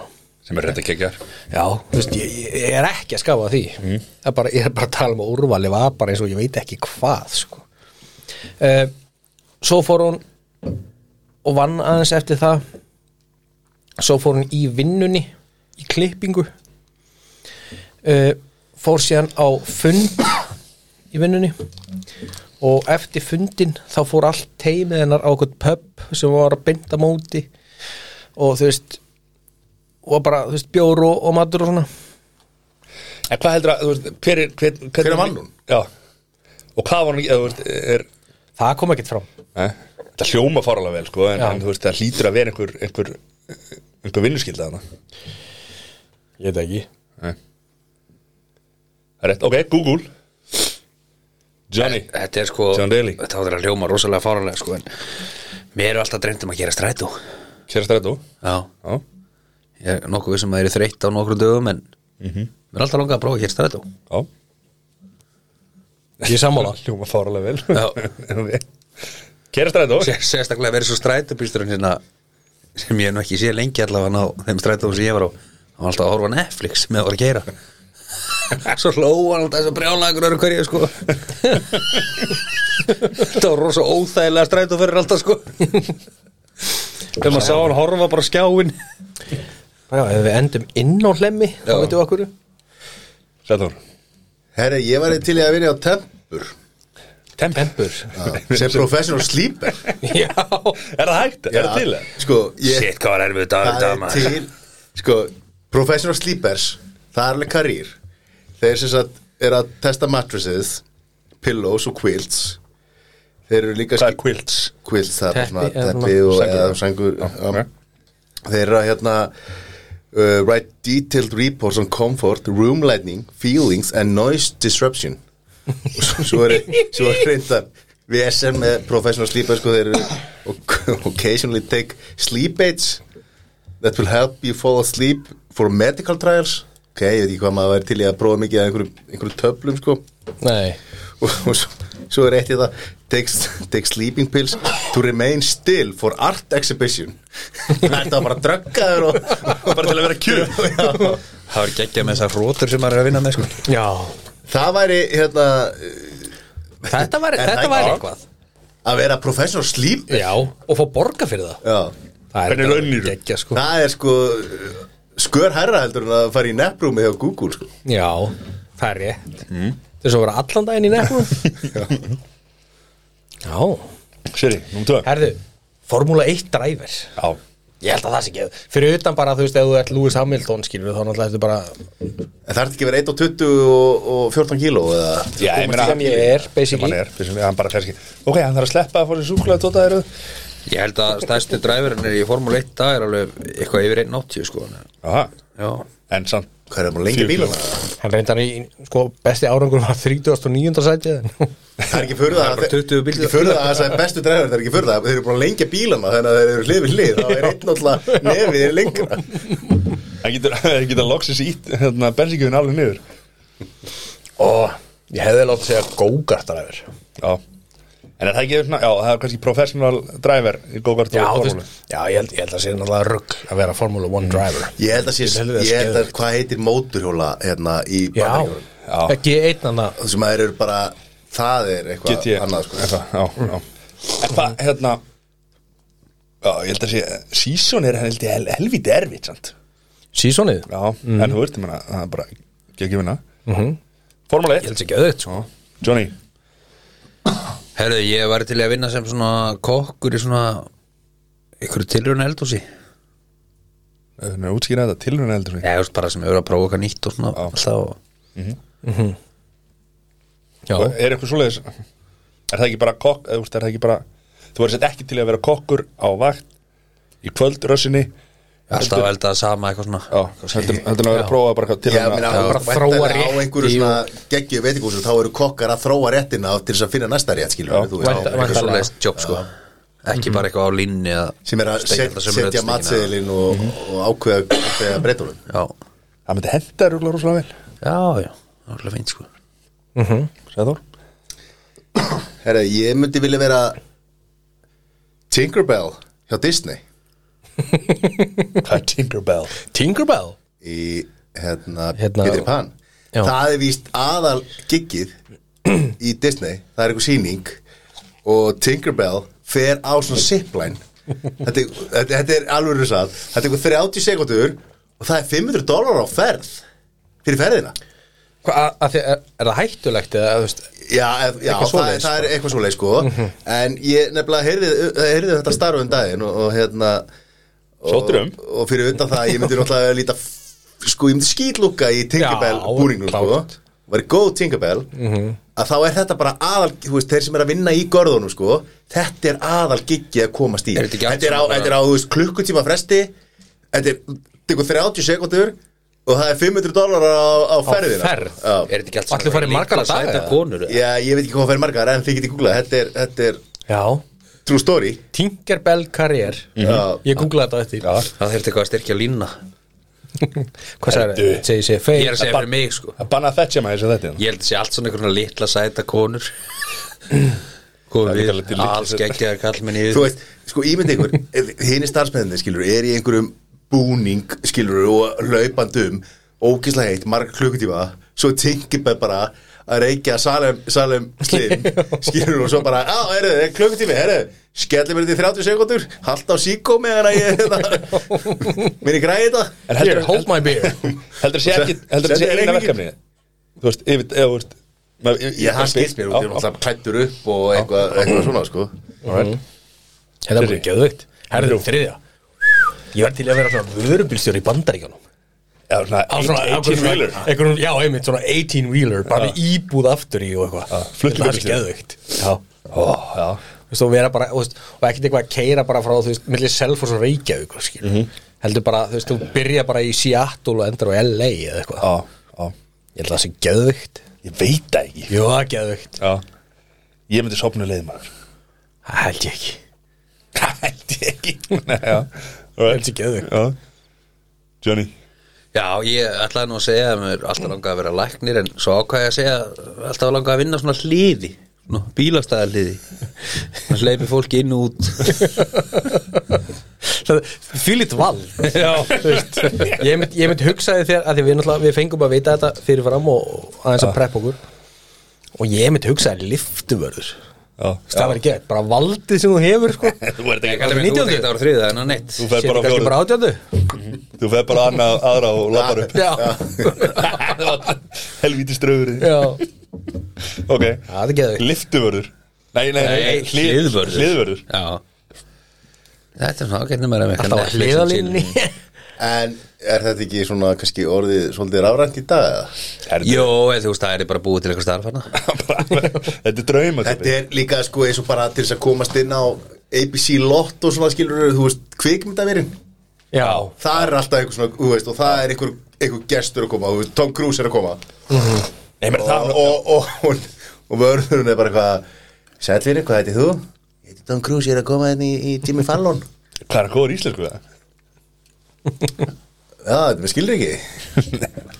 [SPEAKER 1] sem er rétt að kekja
[SPEAKER 4] já, þú veist, ég, ég er ekki að skafa því það er bara, ég er bara að tala um að úrvali var bara eins og ég veit ekki hvað sko uh, svo fór hún og vann aðeins eftir það svo fór hún í vinnunni í klippingu uh, fór síðan á fund í vinnunni og eftir fundin þá fór allt teimið hennar á okkur pub sem var að binda móti og þú veist og bara, þú veist, bjór og, og matur og svona
[SPEAKER 1] En hvað heldur að, þú veist, hver er Hver, hver,
[SPEAKER 2] Hver er vann hún?
[SPEAKER 1] Já Og hvað var hún, eða, þú veist, er
[SPEAKER 4] það kom ekkert fram
[SPEAKER 1] eh, Þetta hljóma faralega vel, sko En,
[SPEAKER 4] Já.
[SPEAKER 1] en þú veist, það hlýtur að vera einhver einhver, einhver vinnuskilda þarna
[SPEAKER 4] ég veit ekki
[SPEAKER 1] Það er Rétt, ok, Google Johnny
[SPEAKER 3] Þetta er sko,
[SPEAKER 1] John Daly.
[SPEAKER 3] þetta áttur að hljóma rosalega fáralega sko en mér er alltaf dreymt um að gera strætó
[SPEAKER 1] Sérast rættu
[SPEAKER 3] Já,
[SPEAKER 1] Já
[SPEAKER 3] ég er nokkuð vissum að það er þreytt á nokkru dögum en mér er alltaf langað að prófa að gera strætó
[SPEAKER 1] Já
[SPEAKER 4] ég er sammála
[SPEAKER 1] Hljóma faralega vel
[SPEAKER 3] Já.
[SPEAKER 1] Sérast rættu
[SPEAKER 3] Sér- Sérstaklega verið svo strætóbýsturinn sinna sem ég hef nú ekki sé lengi allavega á þeim strætóum sem ég var á hann var alltaf að horfa á Netflix með að voru að gera svo hlóa hann alltaf þessu brjálagur öru hverju sko þetta var rosa óþægilega strætó fyrir alltaf sko þegar maður sá hann horfa bara á skjáin
[SPEAKER 4] já, ef við endum inn á hlemmi þá
[SPEAKER 3] Já.
[SPEAKER 4] veitum við okkur
[SPEAKER 1] Sæður
[SPEAKER 2] Herri, ég var til í að vinna á tempur
[SPEAKER 4] tempur
[SPEAKER 2] sem professional sleeper
[SPEAKER 4] já,
[SPEAKER 1] Er það hægt? Er það til?
[SPEAKER 2] Já, Sko, ég,
[SPEAKER 3] shit hvað var erfið dagur í
[SPEAKER 2] það
[SPEAKER 3] dag
[SPEAKER 2] er
[SPEAKER 3] maður
[SPEAKER 2] til Sko, professional sleepers það er alveg karýr þeir sem sagt er að testa mattresses pillows og quilts þeir eru líka
[SPEAKER 1] Hvað er quilts?
[SPEAKER 2] quilts það er
[SPEAKER 4] Teppi
[SPEAKER 2] svona
[SPEAKER 4] eða svona
[SPEAKER 2] teppi og
[SPEAKER 1] sængur.
[SPEAKER 2] eða sængur
[SPEAKER 1] ok.
[SPEAKER 2] já. þeir eru að hérna uh, write detailed reports on comfort room lighting, feelings and noise disruption og svo- svo er svo er reyndar VSM með professional sleepers sko þeir eru og- occasionally take sleep aids that will help you fall asleep for medical trials ok, ég veit ekki hvað maður væri til í að prófa mikið að einhverju, einhverju töflum sko
[SPEAKER 4] nei
[SPEAKER 2] og, og svo, svo er eitt í það take, take sleeping pills to remain still for art exhibition það er það bara að drögga þér og bara til að vera kjur
[SPEAKER 3] það var geggjað með þessar rótur sem maður er að vinna með sko
[SPEAKER 4] já,
[SPEAKER 2] það væri hérna
[SPEAKER 4] Þetta var,
[SPEAKER 2] Er það
[SPEAKER 4] þetta
[SPEAKER 2] ekki
[SPEAKER 4] var
[SPEAKER 2] það?
[SPEAKER 4] eitthvað
[SPEAKER 2] að vera professional sleep
[SPEAKER 4] Já, og fá borga fyrir það
[SPEAKER 2] Já.
[SPEAKER 4] Það
[SPEAKER 1] Hvernig
[SPEAKER 4] bara
[SPEAKER 1] launir þú?
[SPEAKER 4] geggja, sko.
[SPEAKER 2] það er sko skör herra heldur en að fara í nepprúmi hjá Google sko.
[SPEAKER 4] Já, það er rétt
[SPEAKER 1] Mm.
[SPEAKER 4] Þess að vera allan daginn í nefnum Já,
[SPEAKER 1] Siri, nú tvö
[SPEAKER 4] herðu Formúla 1 driver
[SPEAKER 1] Já
[SPEAKER 4] Ég held að það sé ekki Fyrir utan bara, þú veist, ef þú ert Lewis Hamilton skilur þá náttúrulega ertu bara
[SPEAKER 2] en það er ekki að vera 1 og 20 og, og 14 kíló eða
[SPEAKER 1] Já, ég meina
[SPEAKER 4] sem ég er,
[SPEAKER 1] Sem hann
[SPEAKER 4] basically
[SPEAKER 1] er, sem hann bara ferski Ok, hann þarf að sleppa að fóra sér súklaði tóta þér
[SPEAKER 3] ég held að stærsti dræfurinn er í Formule 1 dag er alveg eitthvað yfir 1.80 sko
[SPEAKER 1] Aha,
[SPEAKER 3] já
[SPEAKER 1] en samt
[SPEAKER 2] hvað er það bara lengi
[SPEAKER 1] Fjögur
[SPEAKER 2] bílana
[SPEAKER 4] Hann reyndar í, sko, besti árangur var 39. sætið
[SPEAKER 2] það er ekki fyrir það
[SPEAKER 3] bara 20 bíl-
[SPEAKER 2] ekki fyrir það að það er bestu dræður það er ekki fyrir það þeir eru búin að lengja bílana þannig að þeir eru hlið við hlið þá er einn náttúrulega nefið er lengra
[SPEAKER 1] Það getur, það getur loksins ítt hérna, bensíkjöfin alveg niður
[SPEAKER 4] Ó, ég hefði látt að segja go-kart driver
[SPEAKER 1] Já En er það ekki, svona- já, það er kannski professional driver í go-kart
[SPEAKER 4] Já,
[SPEAKER 1] og
[SPEAKER 4] þú
[SPEAKER 1] formúlu
[SPEAKER 4] veist, já, ég held, ég held að sé náttúrulega rugg að vera Formula 1 driver
[SPEAKER 2] ég held að sé
[SPEAKER 4] helviti
[SPEAKER 2] ég held að
[SPEAKER 4] skeðvegt.
[SPEAKER 2] hvað heitir móturhjóla hérna í
[SPEAKER 4] Já,
[SPEAKER 2] Bandaríkjunum?
[SPEAKER 1] Já.
[SPEAKER 4] ekki einn annað
[SPEAKER 2] það sem að þeir eru bara það er
[SPEAKER 1] Get
[SPEAKER 2] eitthvað
[SPEAKER 1] ég
[SPEAKER 2] annað sko
[SPEAKER 1] eitthvað, Já,
[SPEAKER 4] Mm.
[SPEAKER 1] já En hvað, hérna Já, ég held að sé, season er held ég hel, helvítið erfitt, sant
[SPEAKER 4] Sísonið?
[SPEAKER 1] Já,
[SPEAKER 4] Mm.
[SPEAKER 1] en þú veist, ég meina, það er bara ekki vinna mm -hmm.
[SPEAKER 4] Mhm.
[SPEAKER 1] Formúli 1
[SPEAKER 4] held sér gæðið, sko
[SPEAKER 1] Johnny
[SPEAKER 3] Herðu, ég var til í að vinna sem svona kokkur í svona ykkur tilraun eldhúsi Já,
[SPEAKER 1] Þannig að útskýra þetta tilruna heldur
[SPEAKER 3] þú veist bara sem hefur að prófa eitthvað nýtt og svona alltaf og
[SPEAKER 4] Já.
[SPEAKER 1] Og er eitthvað svoleiðis er það ekki bara kokk eða, þú veist, er það ekki bara, þú verður sett ekki til að vera kokkur á vakt í kvöldrössinni
[SPEAKER 3] alltaf að elda það sama eitthvað svona
[SPEAKER 1] Já, heldur heldur en að vera að prófa bara hvað til
[SPEAKER 2] Já,
[SPEAKER 1] að-
[SPEAKER 2] minna,
[SPEAKER 1] Já.
[SPEAKER 2] bara
[SPEAKER 4] bara
[SPEAKER 2] þróa
[SPEAKER 4] þróa
[SPEAKER 2] rétti á
[SPEAKER 4] rétti
[SPEAKER 2] einhverju svona geggju veitingúsum þá eru kokkar að þróa réttina til þess að finna næsta rétt skilur
[SPEAKER 1] Já,
[SPEAKER 2] þú
[SPEAKER 4] vænt- vænt-
[SPEAKER 2] veist,
[SPEAKER 3] eitthvað
[SPEAKER 4] Væntanlega.
[SPEAKER 3] svoleiðist jobb sko ekki bara eitthvað á línni eða
[SPEAKER 2] sem er að set,
[SPEAKER 3] steikelda sem er
[SPEAKER 2] setja
[SPEAKER 3] öll steikina.
[SPEAKER 2] matseðilinn og, og ákveða ákveða breytunum
[SPEAKER 3] já,
[SPEAKER 1] það myndi henda rúglega rosalega vel
[SPEAKER 3] já, já, það er alveg fint sko
[SPEAKER 1] sagði Þór
[SPEAKER 2] Herra, ég myndi vilja vera Tinkerbell hjá Disney
[SPEAKER 1] Hvað er Tinkerbell?
[SPEAKER 4] Tinkerbell
[SPEAKER 2] í hérna,
[SPEAKER 4] Hérna-
[SPEAKER 2] Peter Pan
[SPEAKER 4] Já.
[SPEAKER 2] það er víst aðal giggið í Disney, það er einhver sýning og Tinkerbell fer á svona zipline þetta, er- þetta, þetta er alveg rusað þetta er einhver 30 sekundur og það er 500 dólar á ferð fyrir ferðina
[SPEAKER 4] Hva, að, að, því- er, er það hættulegt eða, þú veist,
[SPEAKER 2] Já, ef, já
[SPEAKER 4] Eitthvað
[SPEAKER 2] það,
[SPEAKER 4] svoleiðis,
[SPEAKER 2] er, það er eitthvað svoleið sko En ég nefnilega heyrði, heyrði þetta starf um daginn og, og hérna og,
[SPEAKER 1] Sóttur um.
[SPEAKER 2] og fyrir utan það, ég myndi náttúrulega líta f- sko, ég myndi skýtlúka í Tinkerbell
[SPEAKER 4] Já,
[SPEAKER 2] búringnum sko
[SPEAKER 4] klárt.
[SPEAKER 2] væri góð Tinkerbell að þá er þetta bara aðal, þú veist, þeir sem er að vinna í görðunum sko, þetta er aðal giggi að komast í,
[SPEAKER 3] Er þetta ekki allt
[SPEAKER 2] þetta er á,
[SPEAKER 3] saman bara-
[SPEAKER 2] þetta er á þú veist, klukkutíma fresti þetta er, þetta er 30 sekundur og það er 500 dólar á, á ferðina
[SPEAKER 4] ferð?
[SPEAKER 2] Já.
[SPEAKER 3] er þetta ekki allt
[SPEAKER 4] Ætli þú farið margar daga,
[SPEAKER 3] sæta
[SPEAKER 4] eða?
[SPEAKER 3] konur eða?
[SPEAKER 2] Já, ég veit ekki hvað fyrir margar en þið getið googlað, þetta er, þetta er
[SPEAKER 4] já,
[SPEAKER 2] true story
[SPEAKER 4] Tinkerbell karriér
[SPEAKER 1] Mhm.
[SPEAKER 2] Já,
[SPEAKER 4] ég googlaði þetta eftir já.
[SPEAKER 3] það þurfti eitthvað að styrkja línna
[SPEAKER 4] hvað sagði,
[SPEAKER 1] Ertu-
[SPEAKER 4] segi sér
[SPEAKER 3] ég er
[SPEAKER 4] feir
[SPEAKER 3] að segja fyrir mig sko
[SPEAKER 1] Að banna að þetja maður þess að þetta hérna.
[SPEAKER 3] ég held að sé allt svona einhverjum litla sæta konur
[SPEAKER 1] Það
[SPEAKER 3] komið
[SPEAKER 1] geta alveg
[SPEAKER 3] við
[SPEAKER 1] til litla
[SPEAKER 3] alls
[SPEAKER 1] sæta.
[SPEAKER 3] geggjaðar kallmenn í
[SPEAKER 2] þú veist, sko ímynd ykkur hinn er starfsmennið, skilur, er í einhverjum búning, skilur, og laupandum ógislega heitt, marg klukkutíma svo tinkibæð bara að reykja salem, salem slim skilur, og svo bara, á, heyrðu, er klukkutími heyrðu, skellum við þetta í 30 sekundur halda á síkó meðan að ég hérna, minni græði þetta
[SPEAKER 1] En
[SPEAKER 4] here,
[SPEAKER 1] heldur
[SPEAKER 4] hold my beer
[SPEAKER 1] Heldur sé ekki Heldur sé
[SPEAKER 2] Sendu
[SPEAKER 1] eina
[SPEAKER 2] reikningin.
[SPEAKER 1] verkefni Þú veist, yfir, eða, þú veist maður- ég-
[SPEAKER 2] Já,
[SPEAKER 1] ég-
[SPEAKER 2] það skilst mér út, ég er
[SPEAKER 1] Já,
[SPEAKER 2] náttúrulega klættur upp og eitthvað, eitthvað svona, sko
[SPEAKER 4] þetta er bara
[SPEAKER 1] Þriðji.
[SPEAKER 4] geðveikt herðu, þriðja ég var til að vera svona vörubílstjóri í bandaríkjanum
[SPEAKER 1] Já, svona
[SPEAKER 4] Á svona
[SPEAKER 1] 18
[SPEAKER 4] einhverjum-
[SPEAKER 1] wheeler.
[SPEAKER 4] einhverjum- Já, einmitt, svona 18 wheeler bara með íbúð aftur í og eitthvað Það er
[SPEAKER 1] flutningabílstjóri.
[SPEAKER 4] skeðveikt Já,
[SPEAKER 1] Ó, já
[SPEAKER 4] þú veist, og vera bara, þú veist, og ekkert eitthvað að keira bara frá, þú veist, millir Selfoss og Reykjavík og skil, heldur bara, þú veist, þú byrja bara í Seattle og endur á LA eða eitthvað,
[SPEAKER 1] Já, já
[SPEAKER 4] ég held að það sé geðveikt
[SPEAKER 1] Ég veit það ekki
[SPEAKER 4] Jó, það er geðveikt,
[SPEAKER 1] Já Ég myndi sopna leið maður
[SPEAKER 4] það held ég ekki
[SPEAKER 1] Það held ég ekki Nei, já Það
[SPEAKER 4] held ég geðveikt.
[SPEAKER 1] Já Johnny
[SPEAKER 3] Já, ég ætlaði nú að segja að mér
[SPEAKER 1] Mm.
[SPEAKER 3] alltaf langaði að vera læknir en svo ákvæði ég að segja að alltaf langaði að vinna svona hliði svona bílastæðar hliði hann hleypi fólki inn og út
[SPEAKER 4] Það- Því lít val Já, þú veist, ég mynd, ég mynd hugsaði þér að því við, náttúrulega- við fengum að vita þetta fyrirfram og og aðeins að preppa okkur og ég mynd hugsaði liftuvörður
[SPEAKER 1] Já
[SPEAKER 4] það var ekki, bara valdið sem þú hefur sko.
[SPEAKER 1] Þú er
[SPEAKER 3] Ég kallar
[SPEAKER 1] ekki
[SPEAKER 3] mig þú
[SPEAKER 4] 19.
[SPEAKER 3] þetta ára þriða en hann neitt
[SPEAKER 1] Þú fer
[SPEAKER 4] Sér
[SPEAKER 1] bara á
[SPEAKER 4] kannski
[SPEAKER 1] fjórum.
[SPEAKER 4] bara átjöndu
[SPEAKER 1] Þú fer bara annað aðra og lappar upp
[SPEAKER 4] Já,
[SPEAKER 1] Helvíti ströður
[SPEAKER 4] já,
[SPEAKER 1] Ok
[SPEAKER 4] það er geðveikt
[SPEAKER 1] Liftuvörður Nei, nei, nei hlið-
[SPEAKER 3] hliðvörður
[SPEAKER 1] Hliðvörður
[SPEAKER 3] Já Þetta er svona ágætnum að vera
[SPEAKER 4] Alltaf á hliðalínni
[SPEAKER 2] En er þetta ekki svona kannski orðið svolítið rafrænt í dag eða?
[SPEAKER 1] Herðu,
[SPEAKER 3] Jó, en þú veist, það er bara búið til eitthvað starfarna
[SPEAKER 1] Þetta er drauma
[SPEAKER 2] Þetta er líka sko eins og bara til þess að komast inn á ABC Lott og svona skilur þú veist, kvikmyndavirinn
[SPEAKER 4] Já,
[SPEAKER 2] Það er alltaf einhver svona, þú veist, og það er einhver, einhver gestur að koma, þú veist, Tom Cruise er að koma
[SPEAKER 1] Nei, menn
[SPEAKER 2] og,
[SPEAKER 1] það
[SPEAKER 2] og, og, og, og vörðurinn er bara eitthvað Sætvinni, hvað heiti þú? Ég heiti Tom Cruise, ég er að koma inn í, í Jimmy Fallon
[SPEAKER 1] Hvað er góður íslensku það?
[SPEAKER 2] Já, þetta með skilur ekki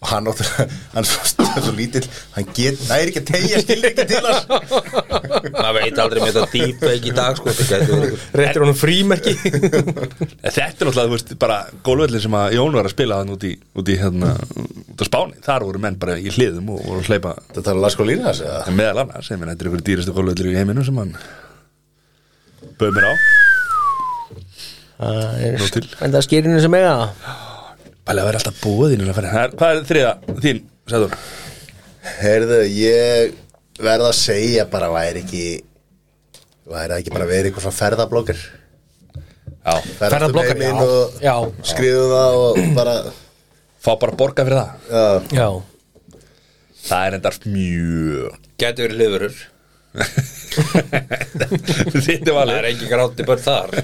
[SPEAKER 2] Og hann áttur Hann er svo, svo lítill Hann get, næri ekki að tegja skilur ekki til hans
[SPEAKER 3] Maður veit aldrei með þetta dýpa ekki í dag sko, það gæti verið einhver-
[SPEAKER 4] réttir honum frímerki
[SPEAKER 1] Þetta er náttúrulega, þú veist, bara gólvöllin sem að Jón var að spila hann út í, út í hérna, út á Spáni, þar voru menn bara í hliðum og voru að hleypa
[SPEAKER 2] Þetta talar Lasko Línas eða?
[SPEAKER 1] En meðal annars, ég minn, þetta er ykkur dýrastu gólvöllir í heiminum sem hann bauð mér á Nú til.
[SPEAKER 4] En það skýrinu sem eiga það.
[SPEAKER 1] Bælega verið alltaf búðin að fara Her, Hvað er þriða þín, sagður?
[SPEAKER 2] Heyrðu, ég verð að segja bara væri ekki væri það ekki bara verið eitthvað svona ferðablogger
[SPEAKER 1] Já,
[SPEAKER 4] Ferðablogger,
[SPEAKER 2] Ferðast um
[SPEAKER 4] já.
[SPEAKER 2] heiminn
[SPEAKER 4] Já.
[SPEAKER 2] og skriðu það og bara
[SPEAKER 1] fá bara borga fyrir það
[SPEAKER 2] já,
[SPEAKER 4] Já,
[SPEAKER 1] það er endar mjög
[SPEAKER 3] Gæti verið hlifurur
[SPEAKER 1] þetta
[SPEAKER 3] Það
[SPEAKER 1] valið
[SPEAKER 3] er ekki grátti börn þar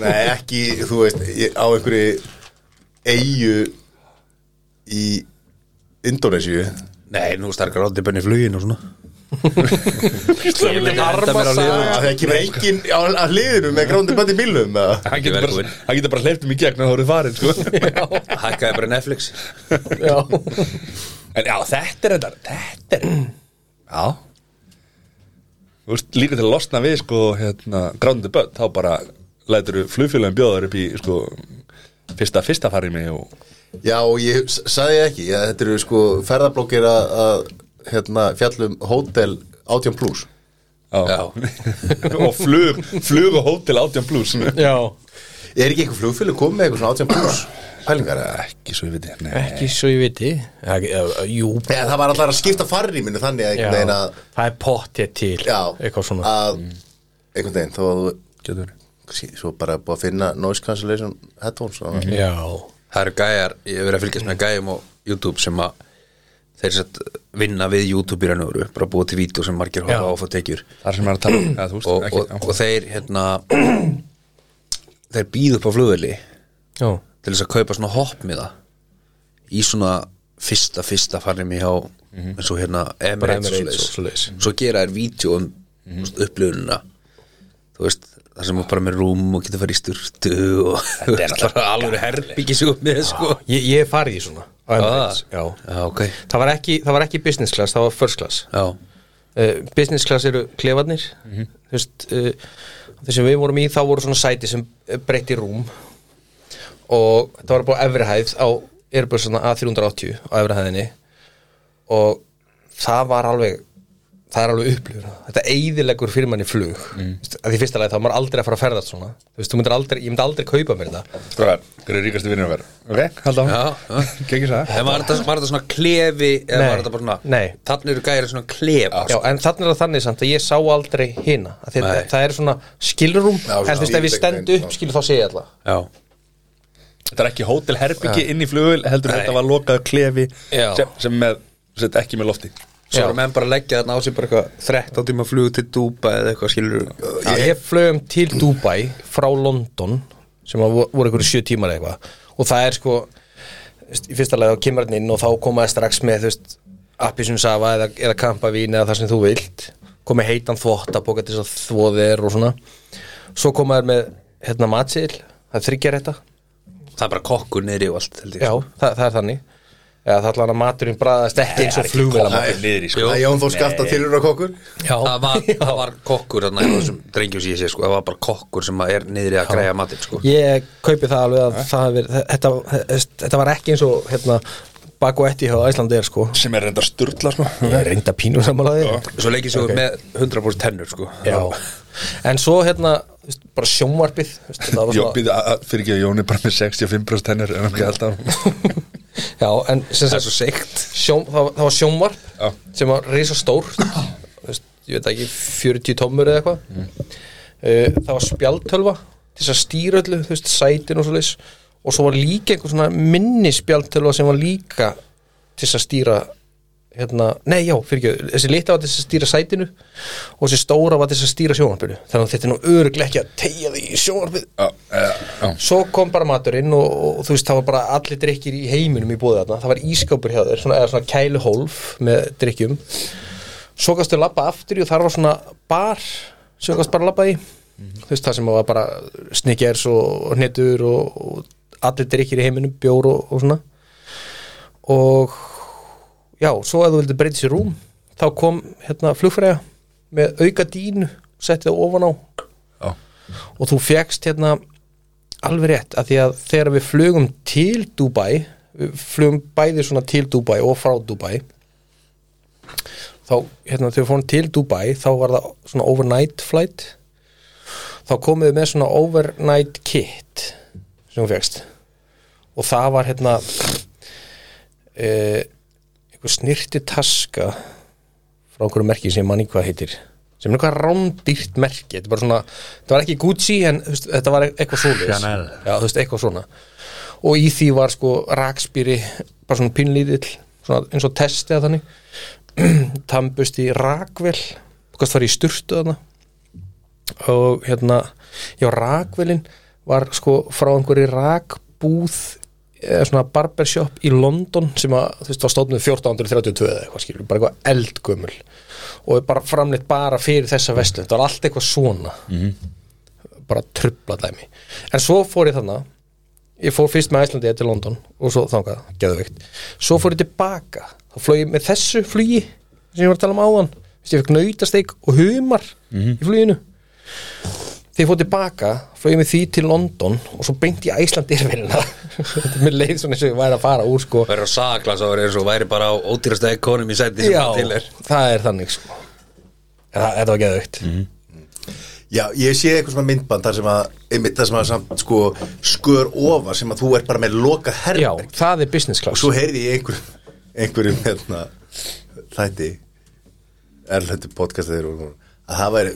[SPEAKER 2] Nei, ekki, þú veist, ég- á einhverju eigu í Indonésiu
[SPEAKER 3] Nei, nú starf grátti börn í flugin og svona
[SPEAKER 4] Ég
[SPEAKER 3] henda mér á liðinu.
[SPEAKER 2] Það er ekki með engin á, á hliðinu með grándi bæti bílum eða?
[SPEAKER 1] hann getur bara,
[SPEAKER 3] velkomin.
[SPEAKER 1] hann getur bara hleypt um í gegn og það eru farin sko.
[SPEAKER 3] Hækkaði bara Netflix
[SPEAKER 4] Já,
[SPEAKER 1] en já, þetta er endar þetta er já Þú veist, líka til að losna við sko, hérna, grándi börn, þá bara lætur flugfélagin bjóðar upp í sko, fyrsta, fyrsta farið mig og
[SPEAKER 2] Já, og ég s- sagði ég ekki, ég, þetta eru sko ferðablókir að, að hérna, fjallum hótel 18 plus
[SPEAKER 1] Já. og flug, flug og hótel 18 plus
[SPEAKER 4] já
[SPEAKER 2] Er ekki eitthvað flugfélug komið með eitthvað svona 18 plus pælingar eða?
[SPEAKER 1] ekki svo ég veit ég nei.
[SPEAKER 4] Ekki svo ég viti ja, Jú,
[SPEAKER 2] Nei, það var allar að skipta farrýminu þannig að
[SPEAKER 4] já,
[SPEAKER 2] einhvern veginn að
[SPEAKER 4] það er pottið til
[SPEAKER 2] Já,
[SPEAKER 4] Eitthvað svona Mm.
[SPEAKER 2] að, einhvern veginn, þá var þú
[SPEAKER 1] Getur verið.
[SPEAKER 2] sí- svo bara búið að finna noise cancellation headphones mm -hmm.
[SPEAKER 4] Já,
[SPEAKER 3] Það eru gæjar, ég hef verið að fylgjast með gæjum á YouTube sem að þeir sett vinna við YouTube í raun og veru bara búið til vídeo sem margir
[SPEAKER 4] Já.
[SPEAKER 3] horfa á og fá tekjur
[SPEAKER 1] þar sem er að tala um, eða, þú veist,
[SPEAKER 3] og,
[SPEAKER 1] ekki,
[SPEAKER 3] og, og þeir hérna þeir býðu upp á flugveli
[SPEAKER 4] já,
[SPEAKER 3] til þess að kaupa svona hoppmiða í svona fyrsta fyrsta farnum í hjá
[SPEAKER 1] Mhm.
[SPEAKER 3] eins og hérna Emirates,
[SPEAKER 4] Emirates
[SPEAKER 3] og
[SPEAKER 4] og svoleiðis.
[SPEAKER 3] svoleiðis svo gera þér vídeo um
[SPEAKER 4] Mhm.
[SPEAKER 3] mm -hmm. upplifunina þú veist, þar sem er bara með rúm og getur farið í sturtu og þú veist, bara alveg herbyggis upp með sko
[SPEAKER 4] ég, ég hef farið í svona á Emirates,
[SPEAKER 3] Ah.
[SPEAKER 4] Já,
[SPEAKER 3] Já, ok
[SPEAKER 4] það var, ekki, það var ekki business class, það var first class
[SPEAKER 3] Já,
[SPEAKER 4] uh, business class eru klefarnir
[SPEAKER 2] Mhm.
[SPEAKER 4] þú veist uh, þeir sem við vorum í þá voru svona sæti sem eh, breytti rúm og þetta var bara efri hæð á Airbusana A380 á efri hæðinni og það var alveg það er alveg upplifur þetta eyðilegur fyrir manni flug mm.
[SPEAKER 2] Mhm.
[SPEAKER 4] að því fyrsta lagi þá er maður aldrei að fara að ferðast svona þú veist, þú myndir aldrei, ég myndi aldrei kaupa mér þetta
[SPEAKER 1] Stráðar, hver er ríkasti vinnur að vera? Ok, hald á
[SPEAKER 3] já, já.
[SPEAKER 1] Gengis að
[SPEAKER 3] En var þetta, var þetta svona klefi eða
[SPEAKER 4] Nei.
[SPEAKER 3] var þetta bara svona
[SPEAKER 4] Nei.
[SPEAKER 3] Þannig eru gæri svona klefa sko.
[SPEAKER 4] Já,
[SPEAKER 2] sko.
[SPEAKER 4] en þannig er það þannig samt að ég sá aldrei hina Af því að
[SPEAKER 3] Nei.
[SPEAKER 4] það er svona skilrúm
[SPEAKER 2] Já,
[SPEAKER 4] en þú veist,
[SPEAKER 2] svona
[SPEAKER 4] ef ég stend
[SPEAKER 2] dýrlegrein,
[SPEAKER 4] upp
[SPEAKER 2] já.
[SPEAKER 4] skilur þá sé ég alltaf
[SPEAKER 3] Já.
[SPEAKER 1] Þetta er ekki hótelherbyggi inn í flugul heldur þetta var lokaðu klefi
[SPEAKER 3] Já.
[SPEAKER 1] sem, sem með, sem ekki með lofti
[SPEAKER 3] Svo
[SPEAKER 4] Já.
[SPEAKER 3] eru menn bara að leggja þarna á sig bara eitthvað 13 tíma flug til Dúba eða eitthvað skilur
[SPEAKER 4] Já, ég flögum til Dubai frá London sem að vo- voru einhverju sjö tímar eða eitthvað og það er sko veist, í fyrsta leið þá kemur hann inn og þá komaði strax með þú veist, appisum safa eða, eða kampavín eða það sem þú vilt komið heitan þvótt að bóka til þess að þvóðir og svona svo komaði með hérna matsil það er þryggjar þetta
[SPEAKER 3] Það er bara kokkur niðri og allt held ég
[SPEAKER 4] já, það, það er þannig Já, það ætla hann að maturinn bræðast ekki eins og flugvela
[SPEAKER 1] Nei, niður í sko
[SPEAKER 2] Það er Jón Þór skapta tilur á kokkur
[SPEAKER 3] Það var, það var kokkur þarna í þessum drengjum sem ég sé sko Það var bara kokkur sem að er niðri að græja matinn sko
[SPEAKER 4] Ég kaupi það alveg að það hafi verið þetta, þetta var ekki eins og hérna, Baguetti hjá Æslandi er sko
[SPEAKER 1] sem er reyndar sturla sko
[SPEAKER 4] Ég er reynda pínu samanlega
[SPEAKER 3] Svo leikir sig
[SPEAKER 4] Ok.
[SPEAKER 3] okay. með 100% tennur sko
[SPEAKER 4] Já En svo hérna, þú veist, bara sjónvarpið þú veist, þetta var
[SPEAKER 1] Jó,
[SPEAKER 4] svona-
[SPEAKER 1] býðu, fyrir ekki að Jón er bara með 65% hennur en ekki alltaf
[SPEAKER 4] Já, en sem
[SPEAKER 3] Það
[SPEAKER 4] sagt
[SPEAKER 3] er svo seikt
[SPEAKER 4] sjón, það, var, það var sjónvarp
[SPEAKER 1] Já.
[SPEAKER 4] sem var risa stór ég veit ekki, 40 tómur eða eitthvað
[SPEAKER 3] Mm.
[SPEAKER 4] uh, það var spjaldtölva til þess að stýra öllu, þú veist, sætin og svo leis og svo var líka einhver svona minni spjaldtölva sem var líka til þess að stýra hérna, nei já, fyrir ekki, þessi litla var til þess að stýra sætinu og þessi stóra var til þess að stýra sjónvarpinu þannig að þetta er nú öruglega ekki að tegja því í sjónvarpið
[SPEAKER 1] Já, já, já
[SPEAKER 4] svo kom bara maturinn og, og þú veist það var bara allir drikkir í heiminum í búið þarna það var ískápur hjá þér, svona, eða svona kæluhólf með drikkjum svo kannstu labba aftur í og þar var svona bar sem kannstu bara labba í þú veist það sem var bara snikkers og hnetur og, og allir drikkir í heiminum, bjór og, og svona og já, svo að þú vildi breyta sér rúm þá kom hérna flugfræja með auka dínu, setti það ofan á
[SPEAKER 1] Já.
[SPEAKER 4] og þú fegst hérna alveg rétt að því að þegar við flugum til Dubai við flugum bæði svona til Dubai og frá Dubai þá hérna þegar við fórum til Dubai þá var það svona overnight flight þá komum við með svona overnight kit sem við fegst og það var hérna eh, einhver snirti taska frá einhverju merki sem ég manni hvað heitir sem er eitthvað rándýrt merki þetta, er bara svona, þetta var ekki Gucci en þú veist, þetta var eitthvað svoleiðis
[SPEAKER 3] Chanel.
[SPEAKER 4] Já, þú veist, eitthvað svona og í því var sko rakspýri bara svona pinlítill svona eins og testið þannig tambust í rakvel hvað það var í sturtu þarna og hérna já, rakvelin var sko frá einhverju rakbúð eða svona barbershop í London sem að, þú veist, var stofnuð 1432 eða eitthvað skilur, bara eitthvað eldgömmul og bara framleitt bara fyrir þessa vestlun, það var allt eitthvað svona bara trubla dæmi en svo fór ég þarna ég fór fyrst með Æslandi til London og svo þangað, geðveikt svo fór ég tilbaka, þá flög ég með þessu flugi sem ég var að tala um áðan Þú veist, ég fekk nautasteik og humar
[SPEAKER 2] Mhm.
[SPEAKER 4] í fluginu þegar ég fór tilbaka, flög ég með því til London og svo beint ég Æslandi erfinna mér leið svona eins og ég væri að fara úr sko
[SPEAKER 3] verður að sakla svo verður eins og væri bara á ódýrasta ekonum í sæti sem
[SPEAKER 4] já,
[SPEAKER 3] til er
[SPEAKER 4] það er þannig sko en það, þetta var geðveikt
[SPEAKER 2] Mhm. Já, ég sé eitthvað svona myndband þar sem að, einmitt þar sem að samt sko skör ofar sem að þú ert bara með loka
[SPEAKER 4] já,
[SPEAKER 2] herberg
[SPEAKER 4] það er business
[SPEAKER 2] og
[SPEAKER 4] class
[SPEAKER 2] svo heyrði ég einhverjum, einhverjum hérna, þætti erlendu podcast þeir voru að það væri,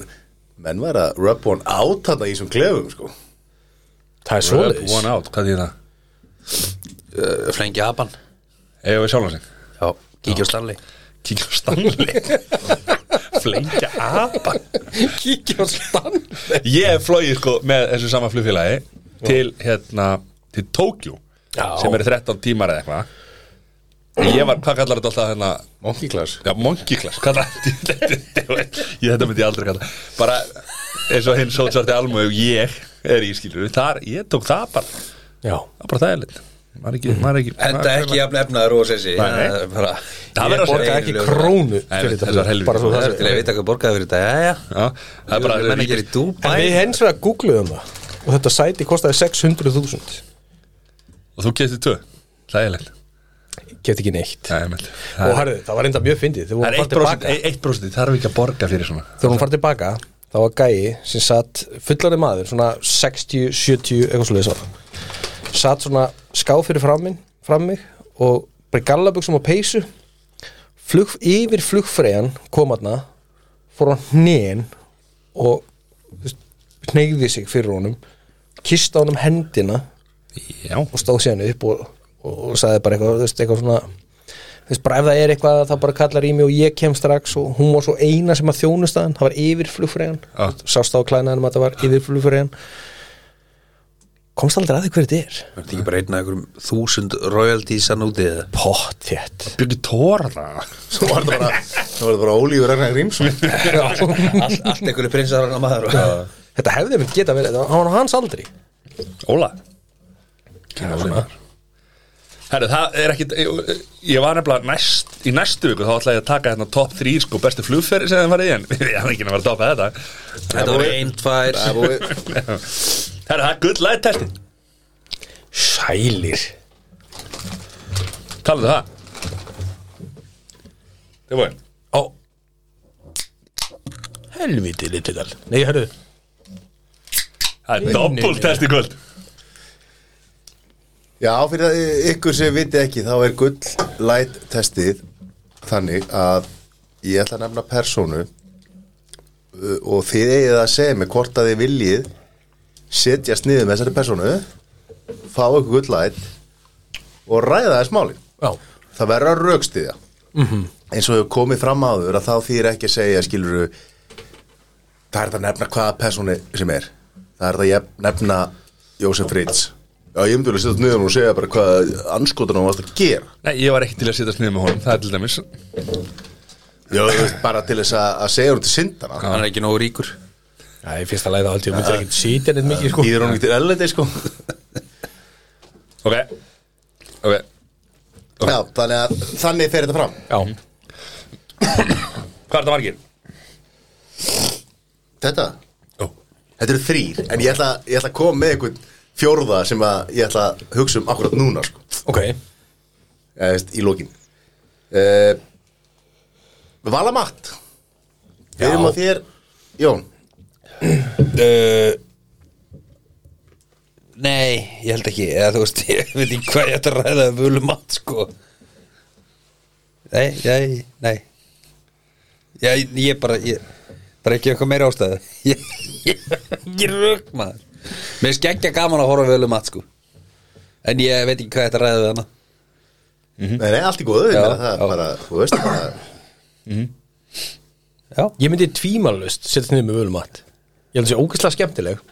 [SPEAKER 2] menn væri að rub one out þarna í þessum klefum sko
[SPEAKER 4] það er
[SPEAKER 1] Rub
[SPEAKER 4] svoleiðis
[SPEAKER 1] one out, hvað því það?
[SPEAKER 3] Uh, flengi apan
[SPEAKER 1] Eða við sjálfum sig
[SPEAKER 3] já, kíkja á Stanley
[SPEAKER 1] Kíkja á Stanley Flengja apan
[SPEAKER 4] kíkja á stand
[SPEAKER 1] Ég flói sko með þessu sama flugfélagi til hérna til Tókjú sem eru 13 tímar eða eitthvað Ég var, hvað kallar þetta alltaf hérna
[SPEAKER 2] Monkey Class
[SPEAKER 1] Já, monkey class, hvað það Ég þetta myndi ég aldrei kalla Bara eins og hinn sótsarti almöðu Ég er í skilur Þar, ég tók það bara Það
[SPEAKER 4] já,
[SPEAKER 1] var bara þægilegt Maður ekki,
[SPEAKER 3] Mhm.
[SPEAKER 1] maður ekki
[SPEAKER 3] enda
[SPEAKER 1] maður-
[SPEAKER 3] ekki jafn efnaður og sessi
[SPEAKER 1] Nei. Það
[SPEAKER 3] það
[SPEAKER 1] verður að
[SPEAKER 4] borga
[SPEAKER 1] segja
[SPEAKER 4] ekki
[SPEAKER 1] Nei,
[SPEAKER 4] krónu fyrir
[SPEAKER 1] þessar
[SPEAKER 4] þetta
[SPEAKER 1] helvíti.
[SPEAKER 4] bara svo
[SPEAKER 3] það
[SPEAKER 4] það
[SPEAKER 3] er til að vita hvað borgaði fyrir þetta já, já
[SPEAKER 1] Já, það er bara
[SPEAKER 3] Ég menn að gera í
[SPEAKER 4] En við
[SPEAKER 3] Dubai
[SPEAKER 4] hens vegar googluðum það og þetta sæti kostaði 600.000
[SPEAKER 1] Og þú getur tvö, þægilegt
[SPEAKER 4] get ekki neitt
[SPEAKER 1] Það er mell
[SPEAKER 4] og herðu, það var enda mjög fyndið
[SPEAKER 1] Það
[SPEAKER 4] þegar hún
[SPEAKER 1] er
[SPEAKER 4] fara tilbaka
[SPEAKER 1] 1% Það þarf ekki að borga fyrir svona
[SPEAKER 4] þegar hún fara tilbaka þá var gæi sem satt fullari maður svona 60, 70, eitthvað svo leiðis á satt svona ská fyrir fram, minn, fram mig og bara gallabuxum og peysu flug, yfir flugfregan kom aðna fór hann hnén og hnegði sig fyrir honum kista honum hendina
[SPEAKER 1] Já,
[SPEAKER 4] og stóð síðan upp og, og, og sagði bara eitthvað, þú veist, eitthvað svona þú veist, bara ef það er eitthvað þá bara kallar í mig og ég kem strax og hún var svo eina sem að þjónust að hann, það var yfirflugfræðan
[SPEAKER 1] Já.
[SPEAKER 4] sást á klænaðanum að það var yfirflugfræðan komst aldrei að því hver þetta er
[SPEAKER 3] Það er ekki bara einn af einhverjum þúsund royaltiesan úti eða
[SPEAKER 4] pott þétt
[SPEAKER 1] byggjum tóra það
[SPEAKER 2] Svo var það bara, svo var það bara Ólífur Ragnar Grímsson
[SPEAKER 3] Allt, allt einhverju prinsar hann maður
[SPEAKER 4] þetta hefði mynd geta verið, það var á hans aldri
[SPEAKER 1] Óla Herru, það er ekkit ég- Ég var nefnilega næst, í næstu viku þá ætla ég að taka hérna top 3 sko bestu flugferði sem það var í en ég hafði ekki nefnilega að toppa þetta
[SPEAKER 3] Þetta voru einn, tvær
[SPEAKER 1] Herru, það er gull light testin
[SPEAKER 4] sælir
[SPEAKER 1] Talaðu um það Það er búin
[SPEAKER 4] Ó Helviti litið all Nei, hörðu
[SPEAKER 1] Það er doppul test í kvöld
[SPEAKER 2] Já, fyrir að ykkur sem viti ekki þá er gull light testið þannig að ég ætla að nefna persónu uh, og þið eigið að segja mig hvort að þið viljið setjast niður með þessari persónu fá ykkur gull light og ræða þess máli
[SPEAKER 4] Já,
[SPEAKER 2] það verður að raukstiðja eins og hefur komið fram áður að þá þýðir ekki að segja skiluru það er það að nefna hvaða persónu sem er það er það að nefna Jósef Fritz Já, ég myndi vel að setja þetta niður og segja bara hvað anskotunum var að gera
[SPEAKER 1] Nei, ég var ekki til að setja sniðum með honum Það er til dæmis
[SPEAKER 2] Já, þú veist, bara til þess að, að segja hún til syndana
[SPEAKER 3] Hann er ekki nógu ríkur
[SPEAKER 4] það er fyrsta læða aldrei, þú myndir ekki sýtja neitt mikið sko
[SPEAKER 2] Íður hún ekki til ellendi, sko
[SPEAKER 1] Ok Ok
[SPEAKER 2] Já, þannig að þannig fer þetta fram
[SPEAKER 4] Já,
[SPEAKER 1] Hvað er það margir?
[SPEAKER 2] Þetta,
[SPEAKER 1] Ó
[SPEAKER 2] þetta eru þrýr En ég ætla, ég ætla að koma með einhvern fjórða sem að ég ætla að hugsa um akkurat núna, sko
[SPEAKER 4] ok
[SPEAKER 2] eða veist, í lokin uh, Valamatt Við erum á þér Jón,
[SPEAKER 3] Uh, nei, ég held ekki eða þú veist, ég veit ekki hvað ég ætti að ræða um völumatt sko Nei, nei, nei Já, ég, ég bara ég, bara ekki eitthvað meira ástæðu Ég, ég, ég rök maður Mér er skeggja gaman að horfa á völumatt sko En ég veit ekki hvað ég ætti að ræða við hana
[SPEAKER 2] Nei, nei, allt í góðu,
[SPEAKER 3] Já,
[SPEAKER 2] ég meina það
[SPEAKER 3] já.
[SPEAKER 2] er bara, þú veist bara,
[SPEAKER 3] Já,
[SPEAKER 4] Ég myndi tvímalust setja niður með völumatt Ég held að sé ógeðslega skemmtileg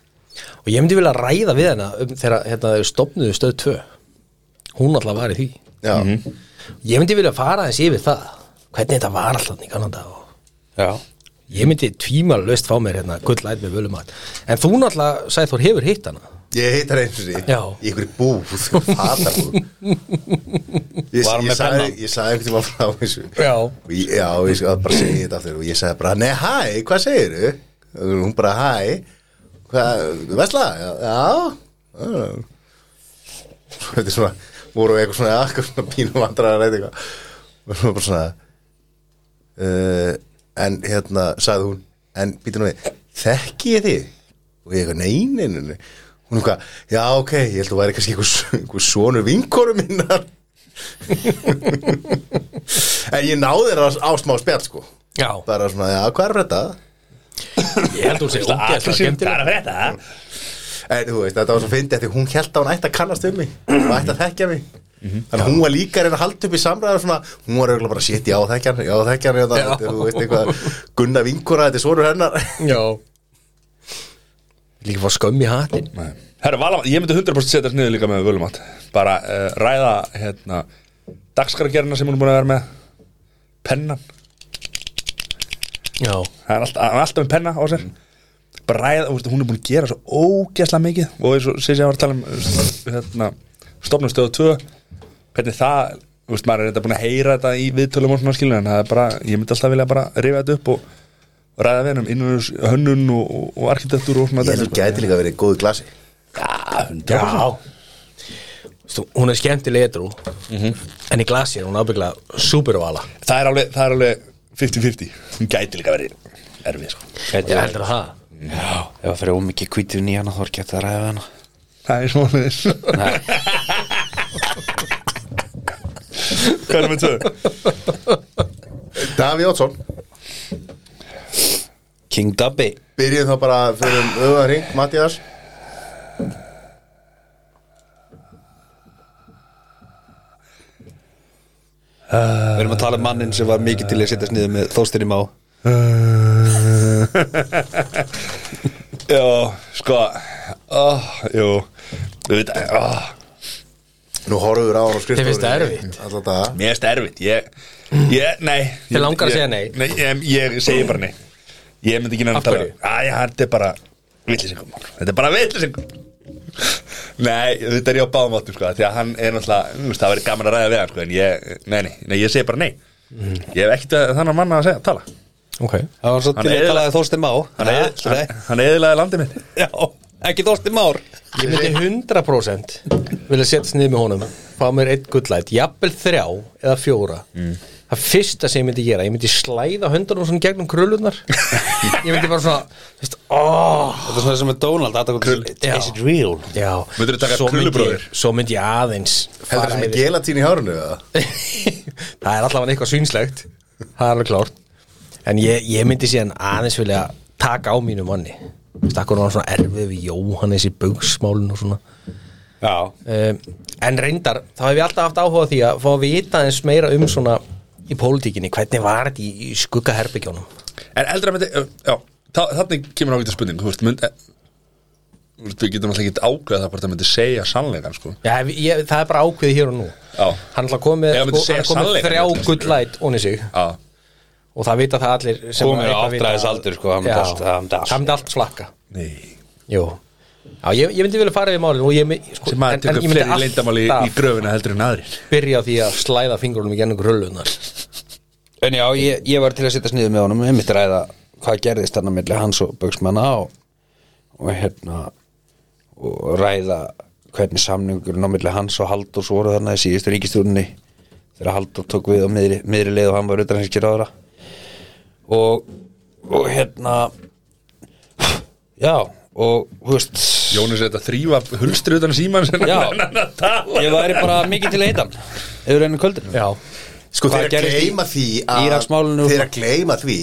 [SPEAKER 4] Og ég myndi vilja ræða við hana um þegar hérna, þau stopnuðu stöð 2 Hún alltaf var í því
[SPEAKER 2] já,
[SPEAKER 3] Mhm.
[SPEAKER 4] Ég myndi vilja fara aðeins yfir það Hvernig þetta var alltaf í kannanda og
[SPEAKER 3] já,
[SPEAKER 4] Ég myndi tvímalust fá mér hérna gullæð með völumatt En þú náttúrulega, Sæþór, hefur hitt hana
[SPEAKER 2] ég heit það eins og því
[SPEAKER 4] Já.
[SPEAKER 2] Í ykkur búð, fatarbúð Ég,
[SPEAKER 3] Var
[SPEAKER 2] ég,
[SPEAKER 3] með
[SPEAKER 2] sagði,
[SPEAKER 3] penna.
[SPEAKER 2] ég sagði einhvern tímann frá þessu
[SPEAKER 4] Já.
[SPEAKER 2] Og ég, Já, ég skal bara segja þetta aftur Og ég sagði bara, nei, hæ, hvað segirðu? Og Hún bara, hæ Hvað, vesla? Já, já já. Svo Þetta er svona, voru eitthvað svona Akkur svona pínum andra að reyta eitthvað Og svo bara svona uh, En hérna, sagði hún En býtum við, þekki ég þig? Og ég eitthvað, nei, nei, nei, nei Hún eitthvað, já, ok, ég held að þú væri kannski einhver, einhver sonur vinkoru minnar En ég náði þér á, á smá spjall, sko
[SPEAKER 4] Já,
[SPEAKER 2] Bara svona, já, hvað er þetta?
[SPEAKER 4] ég held hún sé ógeðslega skemmtileg
[SPEAKER 1] að frétta það?
[SPEAKER 2] En þú veist, þetta var svo fyndið Því hún held að hún ætti að kannast um mig Og ætti að þekkja mig Þannig hún var líka að reyna að halda upp í samræður svona, hún var auðvitað bara shit, já þekkjan, já þekkjan, já það,
[SPEAKER 4] Já.
[SPEAKER 2] þú veist eitthvað, Gunna vinkora, þetta er svonur hennar.
[SPEAKER 4] Já Líka fá skömm í hatin
[SPEAKER 1] Herra, Valamat, ég myndi 100% setjast niður líka með Völumat bara uh, ræða hérna, dagskaragerina sem hún er búin að vera með pennan
[SPEAKER 4] Já,
[SPEAKER 1] það er alltaf, hann er alltaf með penna á sér bara ræða, og, hún er búin að gera svo ógeðslega mikið og eins og sér sem var að tala um eh, hérna, stofnum stöðu 2 hvernig það, þú veist, maður er þetta búin að heyra þetta í viðtölum og svona skilur en það er bara, ég myndi alltaf vilja bara rifja þetta upp og og ræða við hennum innur hönnun og, og- og arkitektur og svona
[SPEAKER 2] Ég held þú gæti líka verið í góðu glasi.
[SPEAKER 1] Já,
[SPEAKER 4] Þú, hún er skemmtileg edru En í glasi er hún ábyggla supervala
[SPEAKER 1] það er alveg, það er alveg 50-50 hún gæti líka verið erfið sko.
[SPEAKER 3] Gæti
[SPEAKER 4] Ég
[SPEAKER 3] verið.
[SPEAKER 4] heldur það
[SPEAKER 3] já Ef það fyrir ómikið kvítin í hana þá er gett að ræða við hana
[SPEAKER 1] það er svona þess hvað er með tvö?
[SPEAKER 2] Daví Ótsson,
[SPEAKER 3] King Dabbi
[SPEAKER 2] byrjum þá bara fyrir um auðan ring, Mattias.
[SPEAKER 3] Við erum að tala um mannin sem var mikið til að setja sniðið með þóstinni má
[SPEAKER 1] já, sko oh, jú, þú veit oh,
[SPEAKER 2] Nú horfum við á hann á skrifstofunni.
[SPEAKER 4] finnst það erfitt?
[SPEAKER 2] Alla daga.
[SPEAKER 1] mér er erfið ég, ég, nei
[SPEAKER 4] Þig langar að
[SPEAKER 1] Ég-
[SPEAKER 4] segja nei?
[SPEAKER 1] nei ég, ég segi bara nei ég myndi ekki nefn
[SPEAKER 4] Af
[SPEAKER 1] að tala
[SPEAKER 4] hverju?
[SPEAKER 1] Æ, þetta er bara villisengum þetta er bara villisengum Nei, þetta er ég á báðum áttum sko Því að hann er náttúrulega, þú veist, það væri gaman að ræða við hann sko En ég, nei, nei, nei ég segi bara nei
[SPEAKER 4] Mm.
[SPEAKER 1] Ég hef ekkert að þannig manna að segja, tala
[SPEAKER 4] Ok
[SPEAKER 3] Það var svo
[SPEAKER 1] Hann
[SPEAKER 3] til að
[SPEAKER 1] eyðilagði-
[SPEAKER 3] tala við þóstinni má
[SPEAKER 1] Hann,
[SPEAKER 3] Ha?
[SPEAKER 1] eð,
[SPEAKER 3] Nei.
[SPEAKER 1] hann, hann eðlaði landið mitt
[SPEAKER 3] Já, ekki þóstinni már
[SPEAKER 4] Ég myndi 100% vilja setja niður með honum fá mér einn gullæt, jafnvel þrjá eða fjóra það fyrsta sem ég myndi gera, ég myndi slæða höndunum svona gegnum krullunar ég myndi bara svona þú veist, oh,
[SPEAKER 3] Þetta er svona sem með Donald þetta kom-
[SPEAKER 4] Já.
[SPEAKER 3] Is it real?
[SPEAKER 4] já,
[SPEAKER 1] Myndirðu taka
[SPEAKER 4] svo, myndi ég,
[SPEAKER 1] krullubróðir?
[SPEAKER 4] svo myndi ég aðeins
[SPEAKER 2] Heldur
[SPEAKER 4] fara
[SPEAKER 2] það sem er
[SPEAKER 4] yfir-
[SPEAKER 2] gelatín í hárunu eða?
[SPEAKER 4] það er allavega eitthvað sýnslegt það er alveg klárt en ég, ég myndi síðan aðeins vilja taka á mínu manni stakkur hann svona erfið við Jóhannes í bugsmálun og svona
[SPEAKER 3] Já
[SPEAKER 4] um, en reyndar, þá hef ég alltaf haft áhuga á því að fá að vita eins meira um svona í pólitíkinni, hvernig var þetta í, í skuggaherbyggjónum
[SPEAKER 1] En eldra myndi, já, þa- þannig kemur ágætið spurning Þú veist, myndi þú veist, Við getum alltaf ekki ákveða það hvort það myndi segja sannleikan sko
[SPEAKER 4] Já, ef- ég, það er bara ákveðið hér og nú
[SPEAKER 1] Já.
[SPEAKER 4] hann ætla að koma með,
[SPEAKER 1] Ef
[SPEAKER 4] sko,
[SPEAKER 1] hann myndi
[SPEAKER 4] hann
[SPEAKER 1] segja
[SPEAKER 4] er komið
[SPEAKER 1] sannleikann,
[SPEAKER 4] þrjá
[SPEAKER 1] þetta er-
[SPEAKER 4] gullæt onni sig
[SPEAKER 1] Já,
[SPEAKER 4] og það vita það allir sem
[SPEAKER 3] Komið
[SPEAKER 4] að eitthvað
[SPEAKER 3] á
[SPEAKER 4] vita.
[SPEAKER 3] áttræðisaldur, sko, hann myndi
[SPEAKER 4] Já.
[SPEAKER 3] allt- hann myndi allt-
[SPEAKER 4] hann myndi allt flakka
[SPEAKER 1] nei
[SPEAKER 4] Jú. Já, ég, ég myndi vilja fara yfir málinu og ég, my- sko,
[SPEAKER 1] Sem maður tekur fleiri leindamáli í, í gröfuna heldur en aðrir
[SPEAKER 4] byrja á því að slæða fingrunum í gennum grullunar
[SPEAKER 3] En já, ég, ég var til að setja sniðið með honum með mitt ræða hvað gerðist hann að milli hans og Bugsmanna og, og hérna og ræða hvernig samningurinn á milli hans og Halldórs voru þarna í síðustu ríkistúrunni þegar Halldór tók við á miðri, miðri leið og hann var utanhanskir ára og, og hérna já og þú veist
[SPEAKER 1] Jónas er þetta að þrýfa hulstri utan síman sem
[SPEAKER 3] Já.
[SPEAKER 1] hann að tala
[SPEAKER 3] ég væri bara mikið til að heita hann yfir einu kvöldinu
[SPEAKER 4] Já,
[SPEAKER 2] Sko
[SPEAKER 3] Hvað
[SPEAKER 2] þeir að
[SPEAKER 3] gerðist í-
[SPEAKER 2] gleyma því að
[SPEAKER 3] Íraksmálinu?
[SPEAKER 2] Þeir að gleyma því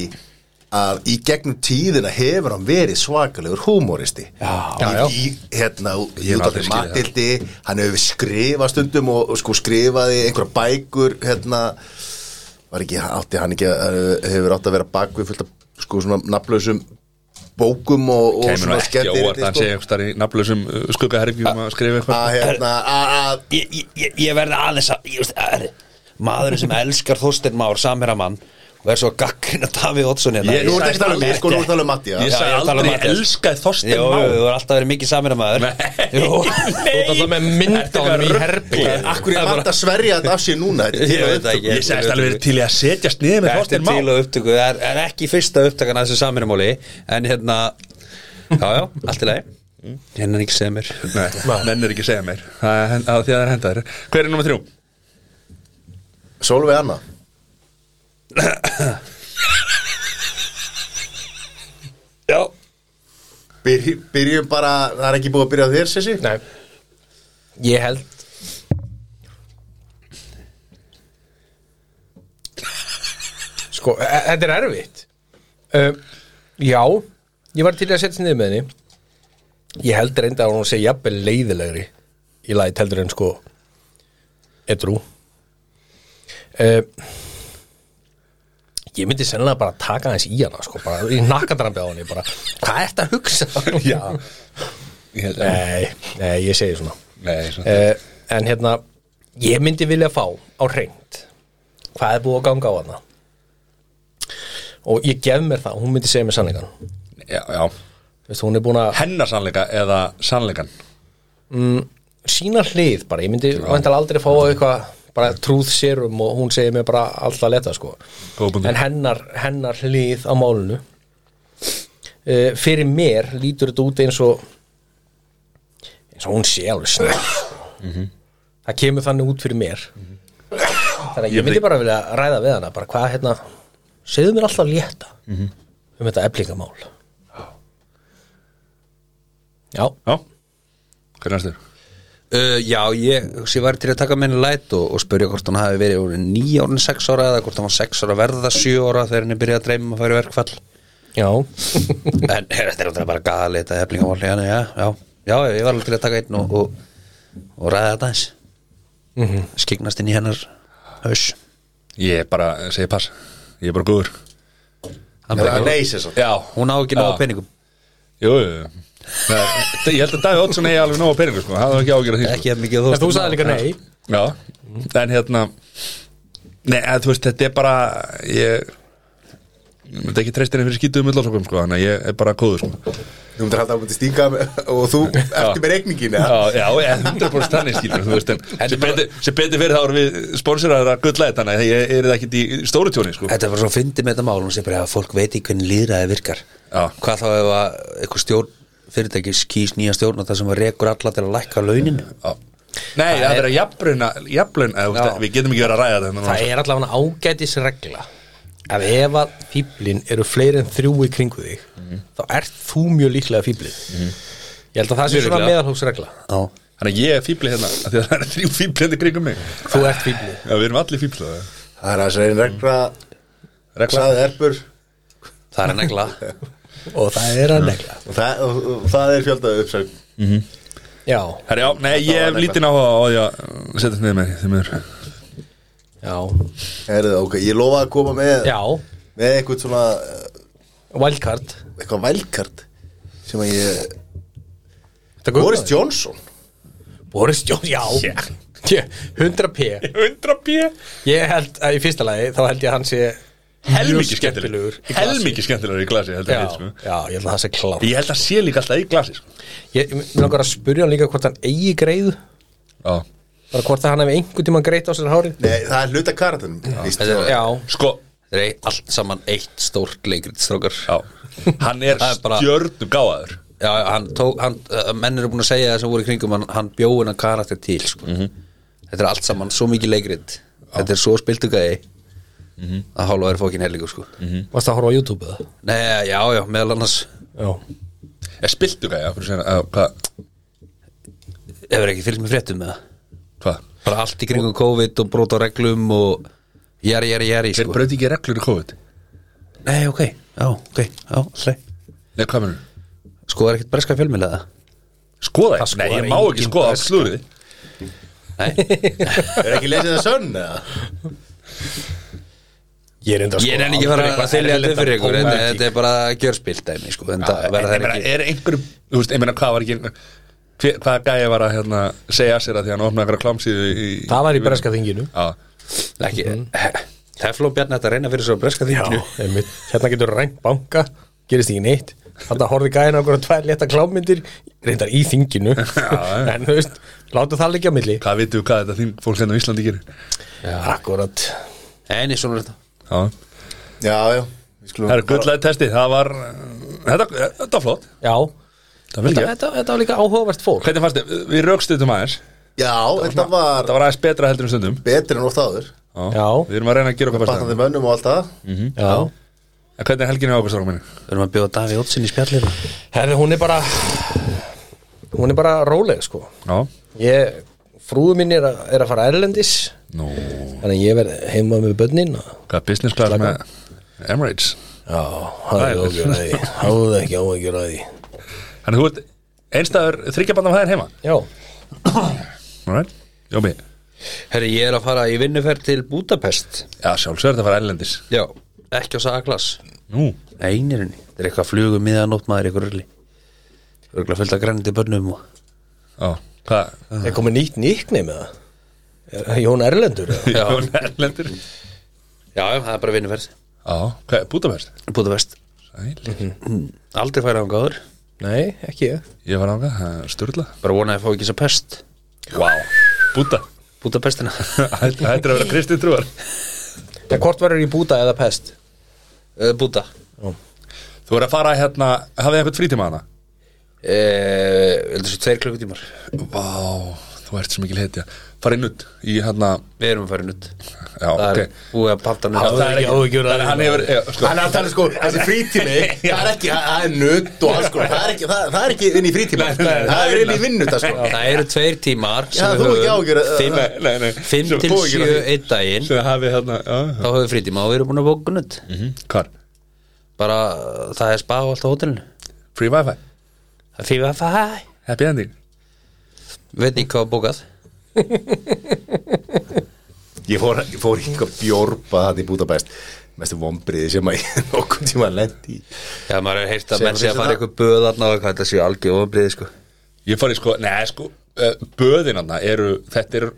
[SPEAKER 2] að í gegnum tíðina hefur hann verið svakalegur húmóristi
[SPEAKER 4] Já.
[SPEAKER 2] í,
[SPEAKER 4] Já, já.
[SPEAKER 2] í, hérna,
[SPEAKER 1] Ég hef aldrei
[SPEAKER 2] Júdóttir
[SPEAKER 1] skilið það.
[SPEAKER 2] Matildi hann hefur skrifað stundum og, og sko skrifaði einhverja bækur hérna var ekki, átti hann ekki að, hefur átt að vera bakvið fullt af sko svona nafnlausum bókum og, og
[SPEAKER 1] Kæmur nú
[SPEAKER 2] svona
[SPEAKER 1] ekki á
[SPEAKER 2] skemmtir
[SPEAKER 1] orð
[SPEAKER 3] sko.
[SPEAKER 1] Hann segja einhvers þar í nafnlausum skuggaherfingjum að skrifa eitthvað
[SPEAKER 2] að hérna að að-
[SPEAKER 3] ég, ég- ég, ég verði aðeins að ég, veist, að- maðurinn sem elskar Þorstein Már samherramann og er svo gaggrinn að Davíð Oddsson hérna.
[SPEAKER 1] Ég-
[SPEAKER 2] nú erum ekki að tala um mig, sko, nú erum að tala um Matti
[SPEAKER 1] Ég
[SPEAKER 3] Já,
[SPEAKER 1] sagði
[SPEAKER 3] ég tala um
[SPEAKER 1] aldrei
[SPEAKER 3] Matthías.
[SPEAKER 1] elskaði Þorstein
[SPEAKER 3] Jú,
[SPEAKER 1] Má
[SPEAKER 3] þú er alltaf verið mikið samherramaður Jú,
[SPEAKER 4] Þú ert alltaf með mynd á
[SPEAKER 1] Ertu
[SPEAKER 4] honum í
[SPEAKER 1] eitthvað
[SPEAKER 4] herbyggja
[SPEAKER 1] ruglaður?
[SPEAKER 2] Akkur er Matt að sverja þetta af sér núna Þetta
[SPEAKER 3] Ég
[SPEAKER 2] er til að
[SPEAKER 3] veit það
[SPEAKER 2] upptöku.
[SPEAKER 3] ekki.
[SPEAKER 1] Ég sagðist alveg verið til í að setjast niður með
[SPEAKER 3] Þetta er
[SPEAKER 1] Þorstein Má
[SPEAKER 3] til og upptöku, það er, er ekki fyrsta upptakan að þessu samherramáli En hérna, já, já, allt í lagi Hennan ekki segja mér
[SPEAKER 1] Nei, menn er ekki að segja mér Það er hen- að því að það er hendaður Hver er nummer þrjú?
[SPEAKER 2] Sólveig Anna
[SPEAKER 3] Já,
[SPEAKER 2] Byrj- Byrjum bara, það er ekki búið að byrja á þér, Sessi
[SPEAKER 4] Nei Ég held Sko, e- e- þetta er erfitt um, Já Ég var til að setja niður með henni Ég held reynda að hún sé jafnvel leiðilegri Í lagi heldur en sko Edrú um, Ég myndi sennilega bara taka hans í hana sko, bara í nakkadrambi á henni bara, hvað ert að hugsa?
[SPEAKER 1] Já Ég held að
[SPEAKER 4] Nei, nei, ég segi svona
[SPEAKER 1] Nei, svona
[SPEAKER 4] uh, En hérna Ég myndi vilja fá á reynd Hvað er búið að ganga á hana Og ég gef mér það Hún myndi segja mér sannleikan
[SPEAKER 1] Já, já
[SPEAKER 4] Veist, Hún er búin að
[SPEAKER 1] Hennar sannleika eða sannleikan
[SPEAKER 4] sína hlið bara Ég myndi vantilega aldrei fá eitthvað bara trúð sérum og hún segir mér bara alltaf leta sko
[SPEAKER 1] Góð punktur.
[SPEAKER 4] en hennar, hennar hlið á málinu uh, fyrir mér lítur þetta út eins og eins og hún sé alveg snöð Mhm. það kemur þannig út fyrir mér þannig að Mhm. ég myndi bara vilja ræða við hana bara hvað hérna, segðu mér alltaf létta um þetta eflingamál já,
[SPEAKER 1] Já Hver er næstur?
[SPEAKER 3] uh, já ég, ég var til að taka minni læt og, og spyrja hvort hann hafi verið úr nýja árin sex ára eða hvort hann var sex ára að verða sjö ára þegar henni byrjaði að dreyma um að færa verkfall
[SPEAKER 4] já
[SPEAKER 3] en eh, þetta er náttúrulega bara gali þetta heflingamál já, já, já, já, ég var alveg til að taka einn og, og, og ræða þetta eins skiknast inn í hennar haus
[SPEAKER 1] Ég bara segi pass Ég er bara góður
[SPEAKER 3] Hann
[SPEAKER 2] Eða
[SPEAKER 3] bara-
[SPEAKER 2] Nei, Sessi
[SPEAKER 1] Já
[SPEAKER 3] hún á ekki
[SPEAKER 1] Já.
[SPEAKER 3] nóg af peningum
[SPEAKER 1] Jú, jú, jú Nei, þetta- Ég held að Davíð Oddsson eigi alveg nóg að peningu sko Það er ekki ágjörð að því sko.
[SPEAKER 3] ekki að mikið
[SPEAKER 4] en þú sagði líka nei
[SPEAKER 1] Já, en hérna Nei, að, þú veist, þetta er bara Ég Ég myndi ekki treyst henni fyrir skýtuðum ullásókum sko Þannig að ég er bara kóður sko
[SPEAKER 2] Þú myndir halda að myndi stinga með- og þú eftir með reikningin eða?
[SPEAKER 1] Já, já, ég- 100% þannig skilur þú veist, en sem betur, sem betur fyrir þá erum við sponsorar að gulla þetta, þannig að ég er það ekki í stóru tjóni, sko
[SPEAKER 3] Þetta var svo fyndið með þetta mál hún sé bara að fólk veit ekki hvernig líðræði virkar
[SPEAKER 1] Já.
[SPEAKER 3] Hvað þá ef að eitthvað stjórn fyrirtæki skýs nýja stjórn og það sem að rekur alla til að lækka launin
[SPEAKER 1] Já. Nei, það er að jafnbruna, jafnbrun eða, þú veist,
[SPEAKER 3] Já.
[SPEAKER 1] við getum ekki verið að ræða þetta núna,
[SPEAKER 4] Það er allavega ágætis regla að ef að fíblin eru fleiri en þrjú í kringu þig þá ert þú mjög líklega fíblin ég held að það sé
[SPEAKER 1] Mjög
[SPEAKER 4] svona
[SPEAKER 1] líklega.
[SPEAKER 4] meðalhófsregla
[SPEAKER 3] Já,
[SPEAKER 1] sko. Þannig að ég er fíbli hérna, af því að það er þrjú fíblindi kringum mig
[SPEAKER 4] þú ert fíblin
[SPEAKER 1] Já, við erum allir fíbli það er.
[SPEAKER 2] Það er aðeins reyn regla
[SPEAKER 1] Regla,
[SPEAKER 2] Klaði erpur
[SPEAKER 3] það er negla
[SPEAKER 4] og það er að negla
[SPEAKER 2] og það, og, og það er fjöldaðu uppsögn
[SPEAKER 4] já,
[SPEAKER 1] herri, já, nei, ég
[SPEAKER 2] var
[SPEAKER 1] hef
[SPEAKER 2] regla.
[SPEAKER 1] lítinn á á því að uh, setjast niður með því miður
[SPEAKER 4] já,
[SPEAKER 2] Herðu, ok, ég lofa að koma með
[SPEAKER 4] já
[SPEAKER 2] með eitthvað svona eh,
[SPEAKER 4] wildcard
[SPEAKER 2] eitthvað vælkart sem að ég
[SPEAKER 4] Þetta guðnaði.
[SPEAKER 2] Boris Johnson
[SPEAKER 4] Boris Johnson, já yeah. 100 p
[SPEAKER 1] 100 p,
[SPEAKER 4] ég held að í fyrsta lagi þá held ég að hann sé
[SPEAKER 1] helmikið
[SPEAKER 4] mjög
[SPEAKER 1] skemmtilegur
[SPEAKER 4] í glasi.
[SPEAKER 1] Helmikið skemmtilegur í glasi, heldur
[SPEAKER 4] já,
[SPEAKER 1] við, sko
[SPEAKER 4] já, ég held að það sé klá
[SPEAKER 1] Ég held að sé líka alltaf í glasi, sko
[SPEAKER 4] ég vil langar að spyrja hann líka hvort hann eigi greiðu
[SPEAKER 1] Já
[SPEAKER 4] bara hvort að hann hefði einhvern tímann greiðt á sér hárið
[SPEAKER 2] Nei, það er hluta karatunum
[SPEAKER 4] já,
[SPEAKER 1] Sko,
[SPEAKER 3] Það er allt saman eitt stórt leikrit strókar
[SPEAKER 1] Já, hann er,
[SPEAKER 3] Það er bara-
[SPEAKER 1] stjörnum gáðaður
[SPEAKER 3] Já, já, hann tók, hann, uh, menn eru búin að segja það sem voru í kringum, hann, hann bjóði hennar karakter til sko.
[SPEAKER 1] Mhm.
[SPEAKER 3] Þetta er allt saman svo mikið leikrit Þetta er svo spiltugæði
[SPEAKER 1] Mhm.
[SPEAKER 3] að hálfa er fókin hellingu sko.
[SPEAKER 4] varst að horfa á YouTube eða?
[SPEAKER 3] Nei, já, já, meðal annars
[SPEAKER 4] Já,
[SPEAKER 1] Er spiltu gæja, fyrir að segja að, hvað,
[SPEAKER 3] hefur ekki fylgst með fréttum með það
[SPEAKER 1] hvað
[SPEAKER 3] bara allt í kringum COVID og brot á reglum og jari, jari, jari
[SPEAKER 1] Þeir
[SPEAKER 3] sko.
[SPEAKER 1] brauti ekki reglur í COVID
[SPEAKER 3] Nei, ok, Já, ok, já, hlei
[SPEAKER 1] Nei, hvað mennur?
[SPEAKER 3] Sko er ekkert breska fjölmiðlega
[SPEAKER 1] Skoða
[SPEAKER 3] Það
[SPEAKER 1] ekki? Nei, ég
[SPEAKER 3] skoðar
[SPEAKER 1] má ekki
[SPEAKER 3] enginn
[SPEAKER 1] skoða allt
[SPEAKER 3] breska.
[SPEAKER 1] slúrið
[SPEAKER 2] Er ekki lesið það sönn eða?
[SPEAKER 6] Ég er enda
[SPEAKER 1] Sko,
[SPEAKER 4] sko
[SPEAKER 3] Ég er enn ekki fara að þylja þetta fyrir ykkur en þetta er bara gjörspilt dæmi sko, en það verða
[SPEAKER 1] Ég
[SPEAKER 3] það
[SPEAKER 1] meina,
[SPEAKER 3] ekki
[SPEAKER 1] Er einhverjum, þú veist, ég meina, hvað var ekki hver- Hvaða gæja var að hérna, segja sér að því að hann opnaði einhverja klámsíðu í, í
[SPEAKER 4] Það var í breska þinginu
[SPEAKER 1] Já,
[SPEAKER 3] ekki Tefló Bjarni ætti að reyna fyrir svo breska þinginu
[SPEAKER 4] einmitt. Hérna getur rænt banka gerist ekki neitt Þetta horfði gæðin á okkur tvær létta klámyndir reyndar í þinginu
[SPEAKER 1] já.
[SPEAKER 4] en þú veist, látu það liggja á milli
[SPEAKER 1] hvað vitum við hvað þetta þín fólk hérna á Íslandi gerir
[SPEAKER 4] Akkurat
[SPEAKER 3] En eins og nú er þetta
[SPEAKER 1] Já,
[SPEAKER 2] Já, já Við skulum
[SPEAKER 1] það er gullæði testi, það var uh, Þetta, þetta var flott
[SPEAKER 4] Já,
[SPEAKER 1] Það vildi
[SPEAKER 4] þetta,
[SPEAKER 1] ég
[SPEAKER 4] þetta, þetta var líka áhugavert fólk
[SPEAKER 1] Hvernig fannst þið, við raukstuðum aðeins
[SPEAKER 2] Já, þetta var
[SPEAKER 1] Þetta var aðeins betra heldur um stundum
[SPEAKER 2] betri en oft áður
[SPEAKER 1] Já.
[SPEAKER 4] Já.
[SPEAKER 1] Við erum að reyna að gera okkar besta
[SPEAKER 2] Batnandi mönnum og allt það
[SPEAKER 4] Já.
[SPEAKER 1] En Hvernig er helginni á okkur strákum minni?
[SPEAKER 3] Við erum að bjóða Davíð Ótsin í spjallinu
[SPEAKER 4] Herði, hún er bara hún er bara róleg sko
[SPEAKER 1] Já
[SPEAKER 4] ég, frúðu mín er, a, er að fara erlendis
[SPEAKER 1] Nú,
[SPEAKER 4] þannig að ég verð heima með bönnin og
[SPEAKER 1] hvað er business class með Emirates?
[SPEAKER 4] Já, hafðu
[SPEAKER 1] Það er-
[SPEAKER 4] ágjör að því hafðu ekki ágjör að því
[SPEAKER 1] Þannig þú ert einstæður þryggjabandan af þær heima
[SPEAKER 4] Já,
[SPEAKER 1] Alright, Jómi
[SPEAKER 3] Herri, ég er að fara í vinnuferð til Budapest
[SPEAKER 1] Já, sjálfsögur það fara ellendis
[SPEAKER 3] Já, ekki á Saglas
[SPEAKER 1] Nú,
[SPEAKER 3] Einirinni, þetta er eitthvað flugum miðanótt maður eitthvað rulli Örgulega fullt að grænandi börnum og
[SPEAKER 1] á, hvað?
[SPEAKER 4] er komið nýtt nýkni með það Er- Jón Erlendur eða?
[SPEAKER 1] Já, ellendir Já,
[SPEAKER 3] Já, já, það er bara vinnuferð
[SPEAKER 1] hvað, Budapest?
[SPEAKER 3] Budapest
[SPEAKER 1] Sæl
[SPEAKER 3] Aldrei færi án gáður
[SPEAKER 4] Nei, ekki ég
[SPEAKER 1] Ég var ánga, það er sturla
[SPEAKER 3] Bara vonaði að fá ekki svo pest
[SPEAKER 1] Vá, Buda
[SPEAKER 3] Budapestina
[SPEAKER 1] Þetta er að vera kristið trúar
[SPEAKER 4] En hvort verður í Búta eða Pest?
[SPEAKER 3] uh, Buda
[SPEAKER 1] Þú er að fara hérna, hafið þið eitthvað frítíma hana?
[SPEAKER 3] Þetta er svo Eh, tveir klukkutímar
[SPEAKER 1] Vá, þú ert sem ekki hetja Farið nutt í hérna
[SPEAKER 3] Við erum að fara nutt
[SPEAKER 1] Já,
[SPEAKER 3] Það er
[SPEAKER 1] ok
[SPEAKER 3] búið að panta nutt
[SPEAKER 1] Það er ekki áhugjur að hann hefur já, sko,
[SPEAKER 2] Hann er að tala sko, þessi frítími Það er ekki, það er nutt og alls sko Það er ekki, það, það er ekki inn í frítíma Það er inn í vinnu það sko
[SPEAKER 3] Það eru tveir tímar sem
[SPEAKER 2] Já,
[SPEAKER 3] við
[SPEAKER 2] þú ekki
[SPEAKER 3] höfum
[SPEAKER 2] ágjör að-
[SPEAKER 3] fimm-
[SPEAKER 1] Nei, nei, nei.
[SPEAKER 3] Fimm
[SPEAKER 1] Sem
[SPEAKER 3] til
[SPEAKER 1] þú ekki
[SPEAKER 3] sjö
[SPEAKER 1] að-
[SPEAKER 3] einn daginn
[SPEAKER 1] Sem hafið hérna, já,
[SPEAKER 3] Þá höfum við frítíma og við erum búin að bóka nutt
[SPEAKER 1] já Mhm. Hvar?
[SPEAKER 3] Bara uh, það er spa á allt á hótelinu
[SPEAKER 1] Free Wi-Fi,
[SPEAKER 3] Það er fyrir að fæ
[SPEAKER 1] happy ending
[SPEAKER 3] Veit ekki hvað var bókað
[SPEAKER 2] Ég fór, ég fór í eitthvað bjórpa það í Budapest Mestu vombriði sem að ég nokkuð tíma lendi í
[SPEAKER 3] Já, maður er heyrt að
[SPEAKER 2] Segðu
[SPEAKER 3] menn sé
[SPEAKER 2] þessi
[SPEAKER 3] að fara
[SPEAKER 2] það.
[SPEAKER 3] eitthvað böð þarna og hvað þetta séu algjör ofbriði sko
[SPEAKER 1] Ég fari sko, neða sko eh, Böðin hann eru, þetta eru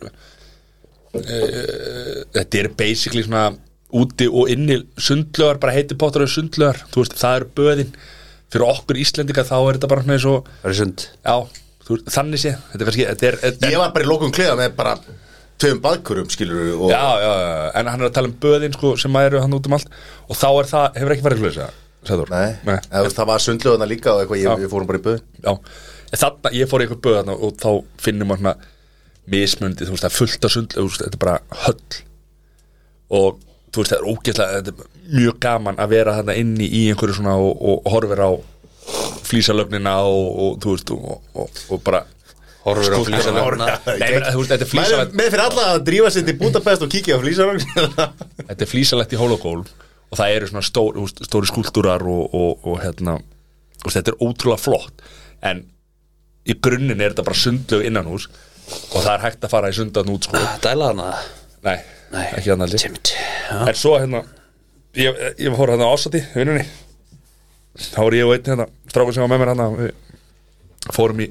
[SPEAKER 1] uh, Þetta eru basically svona úti og inni sundlögar, bara heiti pottar og sundlögar, þú veist, það eru böðin fyrir okkur Íslendinga þá er þetta bara svona eins og,
[SPEAKER 3] Það er sund
[SPEAKER 1] já, þú veist, þannig sé þetta er kannski, þetta er, þetta er
[SPEAKER 2] Ég var bara í lókum kleða með bara Tveim baðkurum skilur og
[SPEAKER 1] já, já, já, en hann er að tala um böðin sko, sem að eru hann út um allt og þá er það, hefur ekki farið hlutið sagður,
[SPEAKER 2] Nei, Nei.
[SPEAKER 1] Nei.
[SPEAKER 2] Það, það var sundlöðuna líka og eitthvað,
[SPEAKER 1] Já.
[SPEAKER 2] ég, ég fórum bara í böð
[SPEAKER 1] já, en þarna, ég fór í eitthvað böð þarna og þá finnum maður svona mismundi, þú veist, það er fullt af sund þú veist, þetta er bara höll og þú veist, það er ógeðslega þetta er mjög gaman að vera þarna inni í einhverju svona og, og horfir á flísalöfnina og, og þú veist, og, og, og bara
[SPEAKER 3] Horfur á hérna.
[SPEAKER 1] Skúlptúrana.
[SPEAKER 3] flýsalöfna
[SPEAKER 1] Nei, ég meina, þú veist, þetta er
[SPEAKER 2] Mælum
[SPEAKER 1] flísalegt
[SPEAKER 2] með fyrir alla að drífa sér til Budapest og kíkja á flýsarang
[SPEAKER 1] þetta er flísalegt í hólagól og það eru svona stór, þú veist, stóri skúltúrar og, og, og hérna og þetta er ótrúlega flott en í grunninn er þetta bara sundlög innan hús og það er hægt að fara í sundan út sko
[SPEAKER 3] Dæla hana
[SPEAKER 1] nei,
[SPEAKER 3] Nei.
[SPEAKER 1] ekki þannig að
[SPEAKER 3] Timt
[SPEAKER 1] En svo hérna Ég, ég fór hérna á ásati, vinnunni Þá var ég og einn hérna Strákur sem var með mér hérna Við fórum í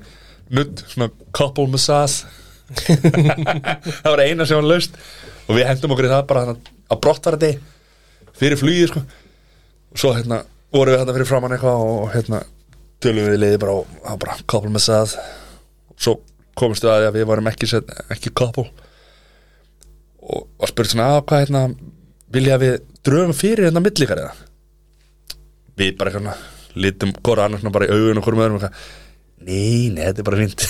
[SPEAKER 1] nudd, svona couple massage Það var eina sem var laust Og við hendum okkur í það bara hérna Á brottvarði Fyrir flugið sko Og svo hérna vorum við hérna fyrir framann eitthvað Og hérna tölum við leiði bara Og það var bara couple massage Svo komumst við að því að við varum ekki, set- ekki couple og, og spurt svona að hvað hérna vilja við drögum fyrir hérna millikar eða við bara hérna litum hvora annars svona bara í augun og hvorum öðrum eitthvað nei, nei, þetta er bara fínt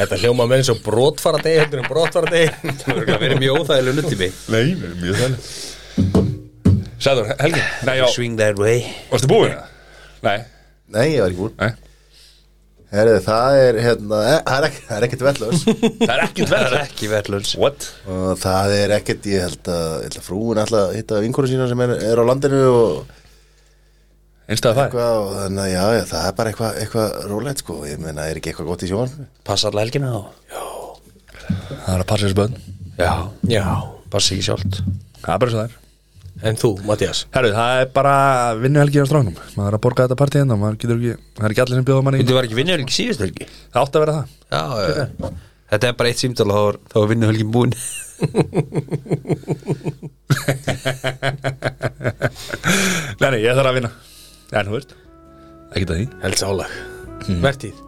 [SPEAKER 4] Þetta hljóma með eins og brotfara degi heldur en brotfara degi
[SPEAKER 3] Það verður mjög óþægileg nuttími
[SPEAKER 1] nei, við erum mjög þannig Sæður, Helgi, nei, já,
[SPEAKER 3] Swing that way
[SPEAKER 1] varstu búin eða? Nei,
[SPEAKER 2] Nei, ég var ekki búinn
[SPEAKER 1] nei,
[SPEAKER 2] Herðu, það er hérna, e, það er ekki- það er ekkert vellus
[SPEAKER 1] það er ekki
[SPEAKER 3] Það er
[SPEAKER 1] tverð
[SPEAKER 3] ekki verðlöns
[SPEAKER 1] What?
[SPEAKER 2] og það er ekkert, ég held að, ég held að frúin ætla að hitta vinkonum sína sem er, er á landinu og
[SPEAKER 1] einstæða fæ
[SPEAKER 2] Hvað, og þannig, að, já, já, það er bara eitthvað eitthva rólegt sko, ég meina, er ekki eitthvað gott í sjónvarpinu?
[SPEAKER 3] Passa alla helgina þá
[SPEAKER 1] Það er að passa þessu bönn
[SPEAKER 3] Já,
[SPEAKER 4] Já,
[SPEAKER 3] passa ekki sjálft
[SPEAKER 1] Það er bara svo það er
[SPEAKER 4] en þú, Mattias
[SPEAKER 1] Herru, það er bara vinnuhelgi á stráknum Maður er að borga þetta partí hérna og maður getur ekki Það er ekki allir sem bjóða manni í-
[SPEAKER 3] Þetta var ekki vinnuhelgi síðust helgi
[SPEAKER 1] Það átti að vera það
[SPEAKER 3] Já, já, já Þetta er bara eitt símtal og þá er- þá er vinnuhelgin búin
[SPEAKER 1] Nei, nei, ég þarf að vinna En þú veist Ekki það því
[SPEAKER 4] Helds álag, hmm. vertíð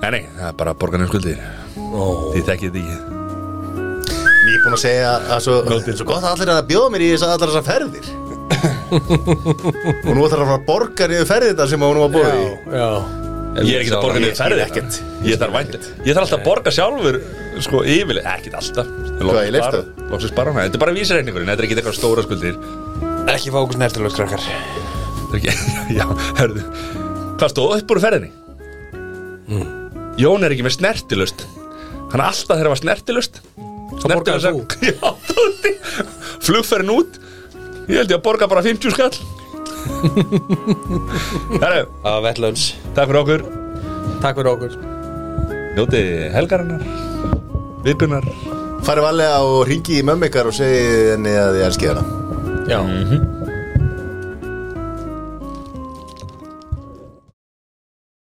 [SPEAKER 1] Nei, nei, það er bara að borga nefn skuldir
[SPEAKER 4] Ó.
[SPEAKER 1] Þið tekkið þetta ekki
[SPEAKER 2] Ég er búin að segja að svo, svo gott að allir er að bjóða mér í þess að allar þessar ferðir Og nú þarf að fara að borga niður ferðir þetta sem hún var búið í
[SPEAKER 4] Já,
[SPEAKER 1] Ég er ekki að borga
[SPEAKER 2] Ég-
[SPEAKER 1] nefn ferðið
[SPEAKER 2] ég- ekkert.
[SPEAKER 1] Ég þarf vænt Ég þarf alltaf að borga sjálfur Sko, yfirlega Ekkit alltaf
[SPEAKER 2] Hvað, í leifstöð?
[SPEAKER 1] Lóksins bara hana Þetta er bara vísreikningurinn Þetta er ekki eitthvað stóra skuldir
[SPEAKER 3] Ekki fá okkur snertilögt krakkar
[SPEAKER 1] Þetta er ekki Já, herðu Hvað stóð upp úr ferðinni? Jón er ekki með snertilust Hann er alltaf þegar hann var snertilust
[SPEAKER 4] borgaði
[SPEAKER 1] Snertilust- Já, tótti Flugferðin út Ég held ég að borga bara 50 skall Herru,
[SPEAKER 3] Á Vetlunds
[SPEAKER 1] takk fyrir okkur
[SPEAKER 4] takk fyrir okkur
[SPEAKER 1] Njótið helgarinnar Vikunar
[SPEAKER 2] Farið varlega og ringi í mömmu ykkar og segi henni að ég elski hana
[SPEAKER 4] Já